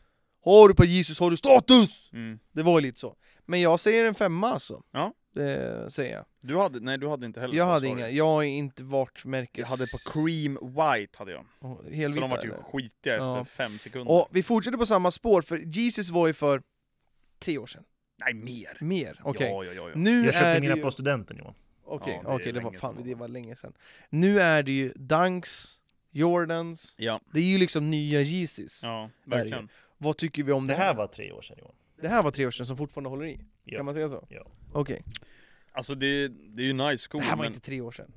Speaker 1: Har du på Jesus har du status!
Speaker 2: Mm.
Speaker 1: Det var ju lite så. Men jag säger en femma alltså.
Speaker 2: Ja.
Speaker 1: Det säger jag.
Speaker 2: Du hade, nej du hade inte heller
Speaker 1: Jag
Speaker 2: på
Speaker 1: hade
Speaker 2: Sorry.
Speaker 1: inga, jag har inte varit märkes...
Speaker 2: Jag hade på cream white hade jag.
Speaker 1: Åh,
Speaker 2: Så
Speaker 1: Helvita
Speaker 2: de vart ju
Speaker 1: eller?
Speaker 2: skitiga efter
Speaker 1: Ja.
Speaker 2: fem sekunder.
Speaker 1: Och vi fortsätter på samma spår, för Jesus var ju för tre år sedan.
Speaker 2: nej mer!
Speaker 1: Mer, okej.
Speaker 2: Ja, ja, ja, ja.
Speaker 1: Nu
Speaker 3: Jag
Speaker 1: är
Speaker 3: köpte
Speaker 1: det
Speaker 3: mina
Speaker 1: ju...
Speaker 3: på studenten Johan.
Speaker 1: Okej,
Speaker 2: Ja, det
Speaker 1: okej,
Speaker 2: är
Speaker 1: det, var
Speaker 2: länge sedan
Speaker 1: fan,
Speaker 2: då.
Speaker 1: det var länge sedan. Nu är det ju Dunks, Jordans,
Speaker 2: Ja,
Speaker 1: det är ju liksom nya Jesus.
Speaker 2: ja verkligen.
Speaker 1: Vad tycker vi om
Speaker 3: Det
Speaker 1: det
Speaker 3: här var tre år sedan Johan.
Speaker 1: Det här var tre år sedan som fortfarande håller i.
Speaker 3: Ja.
Speaker 1: Kan man säga så?
Speaker 3: Ja.
Speaker 1: Okej.
Speaker 2: Alltså det, det är ju nice
Speaker 1: Det
Speaker 2: skor
Speaker 1: här var
Speaker 2: men
Speaker 1: inte tre år sedan.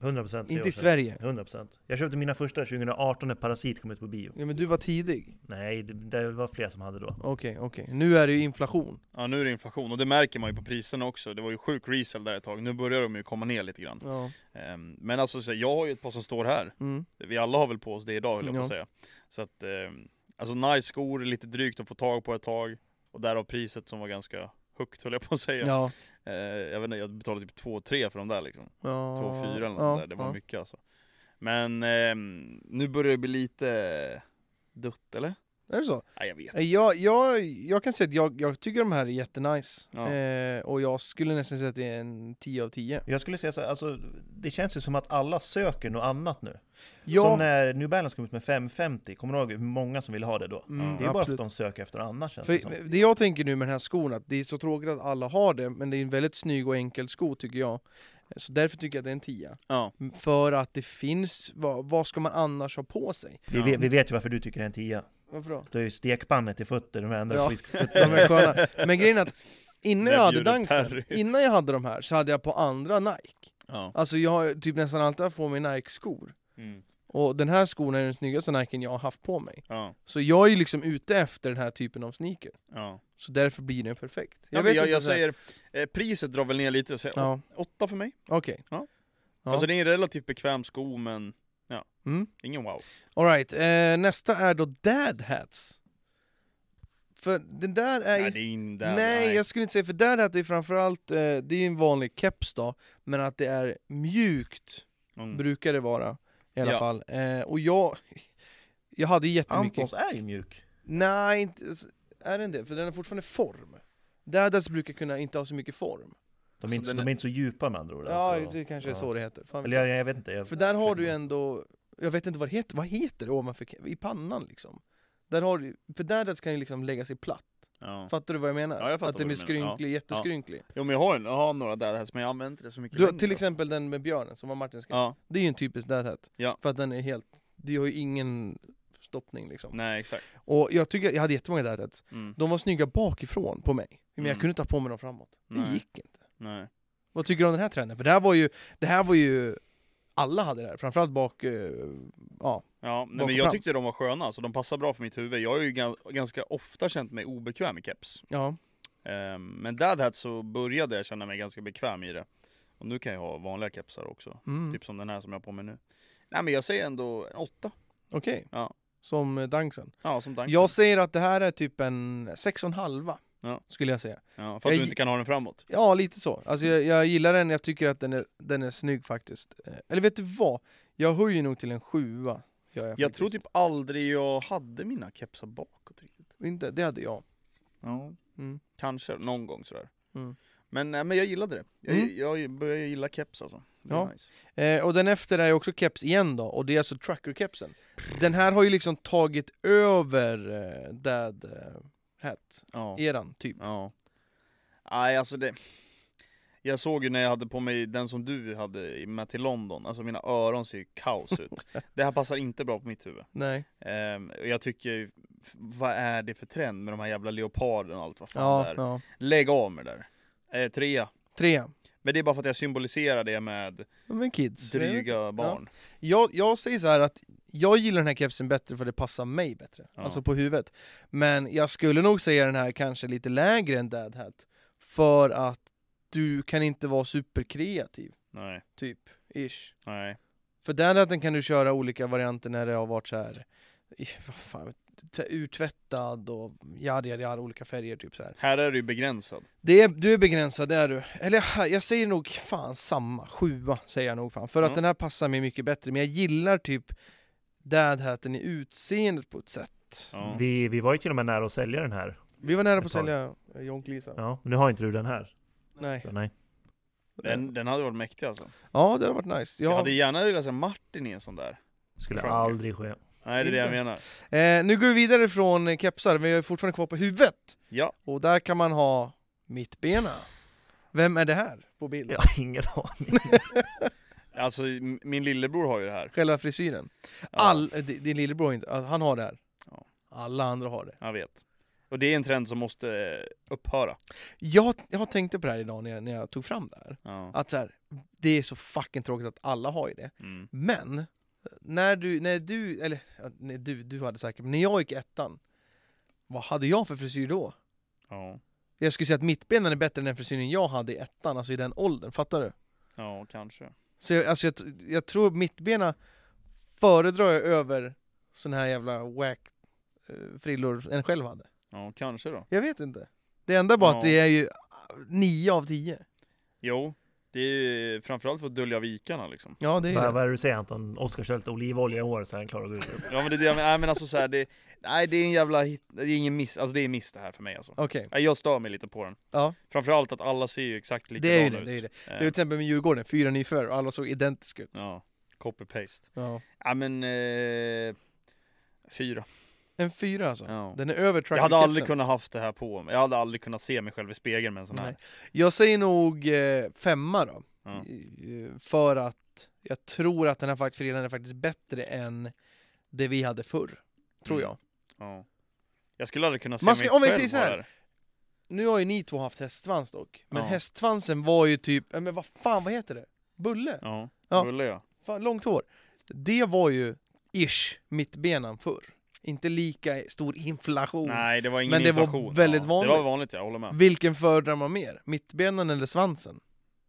Speaker 3: 100% tre
Speaker 1: Inte
Speaker 3: år
Speaker 1: i
Speaker 3: sedan.
Speaker 1: Sverige.
Speaker 3: 100% Jag köpte mina första 2018 när Parasit kom ut på bio.
Speaker 1: Ja, men du var tidig.
Speaker 3: Nej, det, det var fler som hade då.
Speaker 1: Okej, okej. Nu är det ju inflation.
Speaker 2: ja, nu är det inflation och det märker man ju på priserna också. Det var ju sjuk resell där ett tag, nu börjar de ju komma ner lite grann.
Speaker 1: Ja.
Speaker 2: Ehm, Men alltså så här, jag har ju ett par som står här.
Speaker 1: Mm.
Speaker 2: Vi alla har väl på oss det idag höll jag på
Speaker 1: Ja.
Speaker 2: att säga. Så att, ehm, alltså nice skor, lite drygt att få tag på ett tag. Och därav priset som var ganska högt höll jag på att säga.
Speaker 1: Ja.
Speaker 2: Eh, jag vet inte, jag betalade typ 2-3 för de där liksom.
Speaker 1: ja.
Speaker 2: 2-4 eller något
Speaker 1: ja.
Speaker 2: sånt där, det var
Speaker 1: ja.
Speaker 2: mycket alltså. Men ehm, nu börjar det bli lite dutt eller?
Speaker 1: Är det så?
Speaker 2: Nej jag vet
Speaker 1: Eh, Jag, jag, jag kan säga att jag, jag tycker de här är jättenice.
Speaker 2: Ja.
Speaker 1: Eh, och jag skulle nästan säga att det är en 10 av 10.
Speaker 3: Jag skulle säga så här, alltså, det känns ju som att alla söker något annat nu.
Speaker 1: Ja,
Speaker 3: Som när New Balance kom ut med 550, kommer du ihåg hur många som ville ha det då?
Speaker 1: mm,
Speaker 3: Det är bara för att
Speaker 1: absolut.
Speaker 3: de söker efter annat känns det som.
Speaker 1: För det jag tänker nu med den här skon, att det är så tråkigt att alla har det, men det är en väldigt snygg och enkel sko tycker jag. Så därför tycker jag att det är en 10.
Speaker 2: Ja,
Speaker 1: För att det finns, vad, vad ska man annars ha på sig?
Speaker 3: Vi, vet- vi vet ju varför du tycker det är en tia.
Speaker 1: Varför
Speaker 2: (laughs)
Speaker 1: då?
Speaker 3: Du har ju stekpannet i fötter, de ändrar
Speaker 1: Ja.
Speaker 3: frisk fötter.
Speaker 1: De är sköna. Men grejen är att innan jag hade
Speaker 2: När bjuder
Speaker 1: Dunksen,
Speaker 2: Perry?
Speaker 1: innan jag hade de här, så hade jag på andra Nike.
Speaker 2: ja.
Speaker 1: Alltså jag har typ nästan alltid haft på mig Nike-skor.
Speaker 2: Mm.
Speaker 1: Och den här skon är den snyggaste Niken jag har haft på mig.
Speaker 2: ja.
Speaker 1: Så jag är ju liksom ute efter den här typen av sneaker.
Speaker 2: ja.
Speaker 1: Så därför blir den perfekt.
Speaker 2: Jag, jag, jag,
Speaker 1: inte så här-
Speaker 2: säger, eh, priset drar väl ner lite, jag säger åt-
Speaker 1: Ja,
Speaker 2: åtta för mig.
Speaker 1: okej. Ja.
Speaker 2: Alltså det är en relativt bekväm sko men, ja,
Speaker 1: Mm.
Speaker 2: ingen wow.
Speaker 1: Alright, eh, nästa är då dad hats. För den där är...
Speaker 2: Nej, det är in där,
Speaker 1: nej,
Speaker 2: nej.
Speaker 1: jag skulle inte säga, för dad hat är framförallt, eh, det är ju en vanlig keps då, men att det är mjukt
Speaker 2: Mm.
Speaker 1: brukar det vara i alla
Speaker 2: Ja.
Speaker 1: fall. Eh, och jag, jag hade jättemycket...
Speaker 3: (laughs) Antons är ju mjuk.
Speaker 1: Nej, inte, är den det? För den har fortfarande form. Dad hats brukar kunna inte ha så mycket form.
Speaker 3: De är, inte,
Speaker 2: den
Speaker 3: de
Speaker 2: är-
Speaker 3: är inte så djupa med andra ord.
Speaker 1: Ja,
Speaker 3: alltså.
Speaker 1: det kanske är
Speaker 3: ja.
Speaker 1: så det heter. Fan, vet
Speaker 3: Eller
Speaker 1: jag.
Speaker 3: jag, jag vet inte. Jag,
Speaker 1: För där har du ju ändå, jag vet inte vad det heter, vad heter det ovanför, i pannan liksom? Där har du, för där det kan ju liksom lägga sig platt.
Speaker 2: Ja.
Speaker 1: Fattar du vad jag menar?
Speaker 2: Ja, jag fattar
Speaker 1: att den
Speaker 2: vad
Speaker 1: blir
Speaker 2: du menar.
Speaker 1: skrynklig, jätteskrynklig.
Speaker 2: Jo men jag har, en, jag har några dad hats men jag använder inte det så mycket
Speaker 1: Du,
Speaker 2: längre,
Speaker 1: till
Speaker 2: alltså.
Speaker 1: exempel den med björnen som var Martins sketch.
Speaker 2: Ja,
Speaker 1: Det är ju en typisk dadhat.
Speaker 2: Ja.
Speaker 1: För att den är helt, det har ju ingen stoppning liksom.
Speaker 2: nej exakt.
Speaker 1: Och jag tycker, jag hade jättemånga dadhats.
Speaker 2: Mm.
Speaker 1: De var snygga bakifrån på mig. Men jag
Speaker 2: Mm.
Speaker 1: kunde inte ha på mig dem framåt. Det
Speaker 2: Nej.
Speaker 1: gick inte.
Speaker 2: Nej.
Speaker 1: Vad tycker du om den här trenden? För det här var ju, det här var ju, alla hade det här. Framförallt bak, eh, ja.
Speaker 2: Ja, nej,
Speaker 1: Bak och
Speaker 2: men jag
Speaker 1: fram.
Speaker 2: tyckte de var sköna, alltså de passar bra för mitt huvud. Jag har ju gan- ganska ofta känt mig obekväm i keps.
Speaker 1: ja.
Speaker 2: Ehm, men dad hat så började jag känna mig ganska bekväm i det. Och nu kan jag ha vanliga kepsar också.
Speaker 1: Mm.
Speaker 2: Typ som den här som jag har på mig nu. Nej men jag säger ändå en åtta.
Speaker 1: Okej.
Speaker 2: Ja.
Speaker 1: Som eh, Danksen.
Speaker 2: Ja, som tanken.
Speaker 1: Jag säger att det här är typ en 6,5
Speaker 2: Ja.
Speaker 1: skulle jag säga.
Speaker 2: Ja, för
Speaker 1: jag
Speaker 2: att du
Speaker 1: gi-
Speaker 2: inte kan ha den framåt.
Speaker 1: Ja, lite så. Alltså jag, jag gillar den, jag tycker att den är, den är snygg faktiskt. Eh, Eller vet du vad? Jag höjer nog till en sjua. gör Jag,
Speaker 2: Jag
Speaker 1: faktiskt.
Speaker 2: tror typ aldrig jag hade mina kepsar bakåt riktigt.
Speaker 1: Inte, det hade jag.
Speaker 2: Ja.
Speaker 1: Mm.
Speaker 2: Kanske, någon gång sådär.
Speaker 1: Mm.
Speaker 2: Men, nej, men jag gillade det. Jag,
Speaker 1: Mm.
Speaker 2: jag började gilla keps alltså. Det är
Speaker 1: Ja.
Speaker 2: nice.
Speaker 1: Eh, och den efter är ju också keps igen då, och det är alltså trucker-kepsen. Den här har ju liksom tagit över eh, dad eh, hat-eran,
Speaker 2: Ja.
Speaker 1: typ.
Speaker 2: Ja. Nej, alltså det... Jag såg ju när jag hade på mig den som du hade med till London, alltså mina öron ser ju kaos ut.
Speaker 1: (laughs)
Speaker 2: Det här passar inte bra på mitt huvud.
Speaker 1: Nej.
Speaker 2: Ehm, och jag tycker, ju, f- vad är det för trend med de här jävla leoparden och allt vad fan det
Speaker 1: Ja,
Speaker 2: är?
Speaker 1: ja.
Speaker 2: Lägg av med det där. Eh, trea.
Speaker 1: Tre.
Speaker 2: Men det är bara för att jag symboliserar det med
Speaker 1: Men kids.
Speaker 2: dryga barn.
Speaker 1: Jag, jag säger så här att jag gillar den här kepsen bättre för det passar mig bättre,
Speaker 2: Ja.
Speaker 1: alltså på huvudet. Men jag skulle nog säga den här kanske lite lägre än dad hat, för att du kan inte vara superkreativ,
Speaker 2: Nej,
Speaker 1: typ, ish.
Speaker 2: nej.
Speaker 1: För dad hatten kan du köra olika varianter när det har varit så här, i- vad fan, t- urtvättad och jada jada jada, olika färger typ så här.
Speaker 2: Här är det ju begränsad.
Speaker 1: Det är, du är begränsad, det är du. Eller ja, jag säger nog fan samma, sjua säger jag nog fan. För att
Speaker 2: Ja.
Speaker 1: den här passar mig mycket bättre, men jag gillar typ dadhatten i utseendet på ett sätt. Shit!
Speaker 2: Ja.
Speaker 3: Vi, vi var ju till och med nära att sälja den här.
Speaker 1: Vi var nära på
Speaker 3: Ett
Speaker 1: att sälja eh, John Cleese.
Speaker 3: Ja, men nu har inte du den här.
Speaker 1: Nej.
Speaker 3: Så nej.
Speaker 2: Den, den hade varit mäktig alltså.
Speaker 1: Ja, det hade varit nice.
Speaker 2: Jag
Speaker 1: Ja.
Speaker 2: hade gärna velat se Martin i en sån där.
Speaker 3: Skulle
Speaker 2: Frank.
Speaker 3: aldrig (laughs) ske.
Speaker 2: Nej, det är det jag
Speaker 1: Inte.
Speaker 2: menar.
Speaker 1: Eh, nu går vi vidare från eh, kepsar, men jag är fortfarande kvar på huvudet.
Speaker 2: Ja.
Speaker 1: Och där kan man ha mittbena. Vem är det här på bild?
Speaker 3: Jag har ingen aning.
Speaker 2: Alltså, m- min lillebror har ju det här.
Speaker 1: Själva frisyren.
Speaker 2: Ja,
Speaker 1: All, eh, din din lillebror har inte, han har det här.
Speaker 2: Ja.
Speaker 1: Alla andra har det.
Speaker 2: Jag vet. Och det är en trend som måste eh, upphöra.
Speaker 1: Jag, jag tänkte på det här idag när jag, när jag tog fram det här.
Speaker 2: Ja.
Speaker 1: Att så här, det är så fucking tråkigt att alla har ju det.
Speaker 2: Mm.
Speaker 1: Men, när du, när du, eller ja, när du, du hade säkert, men när jag gick i ettan, vad hade jag för frisyr då?
Speaker 2: Ja.
Speaker 1: Jag skulle säga att mittbenen är bättre än den frisyren jag hade i ettan, alltså i den åldern, fattar du?
Speaker 2: ja, kanske.
Speaker 1: Så jag, alltså jag, t- jag tror mittbena föredrar jag över sån här jävla wack eh, frillor än själv hade.
Speaker 2: Ja, kanske då.
Speaker 1: Jag vet inte. Det enda bara
Speaker 2: Ja.
Speaker 1: att det är ju 9 av 10.
Speaker 2: Jo, det är ju framförallt för att dölja vikarna liksom.
Speaker 1: Ja, det är ju
Speaker 3: Vad,
Speaker 1: det.
Speaker 3: vad är (laughs) det du säger Anton? Oskar kör lite olivolja i år så han klarar att gå ut.
Speaker 2: Ja men det är det jag menar, nej men alltså så här, det, nej det är en jävla hit, det är ingen miss, alltså det är en miss det här för mig alltså.
Speaker 1: Okej,
Speaker 2: Nej, Jag stör mig lite på den.
Speaker 1: ja.
Speaker 2: Framförallt att alla ser ju exakt
Speaker 1: Det är ju
Speaker 2: likadana
Speaker 1: det, det
Speaker 2: ut.
Speaker 1: är ju det.
Speaker 2: Eh,
Speaker 1: Det är till exempel med Djurgården, fyra nyförvärv och alla såg identiska ut.
Speaker 2: Ja, copy-paste.
Speaker 1: Ja.
Speaker 2: Ja men, eh, fyra.
Speaker 1: En fyra alltså.
Speaker 2: Ja.
Speaker 1: Den är över
Speaker 2: Jag
Speaker 1: tracker
Speaker 2: hade aldrig kunnat haft det här på mig, jag hade aldrig kunnat se mig själv i spegeln med en sån här.
Speaker 1: Nej. Jag säger nog eh, femma då.
Speaker 2: Ja.
Speaker 1: Eh, För att jag tror att den här fakt- föreningen är faktiskt bättre än det vi hade förr. Tror
Speaker 2: Mm.
Speaker 1: jag.
Speaker 2: Ja. Jag skulle aldrig kunna se
Speaker 1: Man ska-
Speaker 2: mig
Speaker 1: om vi
Speaker 2: själv
Speaker 1: säger så
Speaker 2: ha
Speaker 1: här.
Speaker 2: det här.
Speaker 1: Nu har ju ni två haft hästsvans dock. Men
Speaker 2: Ja.
Speaker 1: hästsvansen var ju typ, eh, men vad fan vad heter det? Bulle?
Speaker 2: Ja,
Speaker 1: Ja.
Speaker 2: Bulle ja.
Speaker 1: Fan, långt hår. Det var ju ish mittbenan förr. Inte lika stor inflation.
Speaker 2: Nej det var ingen
Speaker 1: Oh. Men det var
Speaker 2: inflation.
Speaker 1: väldigt
Speaker 2: ja. Det
Speaker 1: vanligt.
Speaker 2: var vanligt, jag håller med.
Speaker 1: Vilken föredrar man mer? Mittbenan eller svansen?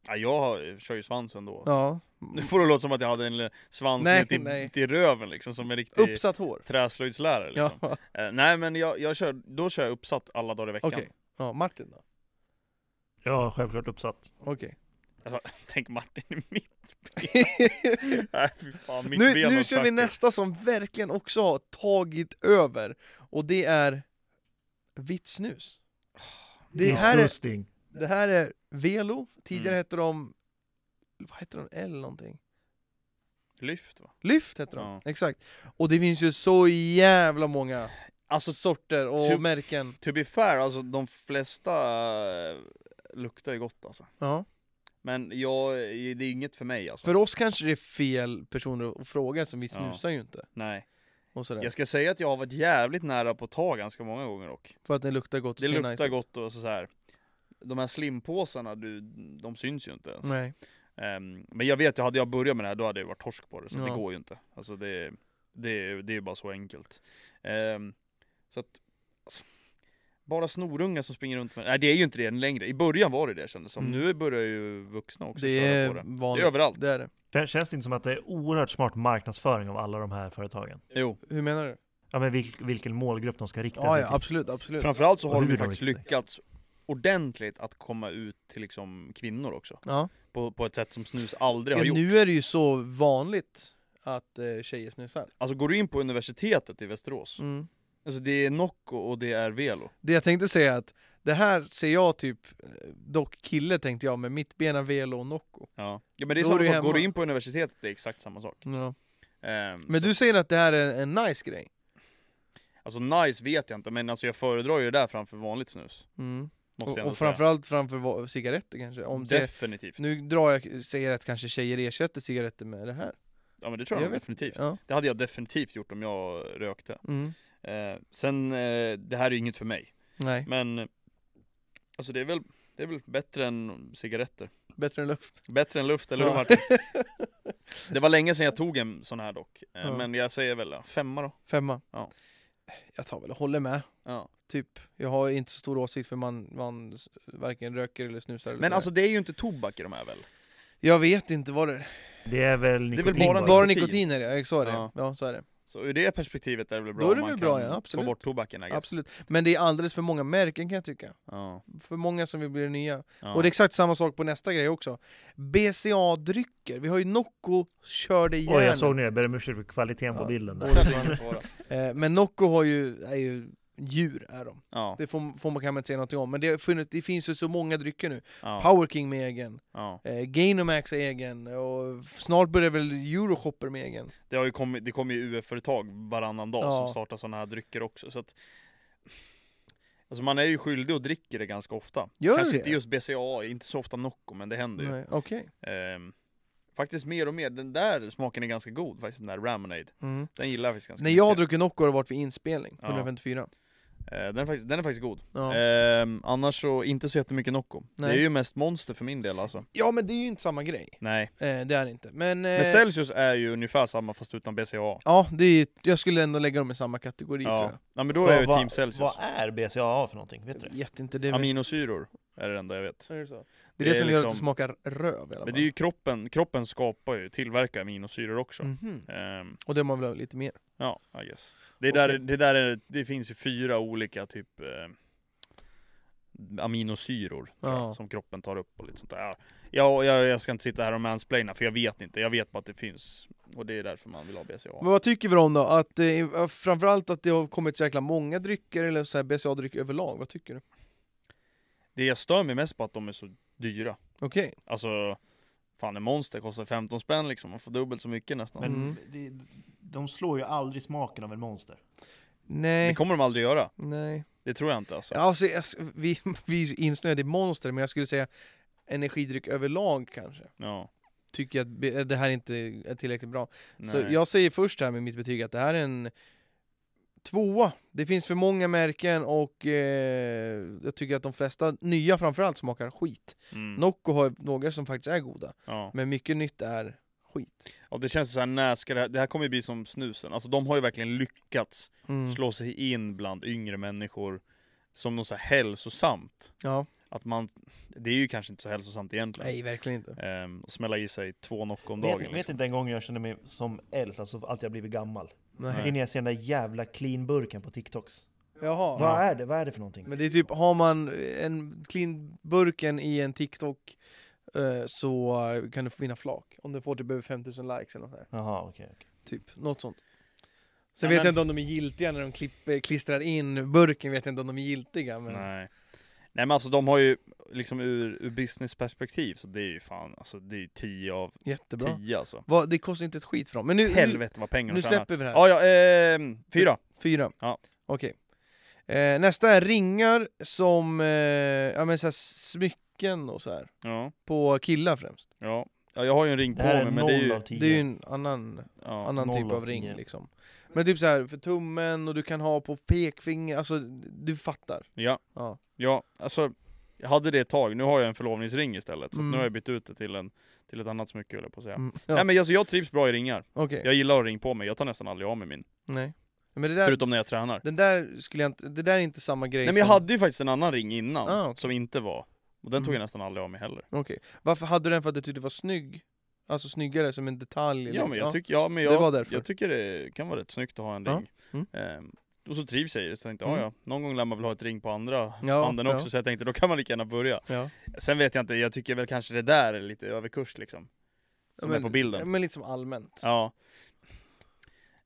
Speaker 2: Ja, jag har, kör ju svansen då.
Speaker 1: Ja.
Speaker 2: Nu får det låta som att jag hade en l- svans
Speaker 1: Nej,
Speaker 2: ner till,
Speaker 1: nej.
Speaker 2: till röven liksom, som en riktig
Speaker 1: Uppsatt hår.
Speaker 2: träslöjdslärare liksom.
Speaker 1: Ja.
Speaker 2: eh, Nej men jag, jag kör, då kör jag uppsatt alla dagar i
Speaker 1: (laughs)
Speaker 2: veckan.
Speaker 1: Okej. Ja, Martin då?
Speaker 3: Ja, självklart uppsatt.
Speaker 1: Okej.
Speaker 2: Tänk Martin i mitt (laughs) ben. nej fy fan, mitt
Speaker 1: Nu,
Speaker 2: ben
Speaker 1: nu
Speaker 2: har
Speaker 1: kör vi
Speaker 2: sagt det.
Speaker 1: nästa som verkligen också har tagit över. Och det är vitt snus. Det här är,
Speaker 3: Disgusting.
Speaker 1: det här är Velo. Tidigare
Speaker 2: Mm.
Speaker 1: hette de... Vad hette de? L någonting?
Speaker 2: Lyft va?
Speaker 1: Lyft hette de,
Speaker 2: Ja.
Speaker 1: exakt. Och det finns ju så jävla många
Speaker 2: Alltså
Speaker 1: sorter och
Speaker 2: Typ-
Speaker 1: märken.
Speaker 2: to be fair, alltså de flesta eh, luktar ju gott alltså.
Speaker 1: Ja.
Speaker 2: Men jag, det är inget för mig alltså.
Speaker 1: För oss kanske det är fel personer att fråga, som vi
Speaker 2: Ja.
Speaker 1: snusar ju inte.
Speaker 2: Nej.
Speaker 1: Och sådär.
Speaker 2: Jag ska säga att jag har varit jävligt nära på att ta ganska många gånger dock.
Speaker 1: För att det luktar gott och
Speaker 2: Det
Speaker 1: ser
Speaker 2: luktar
Speaker 1: nice ut.
Speaker 2: gott och så så här. De här slimpåsarna, du, de syns ju inte ens.
Speaker 1: Nej.
Speaker 2: Ehm, men jag vet ju, hade jag börjat med det här då hade jag varit torsk på det, så
Speaker 1: Ja.
Speaker 2: det går ju inte. Alltså det, det, det är ju bara så enkelt. Ehm, så att, alltså, bara snorungar som springer runt med Nej det är ju inte det längre, i början var det det kändes som.
Speaker 1: Mm.
Speaker 2: Nu börjar ju vuxna också
Speaker 1: Det
Speaker 2: köra
Speaker 1: är
Speaker 2: på det. Det
Speaker 1: vanligt.
Speaker 2: är överallt.
Speaker 1: Det är det.
Speaker 3: Kän- Känns det inte som att det är oerhört smart marknadsföring av alla de här företagen?
Speaker 2: Jo.
Speaker 1: Hur menar du?
Speaker 3: Ja, men vilk, vilken målgrupp de ska rikta
Speaker 1: Ja,
Speaker 3: sig
Speaker 1: ja,
Speaker 3: till.
Speaker 1: absolut, absolut.
Speaker 2: Framförallt så
Speaker 3: Och
Speaker 2: har
Speaker 3: hur
Speaker 2: de ju
Speaker 3: de
Speaker 2: faktiskt
Speaker 3: riktar sig.
Speaker 2: lyckats ordentligt att komma ut till liksom kvinnor också.
Speaker 1: Ja.
Speaker 2: På, på ett sätt som snus aldrig har
Speaker 1: Ja,
Speaker 2: gjort.
Speaker 1: nu är det ju så vanligt att eh, tjejer snusar.
Speaker 2: Alltså går du in på universitetet i Västerås,
Speaker 1: Mm.
Speaker 2: Alltså det är Nocco och det är Velo.
Speaker 1: Det jag tänkte säga är att det här ser jag typ, eh, dock kille tänkte jag, med mittbena, velo och Nocco.
Speaker 2: Ja. ja men det är
Speaker 1: Då är
Speaker 2: samma
Speaker 1: du
Speaker 2: sak,
Speaker 1: hemma. Mm.
Speaker 2: går du in på universitetet det är exakt samma sak. Ehm,
Speaker 1: Men
Speaker 2: så,
Speaker 1: du säger att det här är en nice grej?
Speaker 2: Alltså nice vet jag inte, men alltså jag föredrar ju det där framför vanligt snus. Mm. Måste
Speaker 1: Och,
Speaker 2: jag ändå
Speaker 1: och framförallt framför va- cigaretter kanske? Om
Speaker 2: säga.
Speaker 1: det,
Speaker 2: Definitivt.
Speaker 1: nu drar jag, säger att kanske tjejer ersätter cigaretter med det här.
Speaker 2: Ja men det tror
Speaker 1: Jag
Speaker 2: jag,
Speaker 1: vet
Speaker 2: definitivt.
Speaker 1: Ja.
Speaker 2: Det hade jag definitivt gjort om jag rökte.
Speaker 1: Mm.
Speaker 2: Eh, sen, eh, det här är ju inget för mig.
Speaker 1: Nej,
Speaker 2: Men, eh, alltså det är väl, det är väl bättre än cigaretter.
Speaker 1: bättre än luft.
Speaker 2: Bättre än luft, eller hur
Speaker 1: Ja. (laughs)
Speaker 2: Martin? Det var länge sedan jag tog en sån här dock. Eh,
Speaker 1: Ja.
Speaker 2: Men jag säger väl ja, femma då.
Speaker 1: Femma.
Speaker 2: Ja.
Speaker 1: Jag tar väl och håller med.
Speaker 2: Ja.
Speaker 1: Typ, jag har inte så stor åsikt för man, man s- varken röker eller snusar. Eller
Speaker 2: Men
Speaker 1: sådär.
Speaker 2: alltså det är ju inte tobak i de här väl?
Speaker 1: jag vet inte vad det är.
Speaker 3: Det är väl
Speaker 2: Det är väl
Speaker 3: nikotin
Speaker 2: bara-
Speaker 3: bara?
Speaker 1: Bara
Speaker 2: nikotin.
Speaker 1: nikotin är det, jag sa det. Ja.
Speaker 2: Ja.
Speaker 1: så är det.
Speaker 2: Så ur det perspektivet är det väl bra
Speaker 1: Då är det
Speaker 2: om
Speaker 1: väl
Speaker 2: man kan
Speaker 1: bra, ja,
Speaker 2: få
Speaker 1: absolut.
Speaker 2: bort tobaken I guess.
Speaker 1: Absolut. Men det är alldeles för många märken kan jag tycka.
Speaker 2: Ja,
Speaker 1: För många som vill bli nya. (laughs)
Speaker 2: ja.
Speaker 1: Och det är exakt samma sak på nästa grej också. BCA-drycker. Vi har ju Nocco kör det
Speaker 3: Oj, jag
Speaker 1: järnet.
Speaker 3: såg nu, jag ber om ursäkt för kvaliteten på
Speaker 1: Ja.
Speaker 3: bilden där.
Speaker 2: Både fan och fara.
Speaker 1: Eh, Men Nocco har ju, är ju djur är de.
Speaker 2: (laughs) Ja,
Speaker 1: Det får, får man kan man inte säga någonting om. Men det, har funnits, det finns ju så många drycker nu.
Speaker 2: ja,
Speaker 1: Power King med egen,
Speaker 2: ja.
Speaker 1: eh, Gainomax är egen och snart börjar väl Euroshopper med egen.
Speaker 2: Det har ju kommit, det kommer ju UF-företag varannan dag
Speaker 1: Ja.
Speaker 2: som startar sådana här drycker också så att Alltså man är ju skyldig och dricker det ganska ofta
Speaker 1: Gör
Speaker 2: Kanske
Speaker 1: det?
Speaker 2: inte just BCA, inte så ofta Nocco men det händer ju
Speaker 1: Nej, Okej.
Speaker 2: Ehm, Faktiskt mer och mer, den där smaken är ganska god faktiskt, den där Ramonade
Speaker 1: Mm.
Speaker 2: Den gillar jag faktiskt ganska
Speaker 1: När jag har
Speaker 2: mycket
Speaker 1: druckit Nocco har det varit vid inspelning,
Speaker 2: Ja.
Speaker 1: 154.
Speaker 2: Ehm, den, är faktiskt, den är faktiskt god
Speaker 1: Ja.
Speaker 2: Ehm, Annars så, inte så jättemycket Nocco Det
Speaker 1: Nej.
Speaker 2: är ju mest Monster för min del alltså
Speaker 1: ja men det är ju inte samma grej.
Speaker 2: Nej,
Speaker 1: Eh, det är det inte. Men, eh,
Speaker 2: men Celsius är ju ungefär samma fast utan BCA
Speaker 1: ja, det är, ju- jag skulle ändå lägga dem i samma kategori tror
Speaker 2: Ja,
Speaker 1: jag.
Speaker 2: ja men då är jag ju
Speaker 3: Vad-
Speaker 2: team Celsius
Speaker 3: Vad är BCAA för någonting? Vet du
Speaker 1: Jag
Speaker 3: det?
Speaker 1: vet inte, det är, väl,
Speaker 2: Aminosyror är det enda jag vet.
Speaker 1: är det, så? det är
Speaker 2: Det
Speaker 1: det,
Speaker 2: är
Speaker 1: som gör att
Speaker 2: liksom-
Speaker 1: det smakar röv i alla
Speaker 2: Men
Speaker 1: fall.
Speaker 2: det är ju kroppen, kroppen skapar ju, tillverkar aminosyror också.
Speaker 3: Mm.
Speaker 1: Mhm.
Speaker 2: Ehm,
Speaker 1: Och det man vill ha lite mer.
Speaker 2: ja, I guess. Det, är där,
Speaker 1: Okej.
Speaker 2: det, där är, det finns ju fyra olika typ eh, aminosyror tror
Speaker 1: Ja.
Speaker 2: jag, som kroppen tar upp och lite sånt där. Ja, jag, jag, jag ska inte sitta här och mansplaina för jag vet inte, jag vet bara att det finns. Och det är därför man vill ha BCA.
Speaker 1: Men vad tycker vi om då? Att, eh, framförallt att det har kommit så jäkla många drycker, eller så här BCA-drycker överlag, vad tycker du?
Speaker 2: Det jag stör mig mest på att de är så dyra.
Speaker 1: Okej.
Speaker 2: Alltså, fan en monster kostar 15 spänn liksom, man får dubbelt så mycket nästan.
Speaker 3: Men
Speaker 1: Mm.
Speaker 3: det, de slår ju aldrig smaken av en monster.
Speaker 2: Det
Speaker 1: Nej.
Speaker 2: kommer de aldrig göra,
Speaker 1: Nej.
Speaker 2: det tror jag inte alltså.
Speaker 1: Ja, alltså, jag, vi, (laughs) vi är insnöade i monster, men jag skulle säga energidryck överlag kanske.
Speaker 2: Ja.
Speaker 1: Tycker jag att be- det här inte är tillräckligt bra. Så
Speaker 2: Nej.
Speaker 1: jag säger först här med mitt betyg att det här är en tvåa. Det finns för många märken och eh, jag tycker att de flesta, nya framförallt, smakar skit.
Speaker 2: Mm.
Speaker 1: Nocco har några som faktiskt är goda,
Speaker 2: Ja.
Speaker 1: men mycket nytt är skit.
Speaker 2: Och det känns så här, när ska det här, det här kommer ju bli som snusen. Alltså de har ju verkligen lyckats
Speaker 1: Mm.
Speaker 2: slå sig in bland yngre människor som något så här hälsosamt.
Speaker 1: Ja.
Speaker 2: Att man, det är ju kanske inte så hälsosamt egentligen.
Speaker 1: Nej, verkligen inte.
Speaker 2: Ehm, att smälla i sig två Nocco om
Speaker 3: Jag
Speaker 2: dagen.
Speaker 3: vet, vet
Speaker 2: liksom.
Speaker 3: inte en gång jag känner mig som äldst, alltså allt jag blivit gammal. Det är
Speaker 1: Nej.
Speaker 3: när jag ser den där jävla clean-burken på TikToks.
Speaker 1: Jaha.
Speaker 3: Vad är det? Vad är det för någonting?
Speaker 1: Men det är typ, har man en clean-burken i en TikTok eh, så eh, kan du få vinna flak. Om du får typ över 5000 likes eller något där.
Speaker 3: Jaha, okej. okej.
Speaker 1: Typ, något sånt. Sen
Speaker 2: Ja,
Speaker 1: vet
Speaker 2: men-
Speaker 1: jag inte om de är giltiga när de klipper, klistrar in burken, vet jag inte om de är giltiga. Men...
Speaker 2: Nej. Nej men alltså de har ju, liksom ur, ur businessperspektiv så det är ju fan, alltså det är ju 10 av
Speaker 1: Jättebra.
Speaker 2: 10 alltså.
Speaker 1: Vad- det kostar inte ett skit för dem. Men nu, nu,
Speaker 2: Helvete vad pengar de
Speaker 1: nu
Speaker 2: tjänar.
Speaker 1: släpper vi det här.
Speaker 2: Ja, ja, ehm, fyra.
Speaker 1: Fyra?
Speaker 2: Ja.
Speaker 1: Okej. Eh, nästa är ringar som, eh, ja men så här smycken och så här.
Speaker 2: Ja,
Speaker 1: På killar främst.
Speaker 2: ja. ja, jag har ju en ring på
Speaker 3: Det här
Speaker 2: mig
Speaker 3: är
Speaker 2: men det är
Speaker 3: noll
Speaker 2: ju,
Speaker 3: av tio.
Speaker 1: Det är ju en annan
Speaker 2: ja.
Speaker 1: annan
Speaker 3: noll
Speaker 1: typ
Speaker 3: av
Speaker 1: av ring
Speaker 3: tio.
Speaker 1: liksom. Men typ så här för tummen och du kan ha på pekfinger, alltså du fattar.
Speaker 2: Ja.
Speaker 1: Ja.
Speaker 2: Ja, alltså jag hade det ett tag, nu har jag en förlovningsring istället så att
Speaker 1: Mm.
Speaker 2: nu har jag bytt ut det till, en, till ett annat smycke höll jag på att säga.
Speaker 1: Mm. Ja,
Speaker 2: Nej men alltså, jag trivs bra i ringar,
Speaker 1: Okej,
Speaker 2: jag gillar att ha ring på mig, jag tar nästan aldrig av mig min.
Speaker 1: nej. Men det där,
Speaker 2: Förutom när jag tränar.
Speaker 1: den där skulle jag inte, det där är inte samma grej
Speaker 2: Nej men jag
Speaker 1: som-
Speaker 2: hade ju faktiskt en annan ring innan,
Speaker 1: Ah, okej.
Speaker 2: som inte var. Och den tog jag
Speaker 1: Mm.
Speaker 2: nästan aldrig av mig heller.
Speaker 1: Okej. Varför hade du den för att du tyckte det var snygg? Alltså snyggare som en detalj? eller-
Speaker 2: Ja men jag, tyck, ja, men
Speaker 1: Det var
Speaker 2: jag,
Speaker 1: därför.
Speaker 2: jag tycker det kan vara rätt snyggt att ha en
Speaker 1: Ja.
Speaker 2: ring.
Speaker 1: Mm.
Speaker 2: Ehm, och så trivs jag i det, så jag tänkte
Speaker 1: Mm.
Speaker 2: ja, ja, någon gång lär man väl ha ett ring på andra
Speaker 1: Ja,
Speaker 2: handen
Speaker 1: ja.
Speaker 2: också, så jag tänkte då kan man lika gärna börja.
Speaker 1: ja.
Speaker 2: Sen vet jag inte, jag tycker väl kanske det där är lite överkurs liksom. Som
Speaker 1: men,
Speaker 2: är på bilden.
Speaker 1: Men liksom allmänt.
Speaker 2: Ja.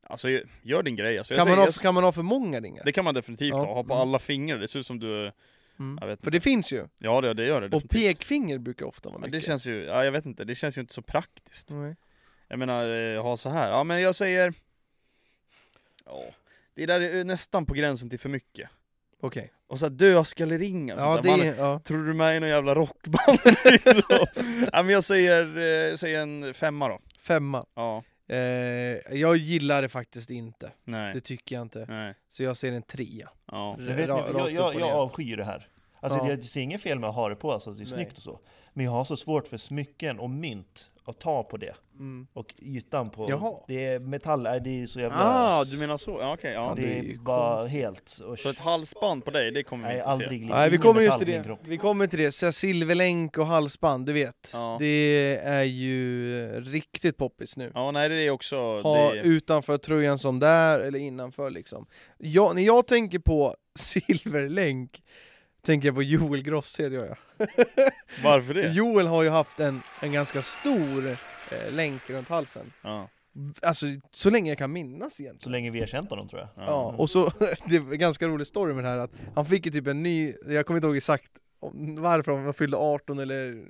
Speaker 2: Alltså gör din grej. Alltså, jag
Speaker 1: Kan man,
Speaker 2: säger,
Speaker 1: ha,
Speaker 2: jag,
Speaker 1: kan man ha för många ringar?
Speaker 2: det kan man definitivt
Speaker 1: Ja.
Speaker 2: ha, ha på
Speaker 1: Mm.
Speaker 2: alla fingrar. Det ser ut som du,
Speaker 1: Mm.
Speaker 2: jag vet
Speaker 1: För
Speaker 2: inte.
Speaker 1: det finns ju.
Speaker 2: Ja det, det gör det
Speaker 1: Och
Speaker 2: definitivt.
Speaker 1: pekfinger brukar ofta vara
Speaker 2: Ja,
Speaker 1: mycket.
Speaker 2: det känns ju, ja, jag vet inte, det känns ju inte så praktiskt.
Speaker 1: Nej.
Speaker 2: Jag menar, eh, ha så här. Ja men jag säger... Ja, det där är nästan på gränsen till för mycket.
Speaker 1: Okej.
Speaker 2: Och så här dödskalleringar
Speaker 1: Ja, det
Speaker 2: man,
Speaker 1: är... Ja.
Speaker 2: Tror du med i någon jävla rockband (laughs) liksom?
Speaker 1: (laughs)
Speaker 2: ja, men jag säger, eh, säger en femma då.
Speaker 1: Femma.
Speaker 2: Ja,
Speaker 1: Eh, jag gillar det faktiskt inte.
Speaker 2: nej,
Speaker 1: Det tycker jag inte.
Speaker 2: nej,
Speaker 1: Så jag ser en trea.
Speaker 2: ja.
Speaker 3: Men vet ni,
Speaker 1: Ra-
Speaker 3: jag,
Speaker 1: rakt upp
Speaker 3: jag,
Speaker 1: och
Speaker 3: jag
Speaker 1: ner.
Speaker 3: avskyr det här. Alltså
Speaker 1: Ja.
Speaker 3: jag ser inget fel med att ha det på, alltså det är
Speaker 1: Nej.
Speaker 3: snyggt och så. Men jag har så svårt för smycken och mynt att ta på det.
Speaker 2: Mm.
Speaker 3: Och ytan på...
Speaker 1: Jaha.
Speaker 3: Det är metall, är det är så jävla...
Speaker 2: Ah, du menar så? Ja, okej.
Speaker 3: det,
Speaker 2: ja.
Speaker 1: det är
Speaker 3: är
Speaker 1: ju
Speaker 3: bara helt... Och,
Speaker 2: Så ett halsband på dig, det kommer vi
Speaker 3: nej,
Speaker 2: inte se.
Speaker 3: aldrig ligger
Speaker 1: Nej, vi
Speaker 3: ingen
Speaker 1: kommer just
Speaker 3: metall
Speaker 1: till
Speaker 3: i min
Speaker 1: det.
Speaker 3: kropp.
Speaker 1: Vi kommer till det. Så här, silverlänk och halsband, du vet.
Speaker 2: Ja.
Speaker 1: Det är ju eh, riktigt poppis nu.
Speaker 2: Ja, nej det är också...
Speaker 1: Ha
Speaker 2: det...
Speaker 1: utanför tröjan som där, eller innanför liksom. Jag, när jag tänker på (laughs) silverlänk, tänker jag på Joel Grosshed gör jag.
Speaker 2: Varför det?
Speaker 1: Joel har ju haft en, en ganska stor eh, länk runt halsen.
Speaker 2: Ja.
Speaker 1: Alltså, så länge jag kan minnas egentligen.
Speaker 3: Så länge vi har känt honom tror jag.
Speaker 1: Ja, och så, (laughs) det är en ganska rolig story med det här att han fick ju typ en ny, jag kommer inte ihåg exakt om- varför, om han fyllde 18 eller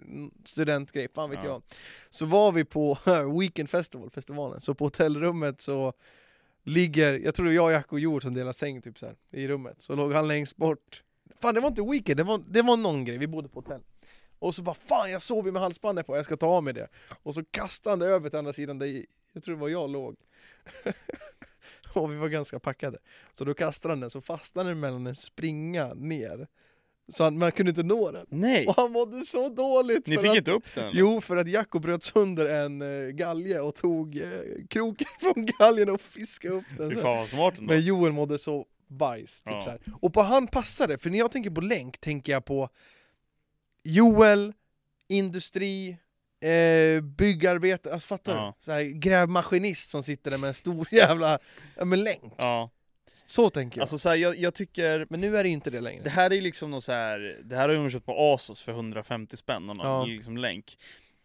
Speaker 1: studentgrej, fan vet
Speaker 2: Ja.
Speaker 1: jag. Så var vi på (laughs) Weekend Festival, festivalen, så på hotellrummet så ligger, jag tror det var jag, Jack och Jord som delar säng typ så här, i rummet, så låg han längst bort. Fan det var inte Weekend, det var, det var någon grej, vi bodde på hotell. Och så bara fan jag sov ju med halsbandet på, jag ska ta av mig det. Och så kastade han det över till andra sidan där i- jag tror det var jag låg. (laughs) och vi var ganska packade. Så då kastade han den, så fastnade den mellan en springa ner. Så han, man kunde inte nå den.
Speaker 2: Nej!
Speaker 1: Och han mådde så dåligt!
Speaker 2: Ni
Speaker 1: för
Speaker 2: fick
Speaker 1: att,
Speaker 2: inte upp den?
Speaker 1: Jo, för att Jacko bröt sönder en eh, galge och tog eh, kroken (laughs) från galgen och fiskade upp den.
Speaker 2: Fy
Speaker 1: sen.
Speaker 2: fan vad smart ändå.
Speaker 1: Men Joel mådde så bajs, typ
Speaker 2: Ja.
Speaker 1: så här. Och på han passar det, för när jag tänker på länk tänker jag på Joel, industri, eh, byggarbetare, alltså fattar
Speaker 2: Ja.
Speaker 1: du? Så här, grävmaskinist som sitter där med en stor (laughs) jävla ja, men länk.
Speaker 2: Ja.
Speaker 1: Så tänker jag.
Speaker 2: Alltså så här, jag, jag tycker...
Speaker 1: men nu är det ju inte det
Speaker 2: Det
Speaker 1: längre.
Speaker 2: här är ju liksom något så här, det här har hon köpt på Asos för 150 spänn, någon
Speaker 1: Ja.
Speaker 2: liksom länk.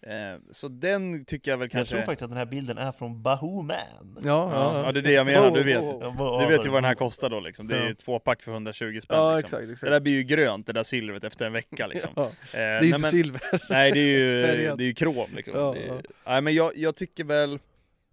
Speaker 2: Eh, så den tycker jag väl
Speaker 3: Jag
Speaker 2: kanske...
Speaker 3: tror faktiskt att den här bilden är från Bahoo Man.
Speaker 1: Ja,
Speaker 2: ja, ja, det är det jag menar, du vet.
Speaker 1: Ja,
Speaker 3: Jag bara-
Speaker 2: Du vet ju vad den här kostar då liksom, det är
Speaker 1: Ja.
Speaker 2: ju två pack för 120 spänn
Speaker 1: ja
Speaker 2: liksom.
Speaker 1: exakt. exakt.
Speaker 2: Det där blir ju grönt, det där silvret, efter en vecka liksom.
Speaker 1: (laughs) ja.
Speaker 2: Eh,
Speaker 1: Det är
Speaker 2: nej,
Speaker 1: ju inte
Speaker 2: men-
Speaker 1: silver.
Speaker 2: Nej det är
Speaker 1: (laughs)
Speaker 2: ju,
Speaker 1: Färgat.
Speaker 2: det är ju krom liksom.
Speaker 1: Ja,
Speaker 2: det,
Speaker 1: ja.
Speaker 2: Nej men jag, jag tycker väl,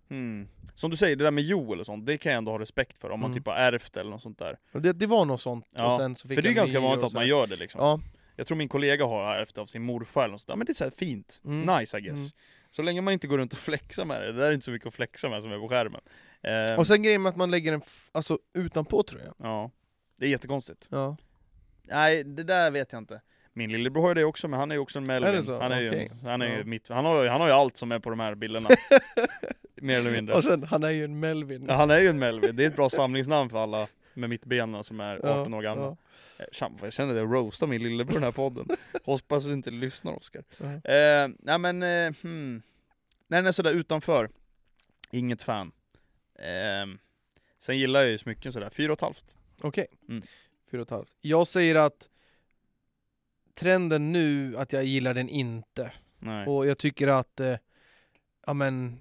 Speaker 2: hmm. som du säger det där med Joel och sånt, det kan jag ändå ha respekt för om man
Speaker 1: Mm.
Speaker 2: typ har ärvt eller något sånt där.
Speaker 1: Och Det, det var något sånt.
Speaker 2: Ja,
Speaker 1: och sen så fick
Speaker 2: för det är
Speaker 1: jag
Speaker 2: ju ganska
Speaker 1: ny
Speaker 2: vanligt
Speaker 1: och
Speaker 2: att
Speaker 1: så
Speaker 2: man
Speaker 1: här.
Speaker 2: gör det liksom.
Speaker 1: Ja,
Speaker 2: Jag tror min kollega har ärvt av sin morfar eller något sånt där, men det är så här fint,
Speaker 1: Mm.
Speaker 2: nice I guess.
Speaker 1: Mm.
Speaker 2: Så länge man inte går runt och flexar med det, det där är inte så mycket att flexa med som är på skärmen. Eh,
Speaker 1: och sen grejen med att man lägger den f- alltså, utanpå tröjan.
Speaker 2: Ja, det är jättekonstigt.
Speaker 1: Ja.
Speaker 2: Nej, det där vet jag inte. Min lillebror har ju det också, men han är ju också en Melvin.
Speaker 1: det så?
Speaker 2: Han är
Speaker 1: Okej.
Speaker 2: ju, han är ju
Speaker 1: Ja.
Speaker 2: mitt, han har, ju- han har ju allt som är på de
Speaker 1: (laughs)
Speaker 2: här bilderna. Mer eller mindre.
Speaker 1: Och sen, han är ju en Melvin.
Speaker 2: Ja, han är ju en Melvin, det är ett bra samlingsnamn för alla med mittbena som är 18 år gamla.
Speaker 1: Ja,
Speaker 2: Eh, Fan, vad jag känner det, jag roastar min lillebror i den här podden.
Speaker 1: (laughs)
Speaker 2: Hoppas du inte lyssnar Oskar.
Speaker 1: ja.
Speaker 2: Eh, nej men, eh, hmm. När den är sådär utanför, inget fan. Ehm, sen gillar jag ju smycken sådär, fyra och ett halvt.
Speaker 1: Okej,
Speaker 2: Mm.
Speaker 1: fyra och ett halvt. Jag säger att trenden nu, att jag gillar den inte.
Speaker 2: Nej.
Speaker 1: Och jag tycker att, eh, ja, men,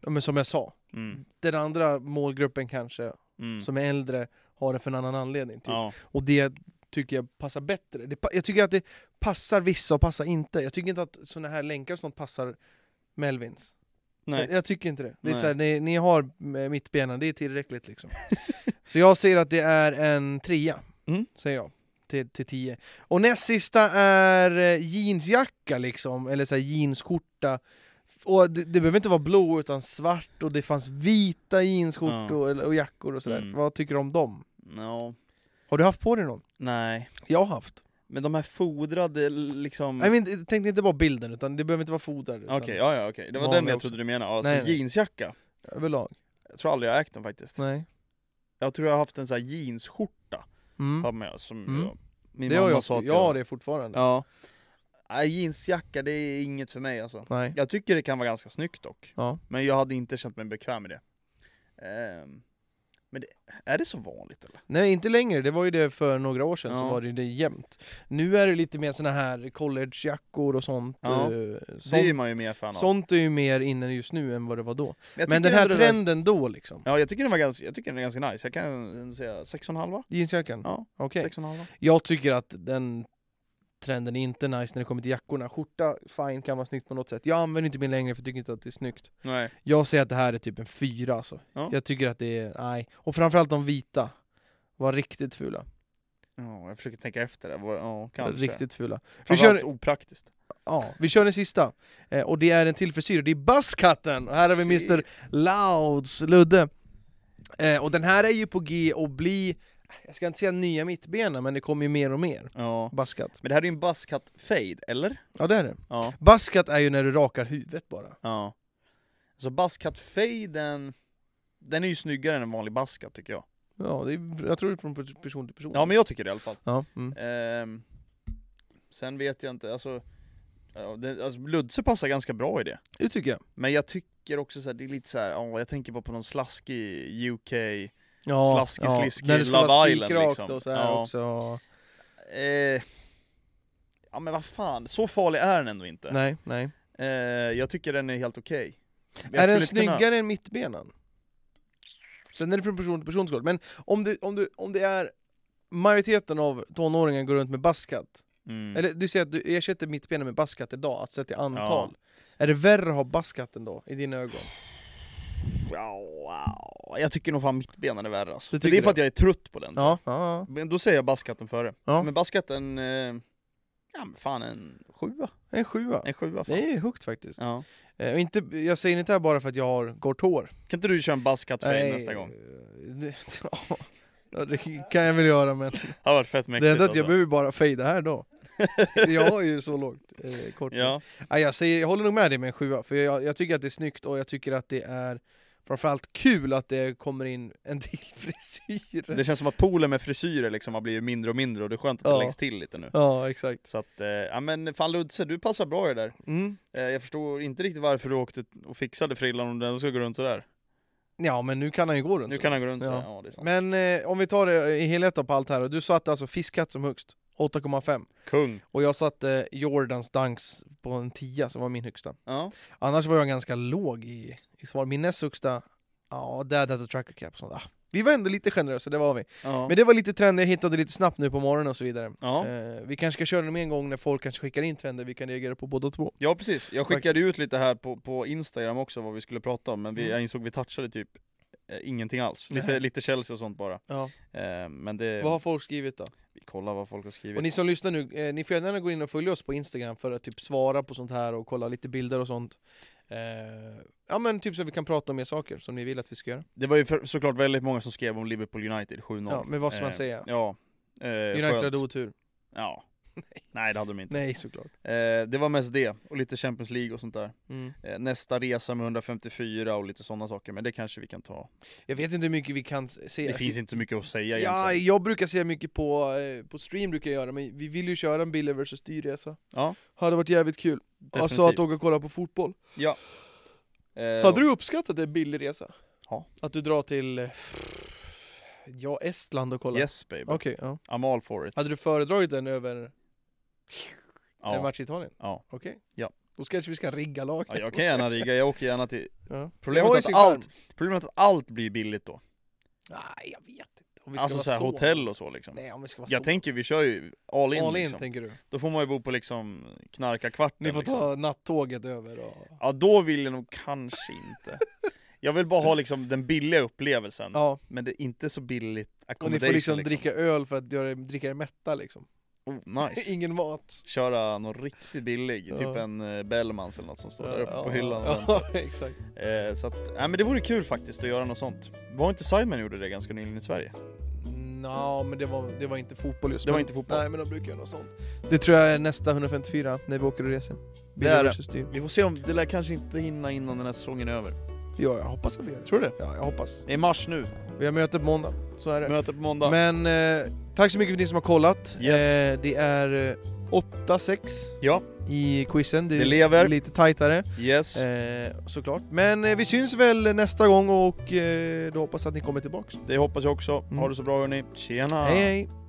Speaker 1: ja men som jag sa,
Speaker 2: Mm.
Speaker 1: den andra målgruppen kanske,
Speaker 2: Mm.
Speaker 1: som är äldre, har det för en annan anledning. Typ.
Speaker 2: Ja.
Speaker 1: Och det tycker jag passar bättre. Det, pa- jag tycker att det passar vissa och passar inte. Jag tycker inte att såna här länkar och sånt passar Melvins.
Speaker 2: Nej.
Speaker 1: Jag, jag tycker inte det. Det är
Speaker 2: Nej.
Speaker 1: så här, ni, ni har eh, mittbenen, det är tillräckligt liksom. (laughs) så jag säger att det är en trea,
Speaker 2: Mm.
Speaker 1: säger jag. Till, till tio. Och näst sista är eh, jeansjacka liksom, eller så här jeansskjorta. Och det, det behöver inte vara blå utan svart och det fanns vita jeansskjortor eller- och jackor och sådär.
Speaker 2: Mm.
Speaker 1: Vad tycker du om dem?
Speaker 2: Ja.
Speaker 1: Har du haft på dig någon?
Speaker 2: Nej.
Speaker 1: Jag har haft.
Speaker 2: Men de här fodrade liksom...
Speaker 1: Jag men, jag tänkte inte bara bilden, utan det behöver inte vara fodrad. utan
Speaker 2: Okej, ja ja okej. Det var
Speaker 1: Vanliga
Speaker 2: den jag
Speaker 1: också.
Speaker 2: trodde du menade. Alltså
Speaker 1: Nej, nej.
Speaker 2: jeansjacka.
Speaker 1: Överlag.
Speaker 2: Jag tror aldrig jag har ägt den faktiskt.
Speaker 1: Nej.
Speaker 2: Jag tror jag har haft en sån här jeansskjorta.
Speaker 1: Mm.
Speaker 2: har med, som
Speaker 1: Mm.
Speaker 2: jag, min
Speaker 1: Det har
Speaker 2: mamma
Speaker 1: jag.
Speaker 2: sa att
Speaker 1: Jag har det fortfarande.
Speaker 2: Ja. Nej, jeansjacka det är inget för mig alltså.
Speaker 1: Nej.
Speaker 2: Jag tycker det kan vara ganska snyggt dock.
Speaker 1: Ja.
Speaker 2: Men jag hade inte känt mig bekväm med det. Ehm, men det, är det så vanligt eller?
Speaker 1: Nej, inte längre. Det var ju det för några år sedan, så
Speaker 2: Ja.
Speaker 1: var det ju det jämt. Nu är det lite mer såna här collegejackor och sånt.
Speaker 2: Ja.
Speaker 1: eh,
Speaker 2: Det är
Speaker 1: sånt,
Speaker 2: man ju mer fan av.
Speaker 1: sånt är ju mer inne just nu än vad det var då.
Speaker 2: jag
Speaker 1: Men
Speaker 2: tycker
Speaker 1: den här
Speaker 2: ändå det där-
Speaker 1: trenden då liksom?
Speaker 2: Ja, jag tycker den var ganska, jag tycker den är ganska nice. Jag kan ändå säga 6,5
Speaker 1: Jeansjackan?
Speaker 2: Ja.
Speaker 1: Okej.
Speaker 2: 6,5
Speaker 1: Jag tycker att den trenden är inte nice när det kommer till jackorna. Skjorta, fine, kan vara snyggt på något sätt. Jag använder inte min längre för jag tycker inte att det är snyggt.
Speaker 2: Nej.
Speaker 1: Jag säger att det här är typ en fyra alltså.
Speaker 2: Ja.
Speaker 1: Jag tycker att det är, nej. Och framförallt de vita var riktigt fula.
Speaker 2: Ja, jag försöker tänka efter det. Vad- Ja, kanske.
Speaker 1: Riktigt fula. Vi
Speaker 2: Framförallt
Speaker 1: kör,
Speaker 2: opraktiskt.
Speaker 1: ja, vi kör den sista. Eh, och det är en till frisyr, det är Buzzcutten! Och här har vi
Speaker 2: Shit.
Speaker 1: Mr Louds Ludde. Eh, och den här är ju på G och bli jag ska inte säga nya mittbena, men det kommer ju mer och mer.
Speaker 2: Ja.
Speaker 1: Baskat.
Speaker 2: Men det här är ju en buzzcut fade, eller?
Speaker 1: Ja, det är det.
Speaker 2: Ja.
Speaker 1: Baskat är ju när du rakar huvudet bara.
Speaker 2: Ja. Så buzzcut faden, den är ju snyggare än en vanlig buzzcut tycker jag.
Speaker 1: Ja, det är, jag tror det är från person till person.
Speaker 2: Ja men jag tycker det i alla fall.
Speaker 1: Ja, mm.
Speaker 2: Ehm, sen vet jag inte, alltså, ja, det, alltså Ludse passar ganska bra i det.
Speaker 1: Det tycker jag.
Speaker 2: Men jag tycker också så här, det är lite så här, ja, jag tänker bara på någon slaskig UK
Speaker 1: Ja,
Speaker 2: Slaskig, sliskig,
Speaker 1: När det ska
Speaker 2: Love
Speaker 1: vara
Speaker 2: Island,
Speaker 1: spikrakt
Speaker 2: liksom.
Speaker 1: och så här
Speaker 2: Ja.
Speaker 1: också. och-
Speaker 2: Eh, ja men vad fan, så farlig är den ändå inte.
Speaker 1: Nej, nej.
Speaker 2: Eh, jag tycker den är helt okej. Men jag
Speaker 1: Är den
Speaker 2: skulle inte kunna-
Speaker 1: snyggare än mittbenan? Sen är det från person till person såklart, men om det, om, du, om det är majoriteten av tonåringar går runt med baskat,
Speaker 2: Mm.
Speaker 1: eller du säger att du ersätter mittbenen med baskat idag, att sett i antal. Är det värre att ha baskat ändå, i dina ögon?
Speaker 2: Wow, wow. Jag tycker nog fan mittbenen är värre alltså.
Speaker 1: Du
Speaker 2: Men
Speaker 1: tycker
Speaker 2: Det är för
Speaker 1: det?
Speaker 2: att jag är trött på den. typ.
Speaker 1: Ja, ja.
Speaker 2: Men då säger jag baskatten före.
Speaker 1: Ja.
Speaker 2: Men baskatten, eh, ja men fan en sjua.
Speaker 1: En sjua.
Speaker 2: En sjua fan.
Speaker 1: Det är högt faktiskt.
Speaker 2: Ja.
Speaker 1: Eh, och inte, jag säger inte det här bara för att jag har kort hår.
Speaker 2: Kan inte du köra en baskat för
Speaker 1: Nej,
Speaker 2: dig nästa gång?
Speaker 1: eh, det- (laughs) ja, Ja, det kan jag väl göra men
Speaker 2: Det har varit fett mäktigt
Speaker 1: det
Speaker 2: alltså.
Speaker 1: enda är att jag behöver bara fejda här
Speaker 2: (laughs)
Speaker 1: då. Jag har ju så lågt eh, kort hår.
Speaker 2: Ja,
Speaker 1: Ja, jag, säger, jag håller nog med dig med en sjua, för jag, jag tycker att det är snyggt och jag tycker att det är framförallt kul att det kommer in en till (laughs) frisyr.
Speaker 2: det känns som att poolen med frisyrer liksom har blivit mindre och mindre och det är skönt att
Speaker 1: Ja.
Speaker 2: det läggs till lite nu.
Speaker 1: Ja, exakt.
Speaker 2: Så att, eh, ja men fan Ludse, du passar bra i det där.
Speaker 1: Mm.
Speaker 2: Eh, jag förstår inte riktigt varför du åkte och fixade frillan om den ska gå runt sådär.
Speaker 1: Ja, men nu kan han ju gå runt
Speaker 2: Nu
Speaker 1: så.
Speaker 2: kan den gå runt
Speaker 1: Ja.
Speaker 2: sådär, ja det är sant.
Speaker 1: Men eh, om vi tar det i helhet då på allt här, och du satte alltså fiskat som högst, 8,5.
Speaker 2: Kung.
Speaker 1: Och jag satte Jordans Dunks på en 10 som var min högsta.
Speaker 2: Ja.
Speaker 1: Annars var jag ganska låg i, i svar. Min näst högsta, ja, Dad hade tracker cap och sånt. Ah, vi var ändå lite generösa, det var vi.
Speaker 2: Ja.
Speaker 1: Men det var lite trender jag hittade lite snabbt nu på morgonen och så vidare.
Speaker 2: ja.
Speaker 1: Eh, vi kanske ska köra dem en gång när folk kanske skickar in trender, vi kan reagera på båda två.
Speaker 2: Ja precis, jag skickade
Speaker 1: Faktiskt.
Speaker 2: ut lite här på, på Instagram också vad vi skulle prata om, men vi,
Speaker 1: Mm.
Speaker 2: jag insåg vi touchade typ eh, ingenting alls. Lite,
Speaker 1: Nej.
Speaker 2: lite Chelsea och sånt bara.
Speaker 1: Ja.
Speaker 2: Eh, men det,
Speaker 1: Vad har folk skrivit då?
Speaker 2: vi kollar vad folk har
Speaker 1: Och
Speaker 2: skrivit.
Speaker 1: ni som lyssnar nu, eh, ni får gärna gå in och följa oss på Instagram för att typ svara på sånt här och kolla lite bilder och sånt. Eh, ja men typ så vi kan prata om mer saker som ni vill att vi ska göra.
Speaker 2: Det var ju för, såklart väldigt många som skrev om Liverpool United 7-0.
Speaker 1: Ja, men vad ska man
Speaker 2: Eh,
Speaker 1: säga?
Speaker 2: Ja. Eh,
Speaker 1: United
Speaker 2: skönt.
Speaker 1: hade otur. (laughs)
Speaker 2: Ja. Nej det hade de inte.
Speaker 1: Nej såklart.
Speaker 2: Eh, det var mest det, och lite Champions League och sånt där.
Speaker 1: Mm.
Speaker 2: Eh, nästa resa med 154 och lite sådana saker, men det kanske vi kan ta.
Speaker 1: Jag vet inte hur mycket vi kan s-
Speaker 2: Det
Speaker 1: säga.
Speaker 2: finns inte så mycket att säga
Speaker 1: Ja,
Speaker 2: egentligen.
Speaker 1: jag brukar säga mycket på, eh, på stream brukar jag göra, men vi vill ju köra en Bille vs dyrresa.
Speaker 2: Ja,
Speaker 1: Hade varit jävligt kul.
Speaker 2: definitivt.
Speaker 1: Alltså att åka och kolla på fotboll.
Speaker 2: Ja. Eh,
Speaker 1: Hade du uppskattat en billig resa?
Speaker 2: Ja.
Speaker 1: Att du drar till, eh, ja Estland och kollar?
Speaker 2: Yes baby.
Speaker 1: Okej, ja.
Speaker 2: I'm all for it.
Speaker 1: Hade du föredragit den över en
Speaker 2: Ja.
Speaker 1: match i Italien?
Speaker 2: Ja.
Speaker 1: Okej.
Speaker 2: Ja.
Speaker 1: Då kanske vi ska rigga laget.
Speaker 2: ja, jag kan gärna rigga, jag åker gärna till...
Speaker 1: Ja.
Speaker 2: Problemet
Speaker 1: Det har
Speaker 2: är
Speaker 1: ju
Speaker 2: att
Speaker 1: sin
Speaker 2: allt-
Speaker 1: charm.
Speaker 2: Problemet är att allt blir billigt då.
Speaker 1: Nej, jag vet inte. Om vi ska
Speaker 2: Alltså
Speaker 1: vara
Speaker 2: såhär
Speaker 1: så.
Speaker 2: hotell och så liksom.
Speaker 1: Nej, om vi ska vara
Speaker 2: jag
Speaker 1: så.
Speaker 2: tänker vi kör ju all in,
Speaker 1: All in
Speaker 2: liksom.
Speaker 1: tänker du.
Speaker 2: Då får man ju bo på liksom knarkarkvarten
Speaker 1: Ni får
Speaker 2: liksom.
Speaker 1: ta
Speaker 2: Mm.
Speaker 1: nattåget över och...
Speaker 2: Ja då vill jag nog kanske inte. jag vill bara ha liksom den billiga upplevelsen.
Speaker 1: Ja,
Speaker 2: Men det är inte så billigt
Speaker 1: och ni får
Speaker 2: accommodation
Speaker 1: liksom, dricka öl för att göra, dricka er mätta liksom.
Speaker 2: Oh,
Speaker 1: (laughs)
Speaker 2: nice.
Speaker 1: Ingen mat.
Speaker 2: Köra någon riktigt billig,
Speaker 1: Ja.
Speaker 2: typ en eh, Bellmans eller något som står där uppe på
Speaker 1: Ja,
Speaker 2: hyllan. och (laughs) väntar.
Speaker 1: (laughs) Ja, exakt.
Speaker 2: Eh, så att, nej men det vore kul faktiskt att göra något sånt. Var inte Simon gjorde det ganska nyligen i Sverige?
Speaker 1: Nå, men det var, det var inte fotboll just
Speaker 2: Det var
Speaker 1: men-
Speaker 2: inte fotboll.
Speaker 1: Nej, men de brukar göra något sånt. Det tror jag är nästa 154, när vi åker och reser.
Speaker 2: Det är det.
Speaker 1: versus dyr.
Speaker 2: Vi får se om det lär kanske inte hinna innan den här säsongen är över.
Speaker 1: Ja, jag hoppas att vi gör det.
Speaker 2: Tror du det?
Speaker 1: Ja, jag hoppas.
Speaker 2: Det är mars nu,
Speaker 1: Vi har möte på måndag, så är det.
Speaker 2: möte på måndag.
Speaker 1: Men eh, tack så mycket för ni som har kollat.
Speaker 2: Yes.
Speaker 1: Eh, det är eh, 8-6
Speaker 2: Ja.
Speaker 1: i quizen.
Speaker 2: Det lever.
Speaker 1: lite tajtare
Speaker 2: Yes,
Speaker 1: eh, såklart. Men eh, vi syns väl nästa gång och eh, då hoppas att ni kommer tillbaks.
Speaker 2: det hoppas jag också.
Speaker 1: Mm.
Speaker 2: Ha det så bra hörni. Tjena!
Speaker 1: Hej hej!